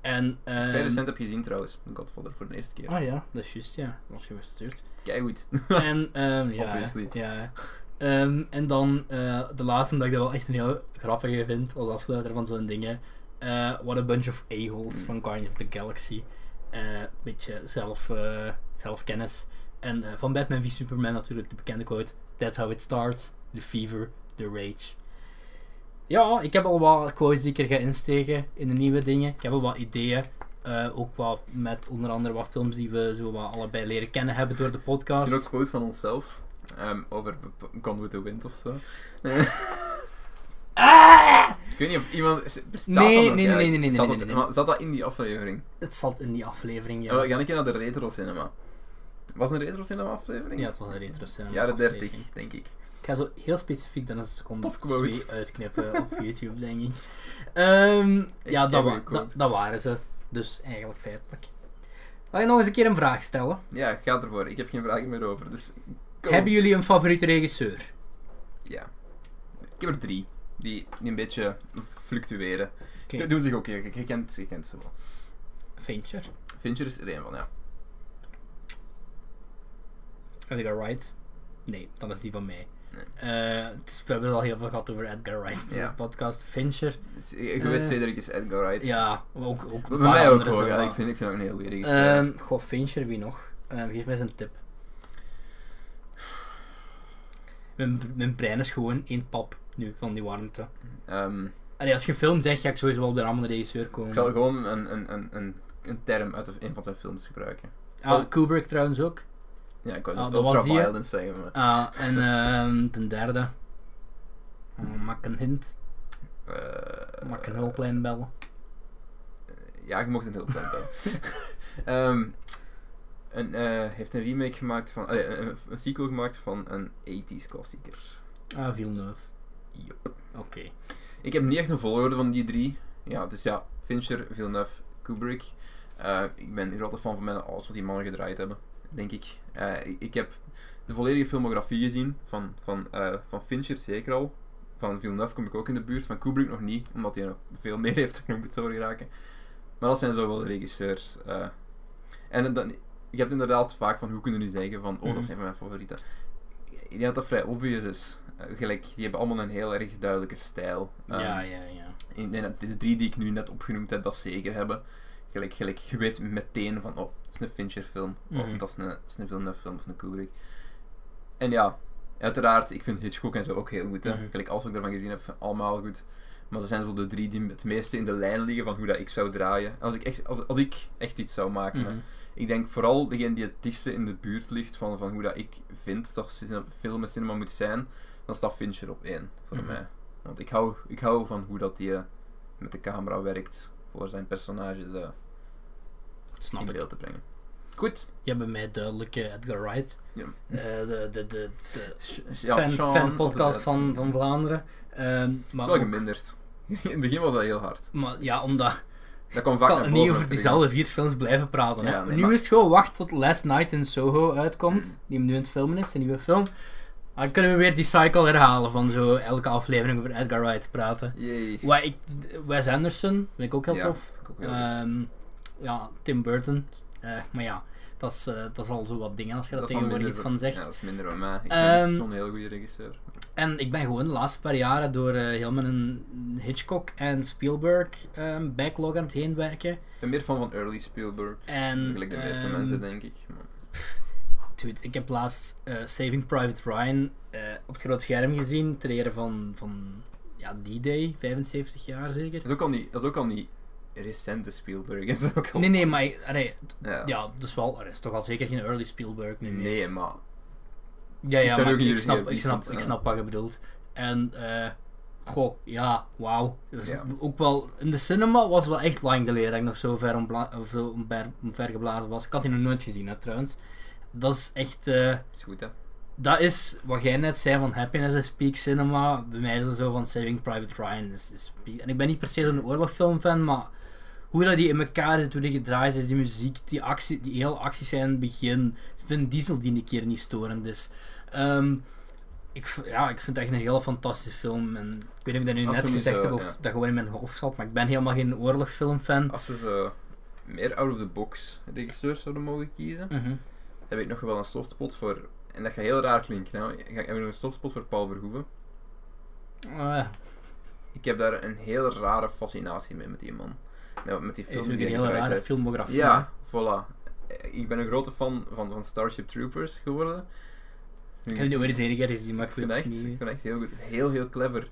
En. ehm,
Vrij recent heb je gezien trouwens, The Godfather, voor de eerste keer.
Ah ja, dat is juist, ja. Was je gestuurd.
Kijk goed.
En, ehm, ja,
Obviously.
ja. Ehm, en dan eh, de laatste, dat ik dat wel echt een heel grappige vind als afsluiter van zo'n dingen. Eh, What a Bunch of A-holes
Mm.
van Guardians of the Galaxy. Eh, Een beetje zelf, eh, zelfkennis. En eh, van Batman v Superman natuurlijk de bekende quote: That's how it starts, the fever, the rage. Ja, ik heb al wat quotes die ik er ga insteken in de nieuwe dingen. Ik heb al wat ideeën. Eh, ook wat met onder andere wat films die we zo wat allebei leren kennen hebben door de
Er
podcast.
is ook een quote van onszelf. ehm, over bep- Gone with the Wind of zo.
Ah!
Ik weet niet of iemand. Bestaat dat
Nee, nee,
nog
nee, nee,
eigenlijk?
nee, nee,
Zat
nee,
dat-
nee, nee.
maar Zat dat in die aflevering?
Het zat in die aflevering, ja.
Oh, Ja. we gaan een keer naar de retro cinema. Was het een retro cinema aflevering?
Ja, het was een retro cinema
Jaren
aflevering.
30, denk ik.
Ik ga zo heel specifiek dan een seconde of
Topquote.
twee uitknippen op YouTube, denk ik. Ehm, ja,
heb
dat,
een
wa-
quote.
dat, dat waren ze. Dus eigenlijk feitelijk. Zal je nog eens een keer een vraag stellen?
Ja, ga ervoor. Ik heb geen vragen meer over. Dus. go.
Hebben jullie een favoriete regisseur?
Ja. Ik heb er drie. Die, die een beetje fluctueren.
Oké.
Doe- Doen zich ook. Je, je, kent, je kent ze wel.
Fincher.
Fincher is er één van, ja.
Edgar Wright? Nee, dan is die van mij.
Nee.
Eh, het is- we hebben het al heel veel gehad over Edgar Wright in
Ja.
de podcast. Fincher.
Dus, je je weet
Eh.
Cedric is Edgar Wright.
Ja, maar ook, ook
Bij
een paar
mij ook
anderen
hoor.
zijn
Ja,
wel-
ik, vind, ik vind ook een heel goede regisseur.
Ehm goh, Fincher, wie nog? Ehm, geef mij eens een tip. Mijn, mijn brein is gewoon één pap nu van die warmte.
Ehm,
Allee, als je film zegt, ga ik sowieso wel op de naam van de regisseur komen.
ik zal gewoon een, een, een, een, een term uit een van zijn films gebruiken.
Ah, Kubrick trouwens ook.
Ja, ik wou
Ah,
net
dat was die, hè?
ultraviolence zeggen, maar...
Ah, en ehm ten derde. Oh, maak een hint.
eh,
Maak een hulplijn bellen.
Ja, je mocht een hulplijn bellen. Ehm, een, eh, heeft een remake gemaakt van... allee, een, een- een sequel gemaakt van een 80s klassieker.
Ah, Villeneuve.
Yup. Ehm,
Oké.
Ik heb niet echt een volgorde van die drie. Ja, dus ja, Fincher, Villeneuve, Kubrick. Eh, ik ben een grote fan van mijn alles wat die mannen gedraaid hebben, denk ik. Eh, ik, ik heb de volledige filmografie gezien van, van, eh, van Fincher zeker al. Van Villeneuve kom ik ook in de buurt, van Kubrick nog niet, omdat hij nog veel meer heeft dan ik moet zo geraken. Maar dat zijn zo wel de regisseurs. eh. en dan, je hebt inderdaad vaak van hoe kunnen nu zeggen van, oh
Mhm.
dat zijn van mijn favorieten. Ik denk dat dat vrij obvious is. Eh, gelijk, die hebben allemaal een heel erg duidelijke stijl. Ehm,
ja, ja, ja.
ik denk dat de drie die ik nu net opgenoemd heb, dat zeker hebben. Gelijk, gelijk, je weet meteen van, oh, dat is een Fincher-film. Oh,
Mhm.
dat is een, dat is een Villeneuve-film of een Kubrick. En ja, uiteraard, ik vind Hitchcock en zo ook heel goed. Hè.
Mhm.
Gelijk, alles wat ik ervan gezien heb, vind ik allemaal goed. Maar dat zijn zo de drie die het meeste in de lijn liggen van hoe dat ik zou draaien. Als ik echt, als, als ik echt iets zou maken. hè.
Mhm.
Ik denk vooral degene die het dichtste in de buurt ligt van, van hoe dat ik vind dat cine- film en cinema moet zijn, dan staat Fincher op één voor
Mhm.
mij. Want ik hou, ik hou van hoe dat die eh, met de camera werkt voor zijn personages eh,
Snap
in
ik.
beeld te brengen. Goed.
Ja, bij mij duidelijk eh, Edgar Wright.
Ja.
Eh, de de, de, de
Sh- sh- ja,
fan,
Sean,
fanpodcast
altijd.
van, van Vlaanderen. Ehm,
Het
maar,
is wel
ook-
geminderd. In het begin was dat heel hard.
maar ja, omdat
Dat kwam vaak
Ik
naar
kan
boven
niet over
terug.
diezelfde vier films blijven praten. hè.
Ja, nee,
nu
maar-
is het gewoon wacht tot Last Night in Soho uitkomt,
Hmm.
die hem nu aan het filmen is, een nieuwe film. Dan kunnen we weer die cycle herhalen van zo elke aflevering over Edgar Wright praten.
Jee.
Wa- ik- Wes Anderson, vind ik ook heel
Ja,
tof.
vind ik ook heel tof.
Ehm, ja, Tim Burton. Eh, maar ja, dat is, eh, dat is al zo wat dingen als je daar
is dan
tegenwoordig
minder
iets
voor-
van zegt.
Ja, dat is minder bij mij. Ik
Ehm,
vind zo'n heel goede regisseur.
En ik ben gewoon de laatste paar jaren door eh, heel mijn Hitchcock en Spielberg ehm, backlog aan het heen werken.
Ik ben meer fan van early Spielberg.
En,
Gelijk de meeste
ehm,
mensen, denk ik. Maar-
Dude, ik heb laatst eh, Saving Private Ryan eh, op het groot scherm gezien, ter ere van, van ja, D-Day, 75 jaar zeker.
Dat is ook al niet, dat is ook al niet recente Spielberg. Dat is ook al...
Nee, nee, maar ik- allee, t-
Ja.
ja, dus wel, er is toch al zeker geen early Spielberg meer.
Nee, maar...
Ja,
Ik
ja,
zou
maar
ook
ik
hier
snap,
heel
ik, snap,
recent,
ik
ja.
snap wat je bedoelt. En, eh, goh, ja, wauw. Dus
Ja.
ook wel, in de cinema was het wel echt lang geleden dat ik nog zo ver, ombla- of zo omver, omvergeblazen was. Ik had die nog nooit gezien, hè, trouwens. Dat is echt... eh,
Is goed, hè.
dat is wat jij net zei van happiness is peak cinema. Bij mij is dat zo van Saving Private Ryan is, is peak. En ik ben niet per se zo'n oorlogfilmfan, maar hoe dat die in elkaar zit, hoe die gedraaid is, die muziek, die, actie, die hele acties zijn in het begin. Vin Diesel die een keer niet storend is. Ehm, ik, v- ja, ik vind het echt een heel fantastische film. En ik weet niet of ik dat nu
Dat
net
sowieso,
gezegd heb of
ja.
dat gewoon in mijn hoofd zat, maar ik ben helemaal geen oorlogfilmfan.
Als we zo meer out-of-the-box regisseurs zouden mogen kiezen,
Mhm.
heb ik nog wel een softspot voor... En dat gaat heel raar klinken, nou. Ik heb nog een softspot voor Paul Verhoeven.
Eh,
Ik heb daar een heel rare fascinatie mee, met die man. Nou, met die
hij heeft
films
ook
die hij
een hele
gedraaid
rare
heeft.
filmografie.
Ja, voilà. Ik ben een grote fan van, van Starship Troopers geworden.
Ik heb die ooit eens één keer gezien, maar ik
Ik vind
weet
echt,
het niet.
ik vind echt heel goed. Het is heel, heel clever.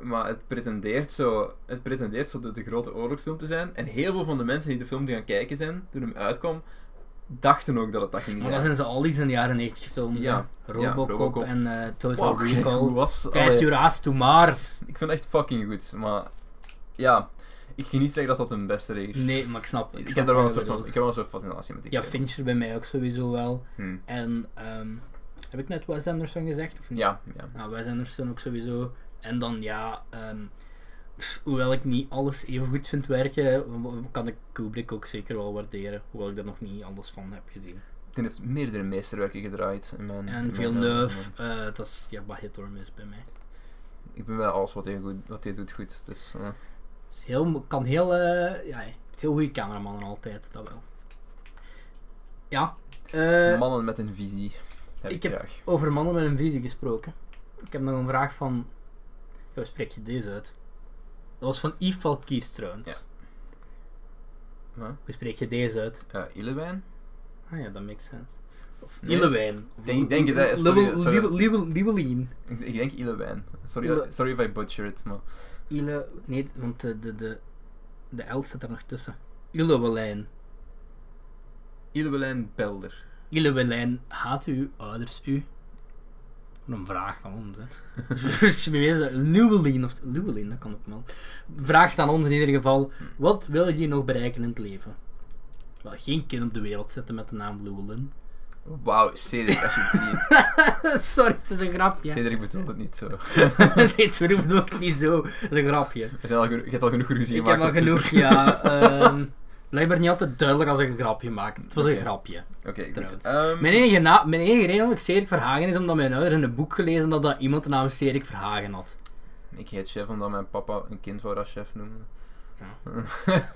Maar het pretendeert zo, het pretendeert zo de, de grote oorlogsfilm te zijn. En heel veel van de mensen die de film gaan kijken zijn, toen hem uitkwam, dachten ook dat het dat ging
Maar
zijn.
dat zijn ze al die in de jaren 90 films.
Ja,
hè. Robocop,
Robocop.
en eh, Total
Wow, hoe
Recall.
was
Kijk,
allee,
your ass to Mars.
Ik vind het echt fucking goed. Maar ja, ik ga niet zeggen dat dat een beste regisseur is.
Nee, maar ik snap.
ik,
snap
heb daar wel een
wat je
soort van, ik heb
bedoelt.
wel een soort fascinatie met die
Ja,
kerel.
Fincher bij mij ook sowieso wel.
Hm.
En ehm, heb ik net Wes Anderson gezegd of niet?
Ja, ja.
Nou, Wes Anderson ook sowieso. En dan ja, ehm, pff, hoewel ik niet alles even goed vind werken, w- w- kan ik Kubrick ook zeker wel waarderen. Hoewel ik er nog niet alles van heb gezien.
Toen heeft meerdere meesterwerken gedraaid. In mijn, in mijn,
En
eh,
Villeneuve, eh, dat is ja, wat hit or miss bij mij.
Ik ben bij alles wat hij, goed, wat hij doet goed. Dus, eh.
Is heel, kan heel, eh ja, hij heeft heel goede cameraman altijd, dat wel. Ja, eh,
Mannen met een visie. Heb
ik
ik,
heb-
graag.
over mannen met een visie gesproken. Ik heb nog een vraag van, ja, hoe spreek je deze uit? Dat was van Yves Valkiers trouwens.
Ja. Huh?
Hoe spreek je deze uit?
Eh, Ilewijn?
Ah ja, dat makes sense. Of
Nee.
Nielewijn. Of
Denk- denk je dat- sorry,
Liebel-
sorry.
Liebel- Liebel- Liebelien.
Ik, ik denk Ilewijn. Sorry,
Ile-
sorry if I butcher it, maar...
Ile, nee, want de, de, de, de L zit er nog tussen. Ilewelijn.
Ilewijn Belder.
Ilewelijn, haat uw ouders u? Wat Een vraag van ons, hè. dus bewezen, Llewellyn, of Llewellyn, dat kan ook wel. Vraagt aan ons in ieder geval, wat wil je nog bereiken in het leven? Wel, geen kind op de wereld zetten met de naam Llewellyn.
Wauw, Cedric, alsjeblieft.
Sorry, het is een grapje.
Cedric bedoelt het niet zo.
nee, sorry, bedoel ik niet zo. Het is een grapje.
Je, hebt al geno- je hebt al genoeg ruzie
Ik heb
gemaakt
al
op
genoeg,
Twitter.
ja. ehm, blijkbaar niet altijd duidelijk als ik een grapje maak. Het was een
Oké.
grapje.
Oké, goed.
Trouwens.
Ehm,
Mijn enige, na- mijn enige reden dat ik Cedric Verhagen is omdat mijn ouders in een boek gelezen dat, dat iemand de naam Cedric Verhagen had.
Ik heet chef omdat mijn papa een kind wou dat chef noemen.
Ja.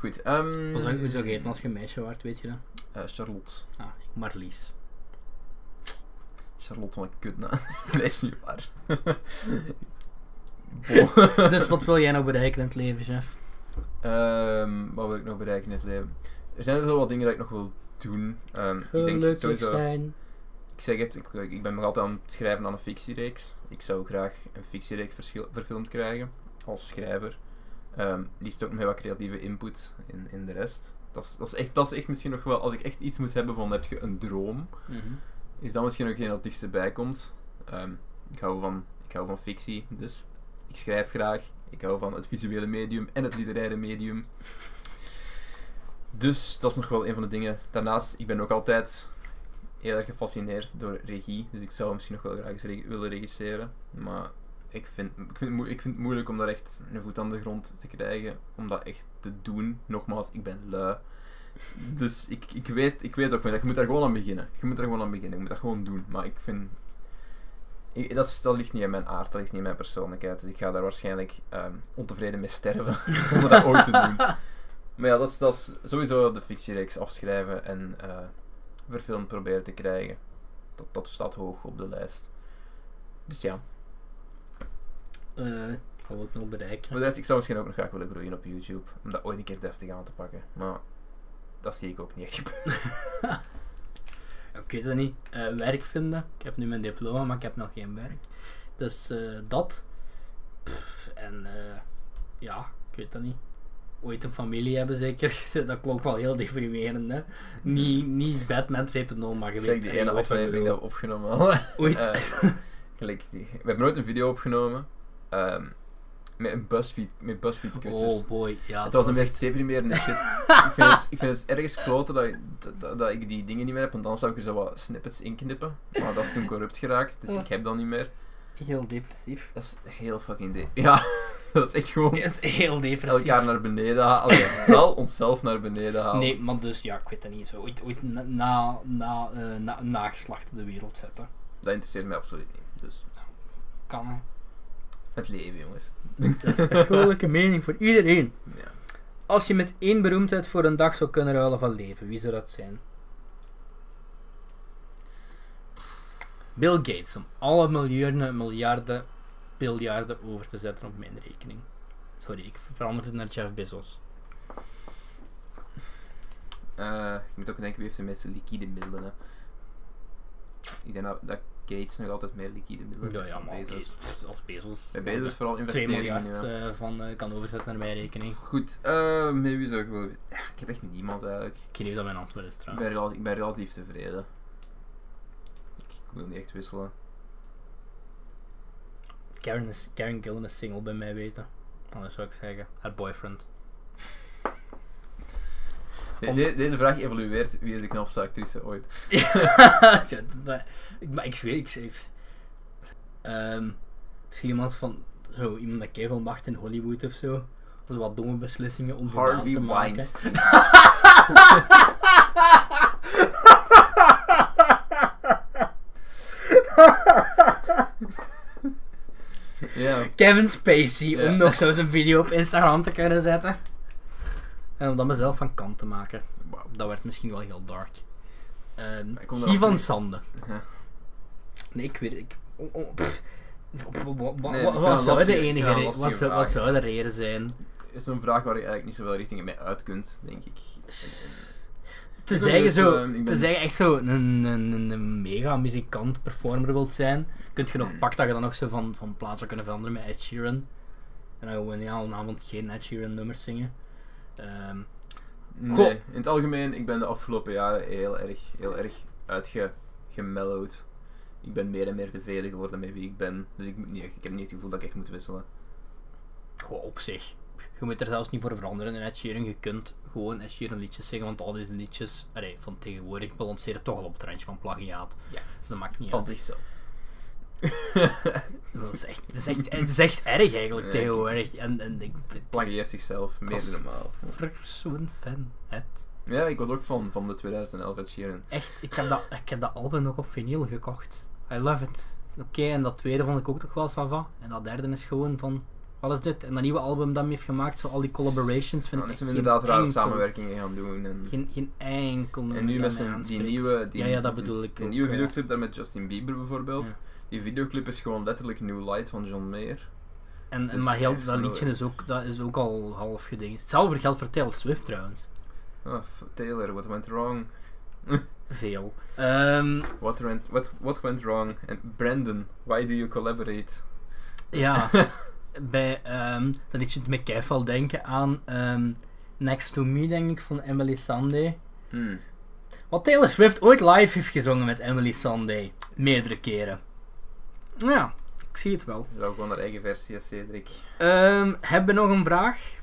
goed, ehm...
Wat zou, hoe zou ik heten als je een meisje waard, weet je dat?
eh, Charlotte.
Ah, ik Marlies.
Charlotte, wat een kutnaam. Dat is niet waar. Bo.
dus wat wil jij nou bereiken in het leven, chef?
Ehm, wat wil ik nog bereiken in het leven? Er zijn wel wat dingen dat ik nog wil doen. Ehm, ik denk
Gelukkig
sowieso.
zijn.
Ik zeg het, ik, ik ben nog altijd aan het schrijven aan een fictiereeks. Ik zou graag een fictiereeks verschil- verfilmd krijgen als schrijver. Ehm liefst ook met wat creatieve input in, in de rest. Dat is, dat, is echt, dat is echt misschien nog wel, als ik echt iets moet hebben van heb je een droom,
Mhm.
is dat misschien ook geen dat het dichtst bij komt. Ehm, ik, hou van, ik hou van fictie, dus ik schrijf graag. Ik hou van het visuele medium en het literaire medium. Dus dat is nog wel een van de dingen. Daarnaast, ik ben ook altijd heel erg gefascineerd door regie. Dus ik zou misschien nog wel graag eens reg- willen regisseren. Maar ik vind, ik, vind het moe- ik vind het moeilijk om daar echt een voet aan de grond te krijgen. Om dat echt te doen. Nogmaals, ik ben lui. Dus ik, ik, weet, ik weet ook wel dat je moet daar gewoon aan beginnen. Je moet er gewoon aan beginnen. Je moet dat gewoon doen. Maar ik vind... ik- dat, is- dat ligt niet in mijn aard. Dat ligt niet in mijn persoonlijkheid. Dus ik ga daar waarschijnlijk ehm, ontevreden mee sterven. om dat ooit te doen. Maar ja, dat is, dat is sowieso de fictiereeks afschrijven en eh, verfilmd proberen te krijgen. Dat, dat staat hoog op de lijst. Dus ja,
Eh, gaan we het nog
voor
bereiken.
de rest, ik zou misschien ook nog graag willen groeien op YouTube. Om dat ooit een keer deftig aan te pakken. Maar dat zie ik ook niet echt gebeuren.
Ja, Ik weet het niet. Eh, werk vinden. Ik heb nu mijn diploma, maar ik heb nog geen werk. Dus eh, dat. Pff, en eh, ja, ik weet dat niet. Ooit een familie hebben zeker. dat klonk wel heel deprimerend, hè. Niet, niet Batman 2.0, maar je
Mm. Zeg
weet...
die
eh,
ene
wat ik
aflevering dat
bedoel.
we opgenomen hadden.
Ooit.
Eh, gelijk die- we hebben nooit een video opgenomen. ehm, met een BuzzFeed, met BuzzFeed quizzes.
oh boy, ja.
Het was de
dat
meest deprimerende shit. ik, vind het, ik vind het ergens kloten dat, dat, dat ik die dingen niet meer heb, want anders zou ik er zo wat snippets in knippen. Maar dat is toen corrupt geraakt, dus ik heb dat niet meer.
echt heel depressief.
Dat is heel fucking de... Ja, dat is echt
Dat
gewoon
is heel depressief.
elkaar naar beneden halen. Allee, wel onszelf naar beneden halen.
Nee, maar dus ja, ik weet het niet. Zo, ooit ooit na, na, na, eh, na, een nageslacht op de wereld zetten.
Dat interesseert mij absoluut niet. Dus,
Kan hè.
het leven, jongens.
Dat is een gruwelijke mening voor iedereen.
Ja.
Als je met één beroemdheid voor een dag zou kunnen ruilen van leven, wie zou dat zijn? Bill Gates, om alle miljoenen, miljarden, biljarden over te zetten op mijn rekening. Sorry, ik verander het naar Jeff Bezos.
Eh, ik moet ook denken, wie heeft de meeste liquide middelen, hè. Ik denk dat, dat Gates nog altijd meer liquide middelen
Ja,
heeft
ja,
dan
maar
Bezos.
Bezos. als Bezos.
Bij Bezos vooral
2
investeringen,
miljard
ja.
eh, van eh, kan overzetten naar mijn rekening.
Goed, eh met wie zou ik wel... Ja, Ik heb echt niemand eigenlijk.
Ik weet niet of dat mijn antwoord is
Ik ben,
trouwens.
rela- ik ben relatief tevreden. Ik, ik wil niet echt wisselen.
Karen, is, Karen Gillan is single bij mij weten. Anders zou ik zeggen, haar boyfriend.
De-
Om-
de- deze vraag evolueert. Wie is de knapste actrice ooit?
ja, dat, ik, maar ik zweer, ik zweer. Ehm, misschien iemand van, zo, iemand met keiveel macht in Hollywood of zo. Of wat domme beslissingen om gedaan
Harvey
te maken.
Weinstein. ja,
Kevin Spacey,
Ja.
om nog zo zijn video op Instagram te kunnen zetten. En om dat mezelf van kant te maken.
wauw.
Dat werd misschien wel heel dark. Ehm
Ik kom daar
Guy
ook
van
niet.
Sande.
Ja.
Nee, ik weet het. Ik, oh, oh, pff. Wa- wa- wa- wa-
Nee, ik
wa-
vind
wat
dat
zou de
lastig- ik vind
enige
dat
re-
lastige
wat zou- wat
vragen.
zou de reden zijn?
is zo'n vraag waar je eigenlijk niet zoveel richtingen mee uit kunt, denk ik.
Te
Ik ben
zeggen,
benieuwd,
zo,
ehm, ik
te
ben-
zeggen echt zo een, een, een, een mega muzikant performer wilt zijn, kunt je
Hmm.
nog pak dat je dan nog zo van, van plaats zou kunnen veranderen met Ed Sheeran. En dan gewoon ja, een avond geen Ed Sheeran nummers zingen. Ehm,
Nee,
Goh.
in het algemeen, ik ben de afgelopen jaren heel erg, heel erg uitgemellowd. Ik ben meer en meer tevreden geworden met wie ik ben. Dus ik, moet niet, echt- ik heb niet het gevoel dat ik echt moet wisselen.
gewoon op zich. Je moet er zelfs niet voor veranderen in Ed Sheeran. Je kunt gewoon Ed Sheeran liedjes zingen, want al deze liedjes allee, van tegenwoordig balanceren toch al op het randje van plagiaat.
Ja.
Dus dat maakt niet
Van
uit.
zichzelf.
Dat is echt, dat is echt, het is echt erg eigenlijk
Ja,
tegenwoordig. En, en ik
Plagieert zichzelf, meer
was
dan normaal.
ben zo'n fan. Het.
Ja, ik was ook van, van de 2011 Ed Sheeran.
Echt, ik heb, dat, ik heb dat album nog op vinyl gekocht. I love it. Oké, en dat tweede vond ik ook nog wel sava. En dat derde is gewoon van, wat is dit? En dat nieuwe album dat hij heeft gemaakt, zo al die collaborations, vind
Ja,
ik
dat
echt
ze
geen
inderdaad rare
enkel-
samenwerkingen gaan doen. En,
Geen, geen enkel nummer
en nu
dat
met
mij
zijn- die
aanspreekt.
nieuwe... Die,
ja, ja, dat bedoel ik
Die
ook,
nieuwe
ja.
videoclip daar met Justin Bieber bijvoorbeeld.
Ja.
Die videoclip is gewoon letterlijk New Light van John Mayer.
En, en
Dus
maar heel,
echt
dat
zo-
liedje is ook, dat is ook al half gedingen. Hetzelfde geldt voor Taylor Swift trouwens.
Ah, f- Taylor, what went wrong?
Veel. Ehm,
What went, what, what went wrong? And Brandon, why do you collaborate?
ja, bij, ehm dat liedje doet me keihard denken aan ehm, Next to Me, denk ik, van Emily Sunday.
Hmm.
Wat Taylor Swift ooit live heeft gezongen met Emily Sunday. Meerdere keren. Ja, ik zie het wel.
Zou gewoon haar eigen versie als Cedric.
Ehm hebben we nog een vraag?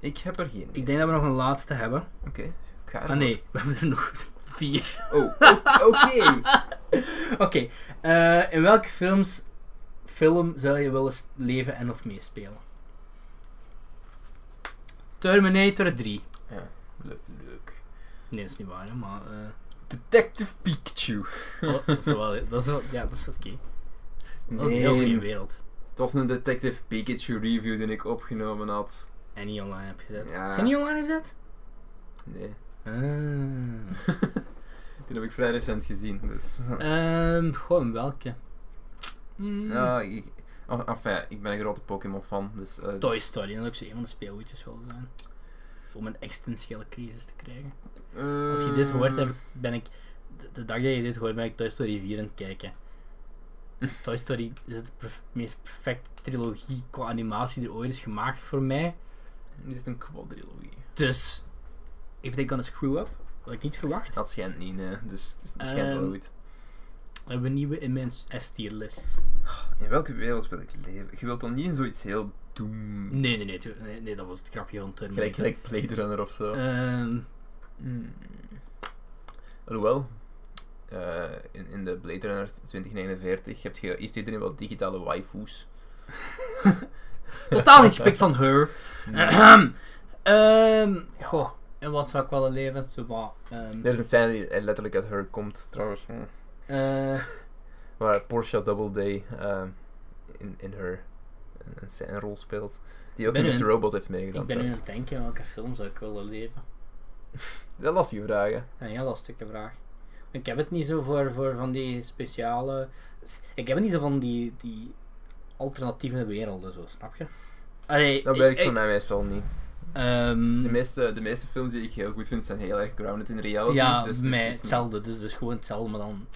Ik heb er geen.
Ik denk dat we nog een laatste hebben.
Oké, Ga je
Ah nee, we hebben er nog vier.
Oh, o- oké.
Oké, eh, in welke films, film zou je willen sp- leven en of meespelen? Terminator 3.
Le- leuk.
Nee, dat is niet waar, hè, maar... eh,
Detective Pikachu.
oh, dat is wel... Dat is wel ja, dat is oké. Dat is een heel goede
Nee,
wereld.
het was een Detective Pikachu review die ik opgenomen had.
En niet online heb gezet.
Ja.
Zijn die online gezet?
Nee.
Ah.
Die heb ik vrij recent gezien, dus...
Ehm, goh, in welke? Hmm,
Ja, ik, oh, enfin, ik ben een grote Pokémon-fan, dus... eh,
Toy Story, dat zou ook zo een van de speelgoedjes willen zijn. Om een existentiële crisis te krijgen.
eh,
Als je dit hoort, heb ik, ben ik... De, de dag dat je dit hoort, ben ik Toy Story 4 aan het kijken. Toy Story is het perf- meest perfecte trilogie qua animatie die er ooit is gemaakt voor mij.
Is het een quadrilogie?
Dus, if they gonna screw up, wat ik niet verwacht,
Dat schijnt niet, nee. Dus het, is- het schijnt wel
Ehm.
goed.
hebben we een nieuwe in mijn S-tier list.
In welke wereld wil ik leven? Je wilt dan niet in zoiets heel doom...
Nee, nee, nee, tu- nee, nee, dat was het grapje van
Gelijk,
Terminator.
gelijk Blade Runner of zo.
Ehm,
Hmm. Alhoewel, eh, in, in de Blade Runner 2049 heb je, heeft iedereen wel digitale waifus.
Totaal niet gepikt van her. Ehm, ehm, goh, en wat zou ik willen leven? Zo wat, ehm,
Er is een scène die eh, letterlijk uit Her komt, trouwens. Hm.
eh,
Waar Portia Doubleday eh, in, in Her een, een, scène- een rol speelt. Die ook
Ben
in
u
Mr.
een-
Robot heeft meegedaan.
ik ben nu aan
trouwens.
het denken, welke film zou ik willen leven?
Dat is lastige vragen.
Een heel lastige vraag. Ik heb het niet zo voor, voor van die speciale... Ik heb het niet zo van die, die alternatieve werelden, zo, snap je? Allee,
Dat
ik-
werkt
ik-
voor mij meestal niet.
ehm,
De meeste, de meeste films die ik heel goed vind zijn heel erg grounded in reality.
ja,
dus, het is-
mij
het is niet-
hetzelfde. Dus, dus gewoon hetzelfde, maar dan...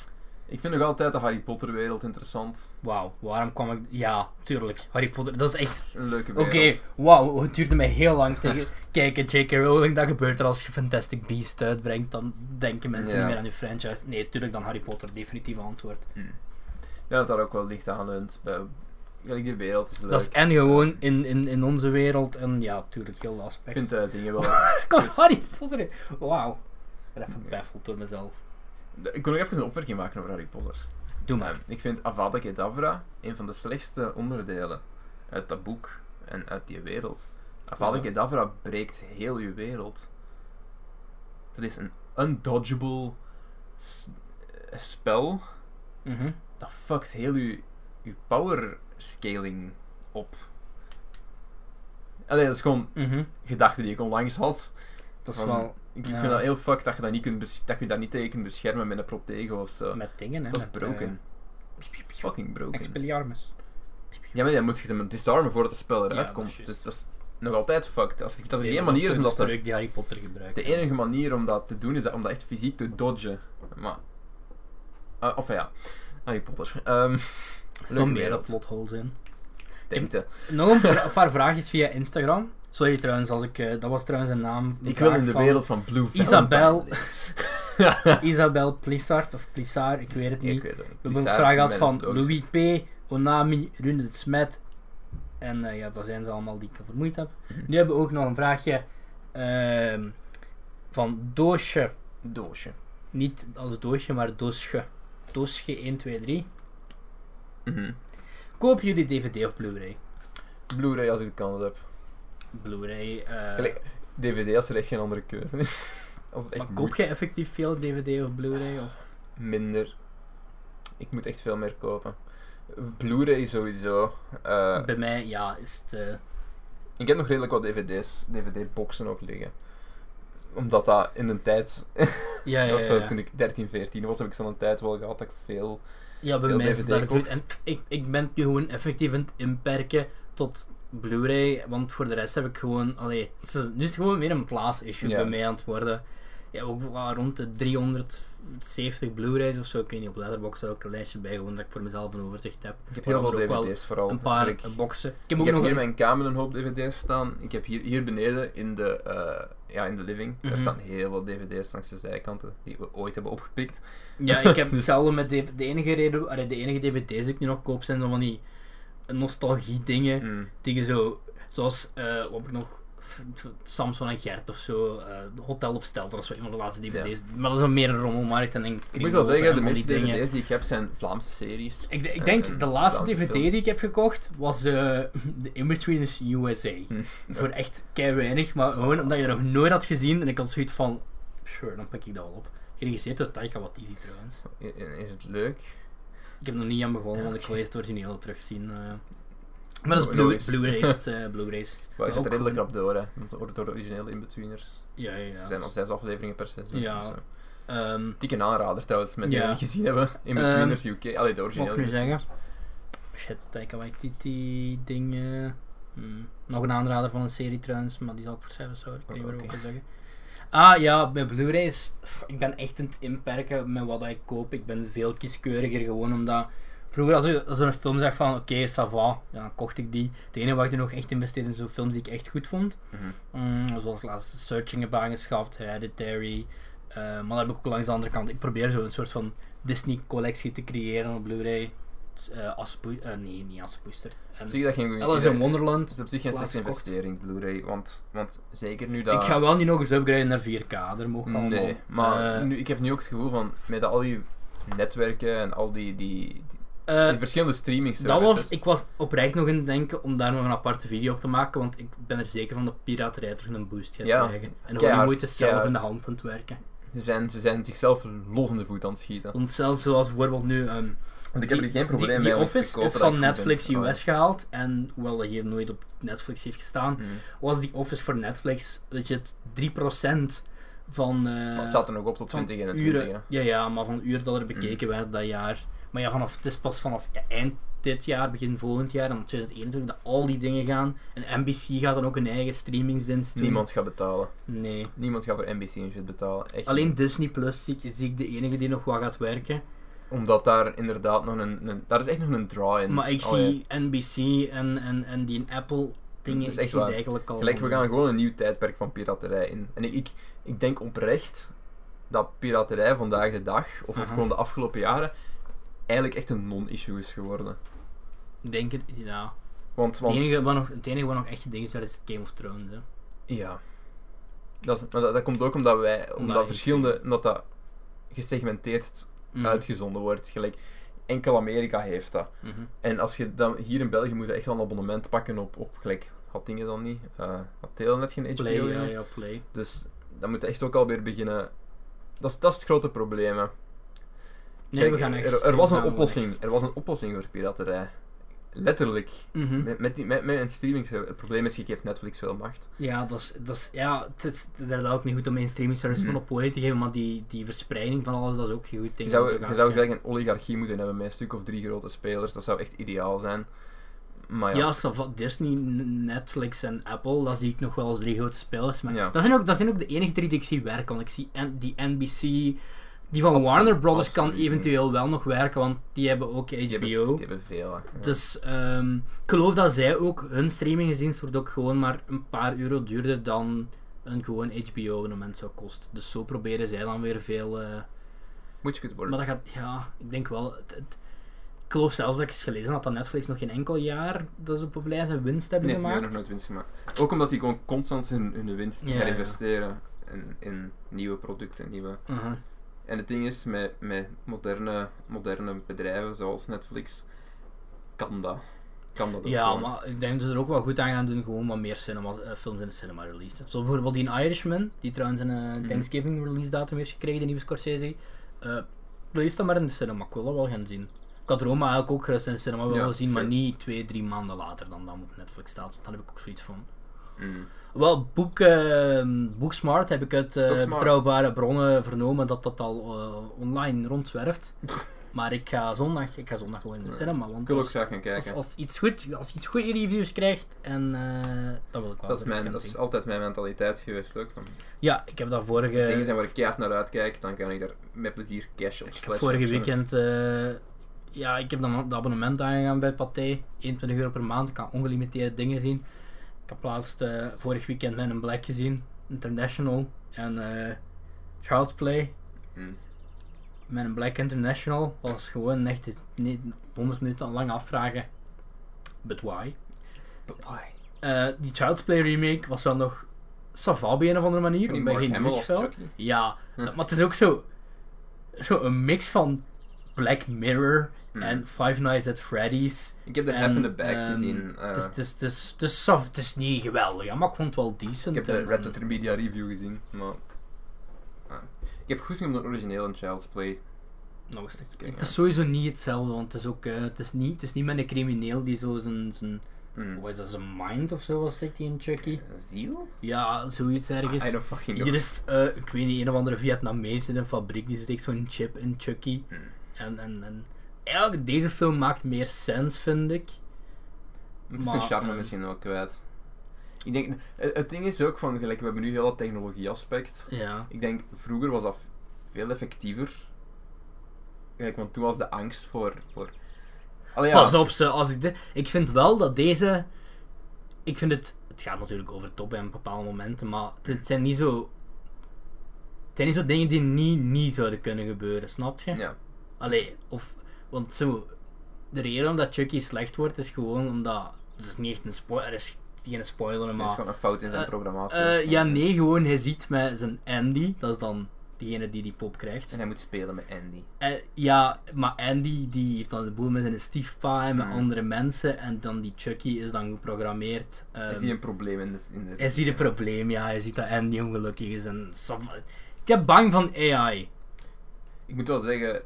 Ik vind nog altijd de Harry Potter wereld interessant.
Wauw, waarom kwam ik... Ja, tuurlijk. Harry Potter, dat is echt...
Het is een leuke
Oké,
wereld.
wauw, het duurde mij heel lang tegen. Kijken, J.K. Rowling, dat gebeurt er als je Fantastic Beast uitbrengt. Dan denken mensen
Ja.
niet meer aan je franchise. Nee, natuurlijk dan Harry Potter, definitief antwoord.
Ja, dat daar ook wel licht aan leunt. Bij- Gelijk die wereld is leuk.
Dat is en gewoon in, in, in onze wereld en ja, tuurlijk heel de
Ik
aspect.
vind eh, dingen wel...
Ik was Harry Potter. in. Wauw. Ik ben even baffeld door mezelf.
De- Ik kon nog even een opmerking maken over Harry Potter.
Doe
Eh,
maar.
ik vind Avada Kedavra een van de slechtste onderdelen uit dat boek en uit die wereld. Avada
Hoezo?
Kedavra breekt heel uw wereld. Dat is een undodgeable s- eh, spel
Mhm.
dat fuckt heel uw, uw power scaling op. Allee, dat is gewoon
Mhm.
gedachte die ik onlangs had.
Dat is
Van-
wel
Ik, ik
Ja.
vind dat heel fuck dat je dat niet, kunt bes- dat je dat niet tegen kunt beschermen met een protego of zo.
met dingen, hè.
dat is
met, eh,
broken. Dat is fucking broken.
Expelliarmus.
Ja, maar dan moet je hem disarmen voordat het spel
Ja,
eruit
dat
komt.
is juist.
dus dat is nog altijd fucked. Als, dat er
Nee,
één manier
toch
is om
de
dat te-
spreuk die Harry Potter gebruikt.
De enige manier om dat te doen is dat, om dat echt fysiek te dodgen. Maar. Ah, of ja, Harry Potter. Ehm
Er
leuke
zijn meer
wereld.
plotholes in.
Denkte.
Nog een paar, een paar vraagjes via Instagram. Sorry trouwens, als ik, eh, dat was trouwens een naam. een
Ik wil
vraag
in de
van
wereld van Blue Valentine
Isabel.
leven.
Isabel Plissard of Plissard, ik weet het niet.
weet het niet.
We hebben ook
Bizar,
vragen gehad
met
van
een dood.
Louis P., Onami, Rune de Smet. En eh, ja, dat zijn ze allemaal die ik vermoeid heb.
Mhm.
Nu hebben we ook nog een vraagje ehm, van Doosje.
Doosje.
Niet als Doosje, maar Doosje. Doosje 1, 2, 3.
Mhm.
Koop jullie DVD of Blu-ray?
Blu-ray als ik de kans heb.
Blu-ray. eh,
Gelijk, DVD als er echt geen andere keuze is. Als het echt
maar koop
moet,
je effectief veel DVD of Blu-ray? Of?
minder. Ik moet echt veel meer kopen. Blu-ray sowieso. Eh,
Bij mij, ja, is het. eh,
ik heb nog redelijk wat DVD's, DVD-boxen ook liggen. Omdat dat in de tijd,
ja, ja,
dat was
ja,
zo,
ja.
toen ik 13, 14 was, heb ik zo'n tijd wel gehad dat ik veel.
Ja, bij
veel
mij is het
DVD
daar
kocht.
En pff, ik, ik ben het nu gewoon effectief aan het inperken tot Blu-ray, want voor de rest heb ik gewoon... Allee, het is- nu is het gewoon meer een plaats-issue
Ja.
bij mij aan het worden. Ja, ook wel rond de 370 Blu-rays of zo. Ik weet niet, op Letterboxd heb ik een lijstje bij, gewoon dat ik voor mezelf een overzicht heb.
Ik heb
Maar
heel
dan
veel
ook wel
DVD's vooral.
Een paar
Ik-
eh, boxen. Ik heb
Ik
ook
heb
nog
hier in
een...
mijn kamer een hoop dvd's staan. Ik heb hier, hier beneden in de, eh, ja, in de living,
Mhm.
daar staan heel veel dvd's langs de zijkanten die we ooit hebben opgepikt.
Ja, ik heb hetzelfde met de, de enige reden... allee, de enige DVD's die ik nu nog koop zijn zo van die nostalgie-dingen.
Mm.
Tegen zo, zoals, eh, wat heb ik nog, Samson en Gert of zo. eh, Hotel op Stelter, dat is wel een van de laatste DVD's. Maar dat is een meer een rommelmarkt en een
Ik moet wel
kringloop en
zeggen, de
al
meeste
die dingen.
DVD's die ik heb zijn Vlaamse series.
Ik, de- ik
en-
denk
en
de laatste
Vlaamse
DVD
Eh, film.
die ik heb gekocht was eh The Inbetweeners USA.
Hm.
Voor echt kei weinig, maar gewoon omdat je dat nog nooit had gezien en ik had zoiets van, sure, dan pak ik dat wel op. Geregisseerd door Taika Waititi trouwens.
I- i- Is het leuk?
Ik heb nog niet aan begonnen,
Ja,
want ik wil
oké.
eerst het origineel terugzien. eh. Maar dat is
No
Blu-
worries.
Blu-rays. eh Blu-rays.
Maar je zit
Ook
er redelijk
gewoon-
op door, hè. want Door door de originele Inbetweeners.
Ja, ja,
Er
ja.
zijn al zes afleveringen per seizoen.
Ja.
dus, eh,
Ehm,
Dikke aanrader trouwens, mensen die
Ja. Eh,
het niet gezien hebben. Inbetweeners UK. Allee, de
wat
originele.
kun je zeggen?
Inbetweeners.
Shit, Taika Waititi dingen. Hm. Nog een aanrader van een serie trouwens, maar die zal ik voor cijfers houden. Ik weet niet
Oh,
meer
oké.
wat ik wil zeggen. Ah ja, bij Blu-rays, pff, ik ben echt aan het inperken met wat ik koop. Ik ben veel kieskeuriger gewoon omdat... Vroeger als ik, als ik een film zag van, oké, ça va, ja, dan kocht ik die. Het enige wat ik er nog echt investeerde, zijn zo films die ik echt goed vond.
Mhm.
Mm, zoals laatst Searching heb aangeschaft, Hereditary. Eh, maar dat heb ik ook langs de andere kant. Ik probeer zo een soort van Disney-collectie te creëren op Blu-ray. Dus, eh, als poe- eh, nee, niet als poester.
Op
En
zich dat geen
Alice in
ieder- Het
Wonderland.
is op zich geen
Laatst
slechte
gekocht.
investering, Blu-ray. Want, want zeker nu dat...
Ik ga wel niet nog eens upgraden naar 4K, er mogen allemaal.
Nee, maar
Eh,
nu, ik heb nu ook het gevoel van, met al die netwerken en al die, die, die,
eh,
die verschillende streaming
dat
services.
was, ik was oprecht nog in het denken om daar nog een aparte video op te maken, want ik ben er zeker van dat piraterij terug een boost gaat
Ja,
krijgen. En
keihard,
Hollywood is zelf in
keihard.
de hand aan het werken.
ze, zijn, ze zijn zichzelf los in de voet aan het schieten.
Want zelfs zoals bijvoorbeeld nu ehm,
Want ik heb er
Die-
geen probleem mee
die, Die
om iets te
Office
kopen
is
dat
van
ik goed Oh.
Netflix
vind.
US gehaald. En hoewel dat hier nooit op Netflix heeft gestaan,
Hmm.
was die Office voor Netflix legit 3% van, eh,
Maar het staat er nog op tot
van
20 en
uren.
20.
Ja, ja, maar van uren dat er bekeken
Mm.
werd dat jaar. Maar ja, vanaf, het is pas vanaf eind dit jaar, begin volgend jaar, en dan 2021, dat al die dingen gaan. En NBC gaat dan ook een eigen streamingsdienst doen.
Niemand gaat betalen.
Nee.
Niemand gaat voor NBC en shit betalen. Echt
Alleen
niet.
Disney Plus zie ik, zie ik de enige die nog wat gaat werken.
Omdat daar inderdaad nog een, een- Daar is echt nog een draai in.
Maar ik
Allee,
zie NBC en, en, en die Apple dingen,
Dat is
ik
echt
zie
waar.
die eigenlijk al.
Gelijk, we gaan gewoon een nieuw tijdperk van piraterij in. En ik, ik, ik denk oprecht dat piraterij vandaag de dag, of, of
Aha.
gewoon de afgelopen jaren, eigenlijk echt een non-issue is geworden.
Ik Denk het, ja.
Want,
Het
want
enige, wat nog, het enige wat nog echt een ding is, dat is Game of Thrones. Hè.
ja. Dat, is- maar dat, dat komt ook omdat wij, omdat
Omdat je-
verschillende, omdat dat gesegmenteerd
Mhm,
uitgezonden wordt. Gelijk, enkel Amerika heeft dat.
mhm.
En als je dan hier in België moet je echt al een abonnement pakken op, op gelijk, had dingen dan niet? Eh had Telenet geen HBO?
Play, ja,
ja?
ja, play.
Dus dan moet je echt ook alweer beginnen. Dat is, dat is het grote probleem. Hè.
Nee,
Kijk,
we gaan echt.
er,
we
er, was
gaan
een
wel
oplossing,
echt.
er was een oplossing voor piraterij. Letterlijk.
Mhm.
Met, met, die, met, met een streaming. eh, Het probleem is, je geeft Netflix veel macht.
Ja, dat is, dat is, ja, het is inderdaad ook niet goed om een streaming service
Mhm.
monopolie te geven, maar die, die verspreiding van alles, dat is ook geen goed
Je
ding. om
zou,
te gaan
je zou
schermen.
gelijk een oligarchie moeten hebben met een stuk of drie grote spelers. Dat zou echt ideaal zijn. Maar ja.
Ja, ça va. Disney, N- Netflix en Apple, dat zie ik nog wel als drie grote spelers. Maar
Ja.
dat, zijn ook, dat zijn ook de enige drie die ik zie werken. Want ik zie en, die NBC, die van
Absoluut,
Warner Brothers kan
absoluut.
eventueel wel nog werken, want die hebben ook HBO.
die, hebben, die hebben veel. hè. Ja.
Dus ehm, ik geloof dat zij ook, hun streamingdienst wordt ook gewoon maar een paar euro duurder dan een gewoon HBO-abonnement zou kosten. Dus zo proberen zij dan weer veel... eh,
Moet je goed worden.
maar dat gaat, ja, ik denk wel. Het, het- ik geloof zelfs dat ik eens gelezen had dat Netflix nog geen enkel jaar dat ze op populair zijn winst hebben
nee, die hebben nog
gemaakt.
nooit winst gemaakt. Ook omdat die gewoon constant hun, hun winst
Ja, ja.
herinvesteren in, in nieuwe producten, nieuwe
Mhm.
En het ding is, met, met moderne, moderne bedrijven zoals Netflix, kan dat. Kan dat ook
Ja,
gewoon.
maar ik denk dat ze er ook wel goed aan gaan doen, gewoon wat meer cinema, eh, films in de cinema releasen. Zoals bijvoorbeeld die Irishman, die trouwens een eh,
Mhm.
Thanksgiving release datum heeft gekregen, de nieuwe Scorsese. Eh release dat maar in de cinema, ik wil dat wel gaan zien. Ik had Roma eigenlijk ook gerust in de cinema willen
Ja,
zien, maar
sure.
niet twee, drie maanden later dan dat op Netflix staat. Want dan heb ik ook zoiets van...
Mm.
Wel, boek, eh, Booksmart heb ik uit eh,
Booksmart.
betrouwbare bronnen vernomen dat dat al eh, online rondzwerft. Maar ik ga zondag, ik ga zondag gewoon in de
Ja.
cinema, want
Ik wil ook
als,
graag gaan
als,
kijken.
als iets goed, als iets goede reviews krijgt, en eh dan wil ik wel
dat, is
eens
mijn,
gaan
dat is
zien.
altijd mijn mentaliteit geweest ook. Van,
Ja, ik heb
dingen
dat vorige,
zijn waar ik keihard naar uitkijk, dan kan ik daar met plezier cash op
ik heb
splashen
vorige
of zo.
weekend, eh, ja, ik heb dan het abonnement aangegaan bij Pathé, 21 euro per maand, ik kan ongelimiteerde dingen zien. Ik heb laatst eh, vorig weekend Men in Black gezien, International, en eh, Child's Play.
Mm.
Met een Black International was gewoon echt niet 100 minuten lang afvragen. But why?
But why?
eh, die Child's Play remake was wel nog savant op een of andere manier.
Die
Ik ben
Mark
geen
Hamill
British
als
fan.
Chucky.
Ja,
Hm.
maar het is ook zo, zo een mix van Black Mirror
Hmm.
en Five Nights at Freddy's.
Ik heb de
en,
F in the Back
ehm,
gezien. eh,
Het is- het is- het is- het is saf- het is niet geweldig, hè, maar ik vond het wel decent.
ik heb de
en-
Red Dead Media review gezien, maar... ah. Ik heb goed gezien om de origineel in Child's Play.
Nog een stukje.
Kijk,
Het
ja.
is sowieso niet hetzelfde, want het is ook, eh, het is niet, het is niet met een crimineel die zo zijn, zijn
Hmm.
wat is dat, zijn mind of zo was het die in Chucky?
Is dat ziel?
Ja, zoiets
Ah, I
ergens.
don't fucking know.
Hier is, eh, ik weet niet, een of andere Vietnamees in een fabriek, die steekt zo'n chip in Chucky.
Hmm.
En, en, en eigenlijk, deze film maakt meer sens, vind ik.
Het is
Maar,
een charme
ehm,
misschien wel kwijt. Ik denk, het het ding is ook van, gelijk, we hebben nu heel dat technologie-aspect.
Ja.
Ik denk, vroeger was dat veel effectiever. Kijk, want toen was de angst voor... voor... Allee, ja.
Pas op, ze, als ik, de, ik vind wel dat deze. Ik vind het. Het gaat natuurlijk over de top en bepaalde momenten, maar het, het zijn niet zo. Het zijn niet zo dingen die niet, niet zouden kunnen gebeuren, snap je?
Ja.
Allee, of. Want zo. De reden omdat Chucky slecht wordt is gewoon omdat. Het is niet echt een spoiler, er is geen spoiler,
Er is
maar.
gewoon een fout in zijn
Eh,
programmatie.
eh,
of zo.
ja, nee, gewoon hij ziet met zijn Andy, dat is dan diegene die die pop krijgt.
En hij moet spelen met Andy.
Eh, ja, maar Andy die heeft dan de boel met zijn stiefpa en met
Mhm.
andere mensen. En dan die Chucky is dan geprogrammeerd. ehm,
Hij ziet een probleem in de... In de...
hij ziet een probleem, ja. Hij ziet dat Andy ongelukkig is. En sav- ik heb bang van AI.
Ik moet wel zeggen...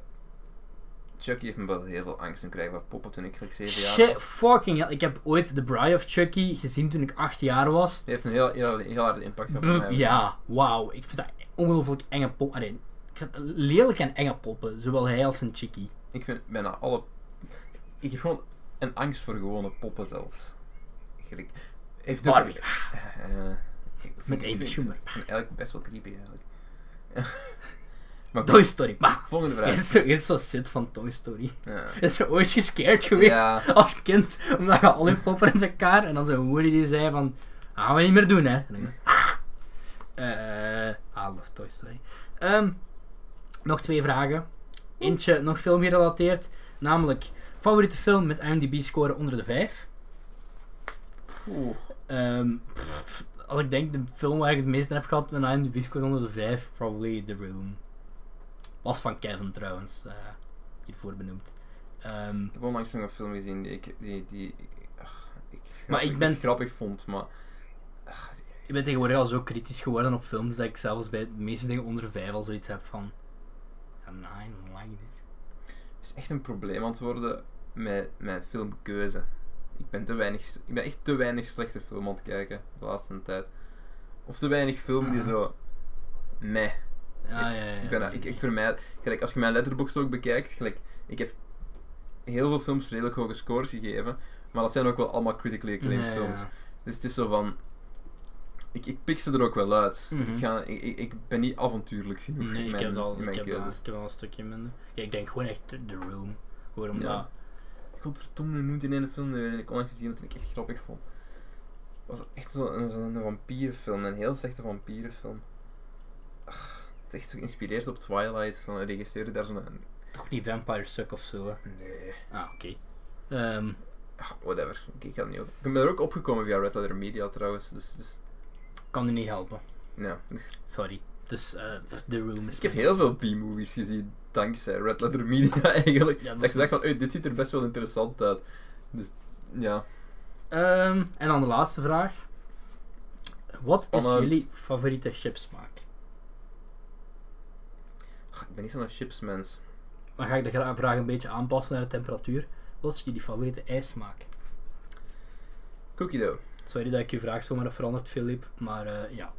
Chucky heeft me wel heel veel angst toen krijgen van poppen toen ik gelijk 7 jaar
Shit,
was.
fucking hell. Ik heb ooit The Bride of Chucky gezien toen ik acht jaar was.
Die heeft een heel, heel, heel harde impact op
Brr,
mij.
ja, wauw. Ik vind dat ongelooflijk enge poppen. Allee, ik vind het lelijk en enge poppen. Zowel hij als zijn Chucky.
Ik vind bijna alle... Ik heb gewoon een angst voor gewone poppen zelfs. Gelijk... Heeft ook-
Barbie.
Eh, ik vind-
Met
ik
Amy
vind-
Schumer.
Ik vind eigenlijk best wel creepy eigenlijk. maar
Toy
goed,
Story. Bah.
volgende
Hij
vraag.
is zo, hij is zo zit van Toy Story.
Ja.
Is ze ooit gescared geweest
Ja.
als kind? Omdat je al je poppen in elkaar en dan zijn moeder die zei van, dat gaan we niet meer doen hè. En dan, ah. Eh, I love Toy Story. Ehm, nog twee vragen. Eentje nog film gerelateerd, namelijk favoriete film met IMDb score onder de 5.
Oeh.
Ehm, pff, als ik denk de film waar ik het meest aan heb gehad met een IMDb score onder de 5, probably The Room. Was van Kevin trouwens, eh, hiervoor benoemd. Ehm,
Ik heb onlangs nog een film gezien die ik... Die, die, ach, ik
Maar ik
die
ben-
het grappig vond, maar...
Ik ben tegenwoordig al zo kritisch geworden op films dat ik zelfs bij de meeste dingen onder vijf al zoiets heb van. I'm not like this.
Het is echt een probleem aan het worden met mijn filmkeuze. Ik ben, te weinig, ik ben echt te weinig slechte film aan het kijken de laatste tijd. Of te weinig film die
Ah.
zo... Meh.
Ja,
is.
ja, ja,
ik, ben,
ja,
ik, ik
ja.
vermijd, gelijk, als je mijn letterbox ook bekijkt, gelijk, ik heb heel veel films redelijk hoge scores gegeven, maar dat zijn ook wel allemaal critically acclaimed
Ja, ja,
films.
ja.
Dus het is zo van, ik, ik pik ze er ook wel uit.
Mhm.
ik, ga, ik, ik- ik ben niet avontuurlijk genoeg
Nee,
in
ik
mijn,
heb, dat
in
al, ik,
mijn
heb dat,
keuzes.
ik heb al een stukje minder. Ja, ik denk gewoon echt The Room. Gewoon omdat.
Ja. Godverdomme, hoe noemt die ene film? Die heb ik onlangs gezien dat ik echt grappig vond. Het was echt zo'n zo vampierenfilm, een heel slechte vampierenfilm. Ach, het is echt zo geïnspireerd op Twilight, zo'n regisseur daar zo'n...
Toch niet Vampire Suck of zo. hè.
Nee.
Ah, oké. Ehm,
Ah, whatever. Ik, ik ga het niet op. Ik ben er ook opgekomen via Red Letter Media trouwens. Dus, dus
kan u niet helpen.
ja. Dus
Sorry. Dus eh, The Room is.
ik heb
mijn-
heel veel B-movies gezien dankzij Red Letter Media eigenlijk.
Ja, dat
dat ik
is-
dacht van, "Oei, dit ziet er best wel interessant uit. Dus ja.
Ehm, en dan de laatste vraag. Wat
Spannend.
is jullie favoriete chipsmaak?
Ah, Ik ben niet zo'n chipsmens.
Maar ga ik de gra- vraag een beetje aanpassen naar de temperatuur. Wat is jullie favoriete ijsmaak?
Cookie dough.
Sorry dat ik je vraag zomaar heb veranderd, Filip. Maar eh, ja,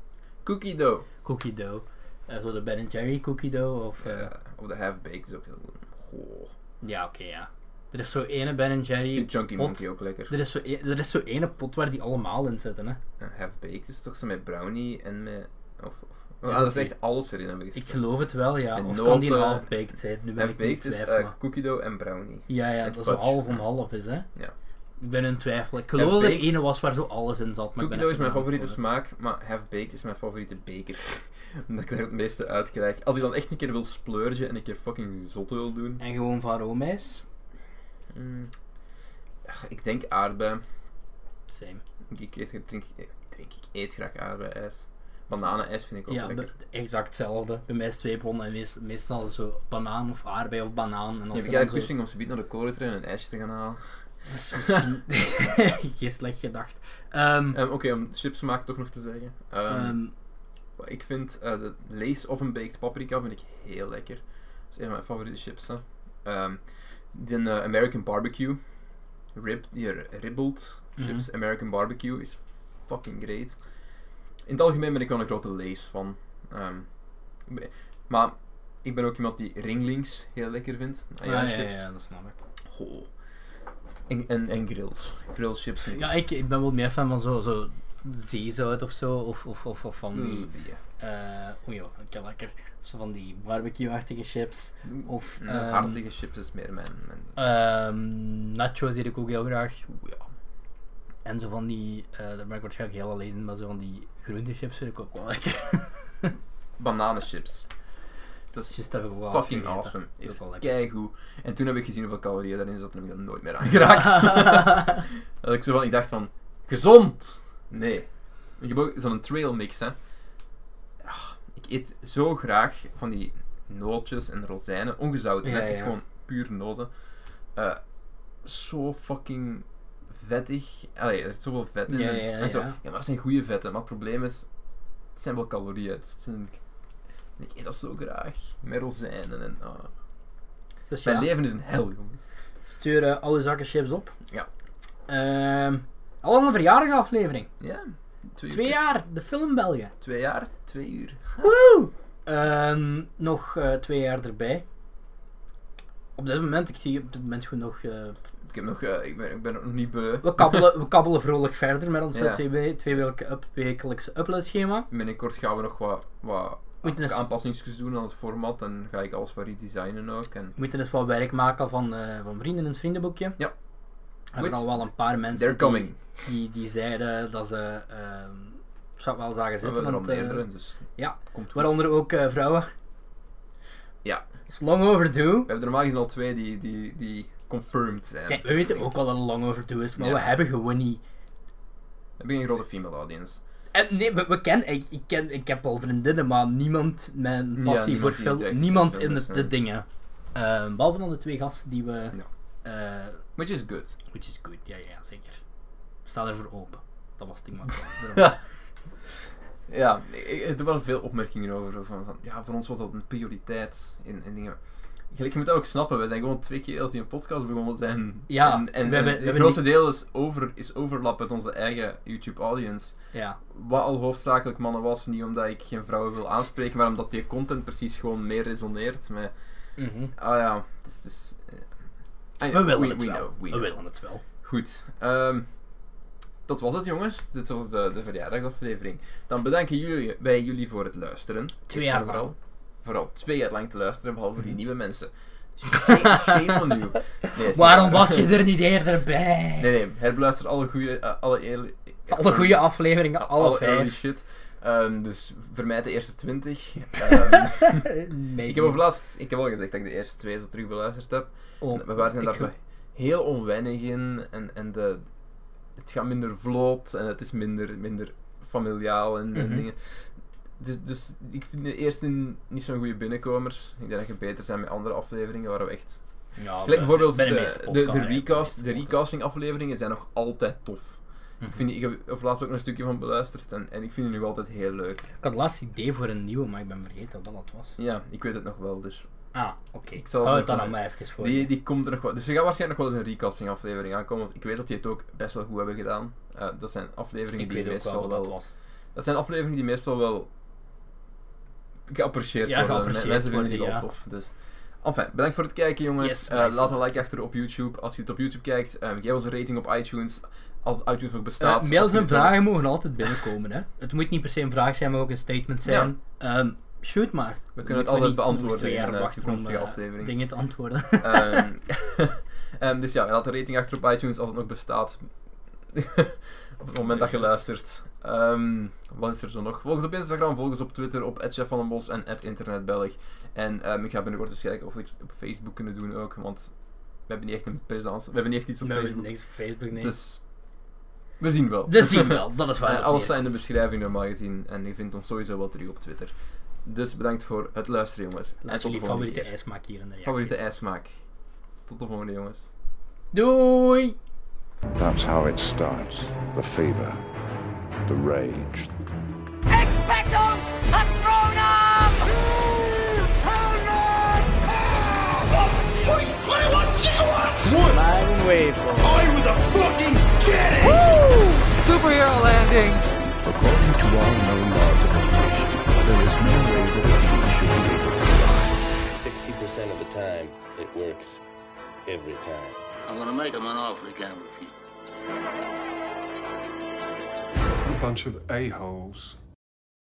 Cookie dough.
cookie dough. Eh, zo de Ben Jerry cookie dough. Of, eh,
Ja, of de half-baked is ook heel goed. Goh.
Ja, oké, ja. Er is zo ene Ben
Die
Jerry.
Junkie
pot.
Monkey ook lekker.
Er is, zo e- er is zo ene pot waar die allemaal in zitten. Hè.
Ja, half-baked is toch zo met brownie en met... Of, of,
Ja,
ah, dat is
dat-
echt alles erin hebben
Ik
gestoken.
geloof het wel, ja.
En
Of kan die een
noten.
half-baked zijn? Nu ben ik nu in
Half-baked is
twijfel.
eh,
maar-
cookie dough en brownie.
ja, ja,
en
dat zo
fudge.
half om half is, hè.
Ja.
Ik ben in twijfel. Ik geloof dat er
Half-baked.
ene was waar zo alles in zat. Maar ik
Cookie
ben
dough is
even
mijn
de naam
favoriete
kwijt.
smaak, maar half-baked is mijn favoriete beker. Omdat ik daar het meeste uit krijg. Als ik dan echt een keer wil splurgen en een keer fucking zot wil doen.
En gewoon van roomijs?
Mm. Ach, ik denk aardbei.
Same.
Ik Ik, eet, ik drink, ik drink, ik eet graag aardbei-ijs. Bananenijs vind ik ook
Ja,
lekker.
be- exact hetzelfde. Bij mij is twee bonnen en meest- meestal zo banaan of aardbei of banaan. En
Nu heb ik
als er dan
eigenlijk
zo-
goesting om ze bieden naar de kolentrain en een ijsje te gaan halen.
Dat is misschien geen slecht gedacht. Ehm,
Ehm, Oké, om chipsmaak toch nog te zeggen. Ehm,
ehm,
wat ik vind eh, de Lay's oven baked paprika vind ik heel lekker. Dat is een van mijn favoriete chips. Hè. Ehm, die eh, American barbecue. Rib, die ribbelt chips.
mhm.
American barbecue is fucking great. In het algemeen ben ik wel een grote Lay's van. Ehm, ik ben- maar ik ben ook iemand die ringlings heel lekker vindt. Ah, ja,
ah, ja, ja,
chips.
dat snap ik.
Goh. En, en, en grills. Grills chips vind ik
Ja, ik, ik ben wel meer fan van zo, zo zeezout of zo. Of, of, of, of van die.
Mm, die,
eh oei, joh, ik heb lekker. Zo van die barbecue-achtige chips.
eh,
Of
Nee,
ehm,
hartige chips is meer mijn. mijn
ehm, nachos eet ik ook heel graag.
Oeh, ja.
En zo van die, eh daar ben ik waarschijnlijk heel alleen in, maar zo van die groentechips vind ik ook wel lekker.
Bananenchips. Dat is
Just heb ik ook wel eens
fucking
gegeten.
awesome.
is
Is
wel lekker.
keigoed. En toen heb ik gezien hoeveel calorieën daarin zat en heb ik dat nooit meer aangeraakt. dat ik zo van, ik dacht van, gezond! Nee. Ik heb ook zo'n trail mix, hè. Ah, Ik eet zo graag van die nootjes en rozijnen, ongezout,
Ja,
hè. Echt
ja.
gewoon puur noten. Eh, zo fucking vettig. Allee, er zit zoveel vet in.
Ja,
en-
ja,
en zo.
ja.
maar dat zijn goede vetten. Maar het probleem is, het zijn wel calorieën. Het zijn, ik eet dat zo graag. Met rozijnen en... ah.
Dus
Mijn
ja,
leven is een hel, jongens.
stuur eh, al uw zakken chips op.
Ja.
Ehm, al een verjaardagsaflevering.
Ja. Twee,
Twee
uurtjes.
jaar, de film België.
Twee jaar. Twee uur.
Woe! Ehm, nog eh, twee jaar erbij. Op dit moment, ik zie op dit moment goed nog... eh,
Ik, heb nog, eh, ik, ben, ik ben nog niet beu.
we, kabbelen, we kabbelen vrolijk verder met ons eh,
Ja.
twee, twee weke- up- wekelijkse uploadschema.
Binnenkort gaan we nog wat, wat
Moeten eens-
aanpassingsjes doen aan het format. En ga ik alles wat redesignen ook. En
We moeten eens wat werk maken van, eh, van vrienden in het vriendenboekje.
Ja.
We hebben
Goed.
al wel een paar mensen
they're
die,
coming.
Die, die zeiden dat ze... ehm zou ik wel zagen
We
zitten.
hebben er al
want, eh,
meerdere, dus
ja.
komt goed.
waaronder ook eh, vrouwen.
Ja.
It's long overdue.
We hebben er normaal gezien al twee die, die, die confirmed zijn.
Kijk, we weten ook wel dat het long overdue is, maar
Ja.
we hebben gewoon niet...
We hebben geen grote female audience.
En nee, we, we ken, ik, ik ken, ik heb al vriendinnen, maar niemand met een
Ja,
passie
niemand
voor
die
film.
het echt
Niemand
film
in de,
is,
de
nee.
dingen. Ehm, behalve dan de twee gasten die we. eh,
Which is good.
which is good, ja, ja, ja, zeker. Sta ervoor open. Dat was het ding. maar- daarom.
Ja. ik, ik- er waren veel opmerkingen over. Van, van, ja, voor ons was dat een prioriteit in, in dingen. Gelijk, je moet dat ook snappen, we zijn gewoon twee keer als die een podcast begonnen zijn.
Ja,
en, en,
we hebben- we
en het
hebben
grootste deel is, over, is overlap met onze eigen YouTube-audience.
ja.
Wat al hoofdzakelijk mannen was, niet omdat ik geen vrouwen wil aanspreken, maar omdat die content precies gewoon meer resoneert met...
Mhm.
Ah ja, het is... het is, eh, ah ja,
We willen
we,
het
we
wel.
know, we
we
know.
willen het wel.
Goed. ehm, dat was het, jongens. Dit was de, de verjaardagsaflevering. Dan bedanken jullie, wij jullie voor het luisteren.
Twee
Eerst
jaar
en vooral.
lang.
Vooral twee jaar lang te luisteren, behalve die
Mhm.
nieuwe mensen. Shame shame on you. Nee, is
Waarom
niet waar.
was je er niet eerder bij?
Nee, nee. Herbeluister alle goede... eh, alle eerlijke...
Alle goede afleveringen, alle,
early
vijf.
shit. Ehm, dus vermijd de eerste twintig. Ehm,
Nee,
ik heb overlast... Ik heb al gezegd dat ik de eerste twee zo terug beluisterd heb.
oh,
We waren zijn daar
ik-
zo heel onwennig in en, en de, het gaat minder vlot en het is minder, minder familiaal en, en
Mhm.
dingen. Dus, dus ik vind de eerste niet zo'n goede binnenkomers. Ik denk dat je beter zijn met andere afleveringen waar we echt...
Ja,
Gelijk bijvoorbeeld eh,
bij
de,
meeste
de, de,
podcasts, hè, bij de
recast,
meeste
de
podcasts.
recasting afleveringen zijn nog altijd tof. Ik,
Mhm.
vind die, ik heb er laatst ook nog een stukje van beluisterd en, en ik vind die nog altijd heel leuk.
Ik had laatst idee voor een nieuwe, maar ik ben vergeten wat dat was.
Ja, ik weet het nog wel, dus
Ah, oké.
Ik
Ik
zal
zal Hou
het
het dan
nog
nog maar even voor.
Die,
je.
die komt er nog wel. Dus er gaat waarschijnlijk nog wel eens een recasting aflevering aankomen. Want ik weet dat die het ook best wel goed hebben gedaan. Eh, dat zijn afleveringen
ik
die
weet ook
meestal
wel wat
wel.
dat was.
dat zijn afleveringen die meestal wel geapprecieerd
Ja,
worden.
geapprecieerd
Mensen vinden die wel
worden,
tof. Dus. Enfin, bedankt voor het kijken jongens.
Yes,
Eh,
bedankt
laat
voor
een
het.
like achter op YouTube. Als je het op YouTube kijkt, eh, geef ons een rating op iTunes. Als iTunes nog
Eh,
bestaat.
mails
Als je
en
dit
vragen
hoort.
mogen altijd binnenkomen. Hè. Het moet niet per se een vraag zijn, maar ook een statement zijn. Ehm, shoot maar.
We
Moeten
kunnen het altijd
niet nog eens
beantwoorden
twee
in
jaar
een eh,
wachten om
toekomstige
eh,
aflevering.
dingen te antwoorden.
Ehm, ehm, dus ja, laat een rating achter op iTunes als het nog bestaat. op het moment dat
Oh,
je luistert. Ehm, wat is er zo nog? Volg ons op Instagram, volg ons op Twitter, op Chef van den Bos en internetbelg. En ehm, ik ga binnenkort eens kijken of we iets op Facebook kunnen doen ook, want we hebben niet echt een presence, we hebben niet echt iets op
We hebben
Facebook.
niks op Facebook, nee.
Dus We zien wel.
Dat zien we wel, dat is waar.
Eh,
het
alles
meer
staat in de
komt.
beschrijving normaal gezien. En je vindt ons sowieso wel terug op Twitter. Dus bedankt voor het luisteren, jongens. En
Laat
tot de
jullie
volgende
favoriete
keer.
ijsmaak hier in de reacties.
Favoriete ijsmaak. Tot de volgende, jongens.
Doei!
That's how it starts. The fever, the rage,
Expecto Patronum!
According to all known laws of evolution, there is no way that a bee should be able to fly.
60% of the time, it works every time.
I'm gonna make him an offer he can't refuse.
bunch of a-holes.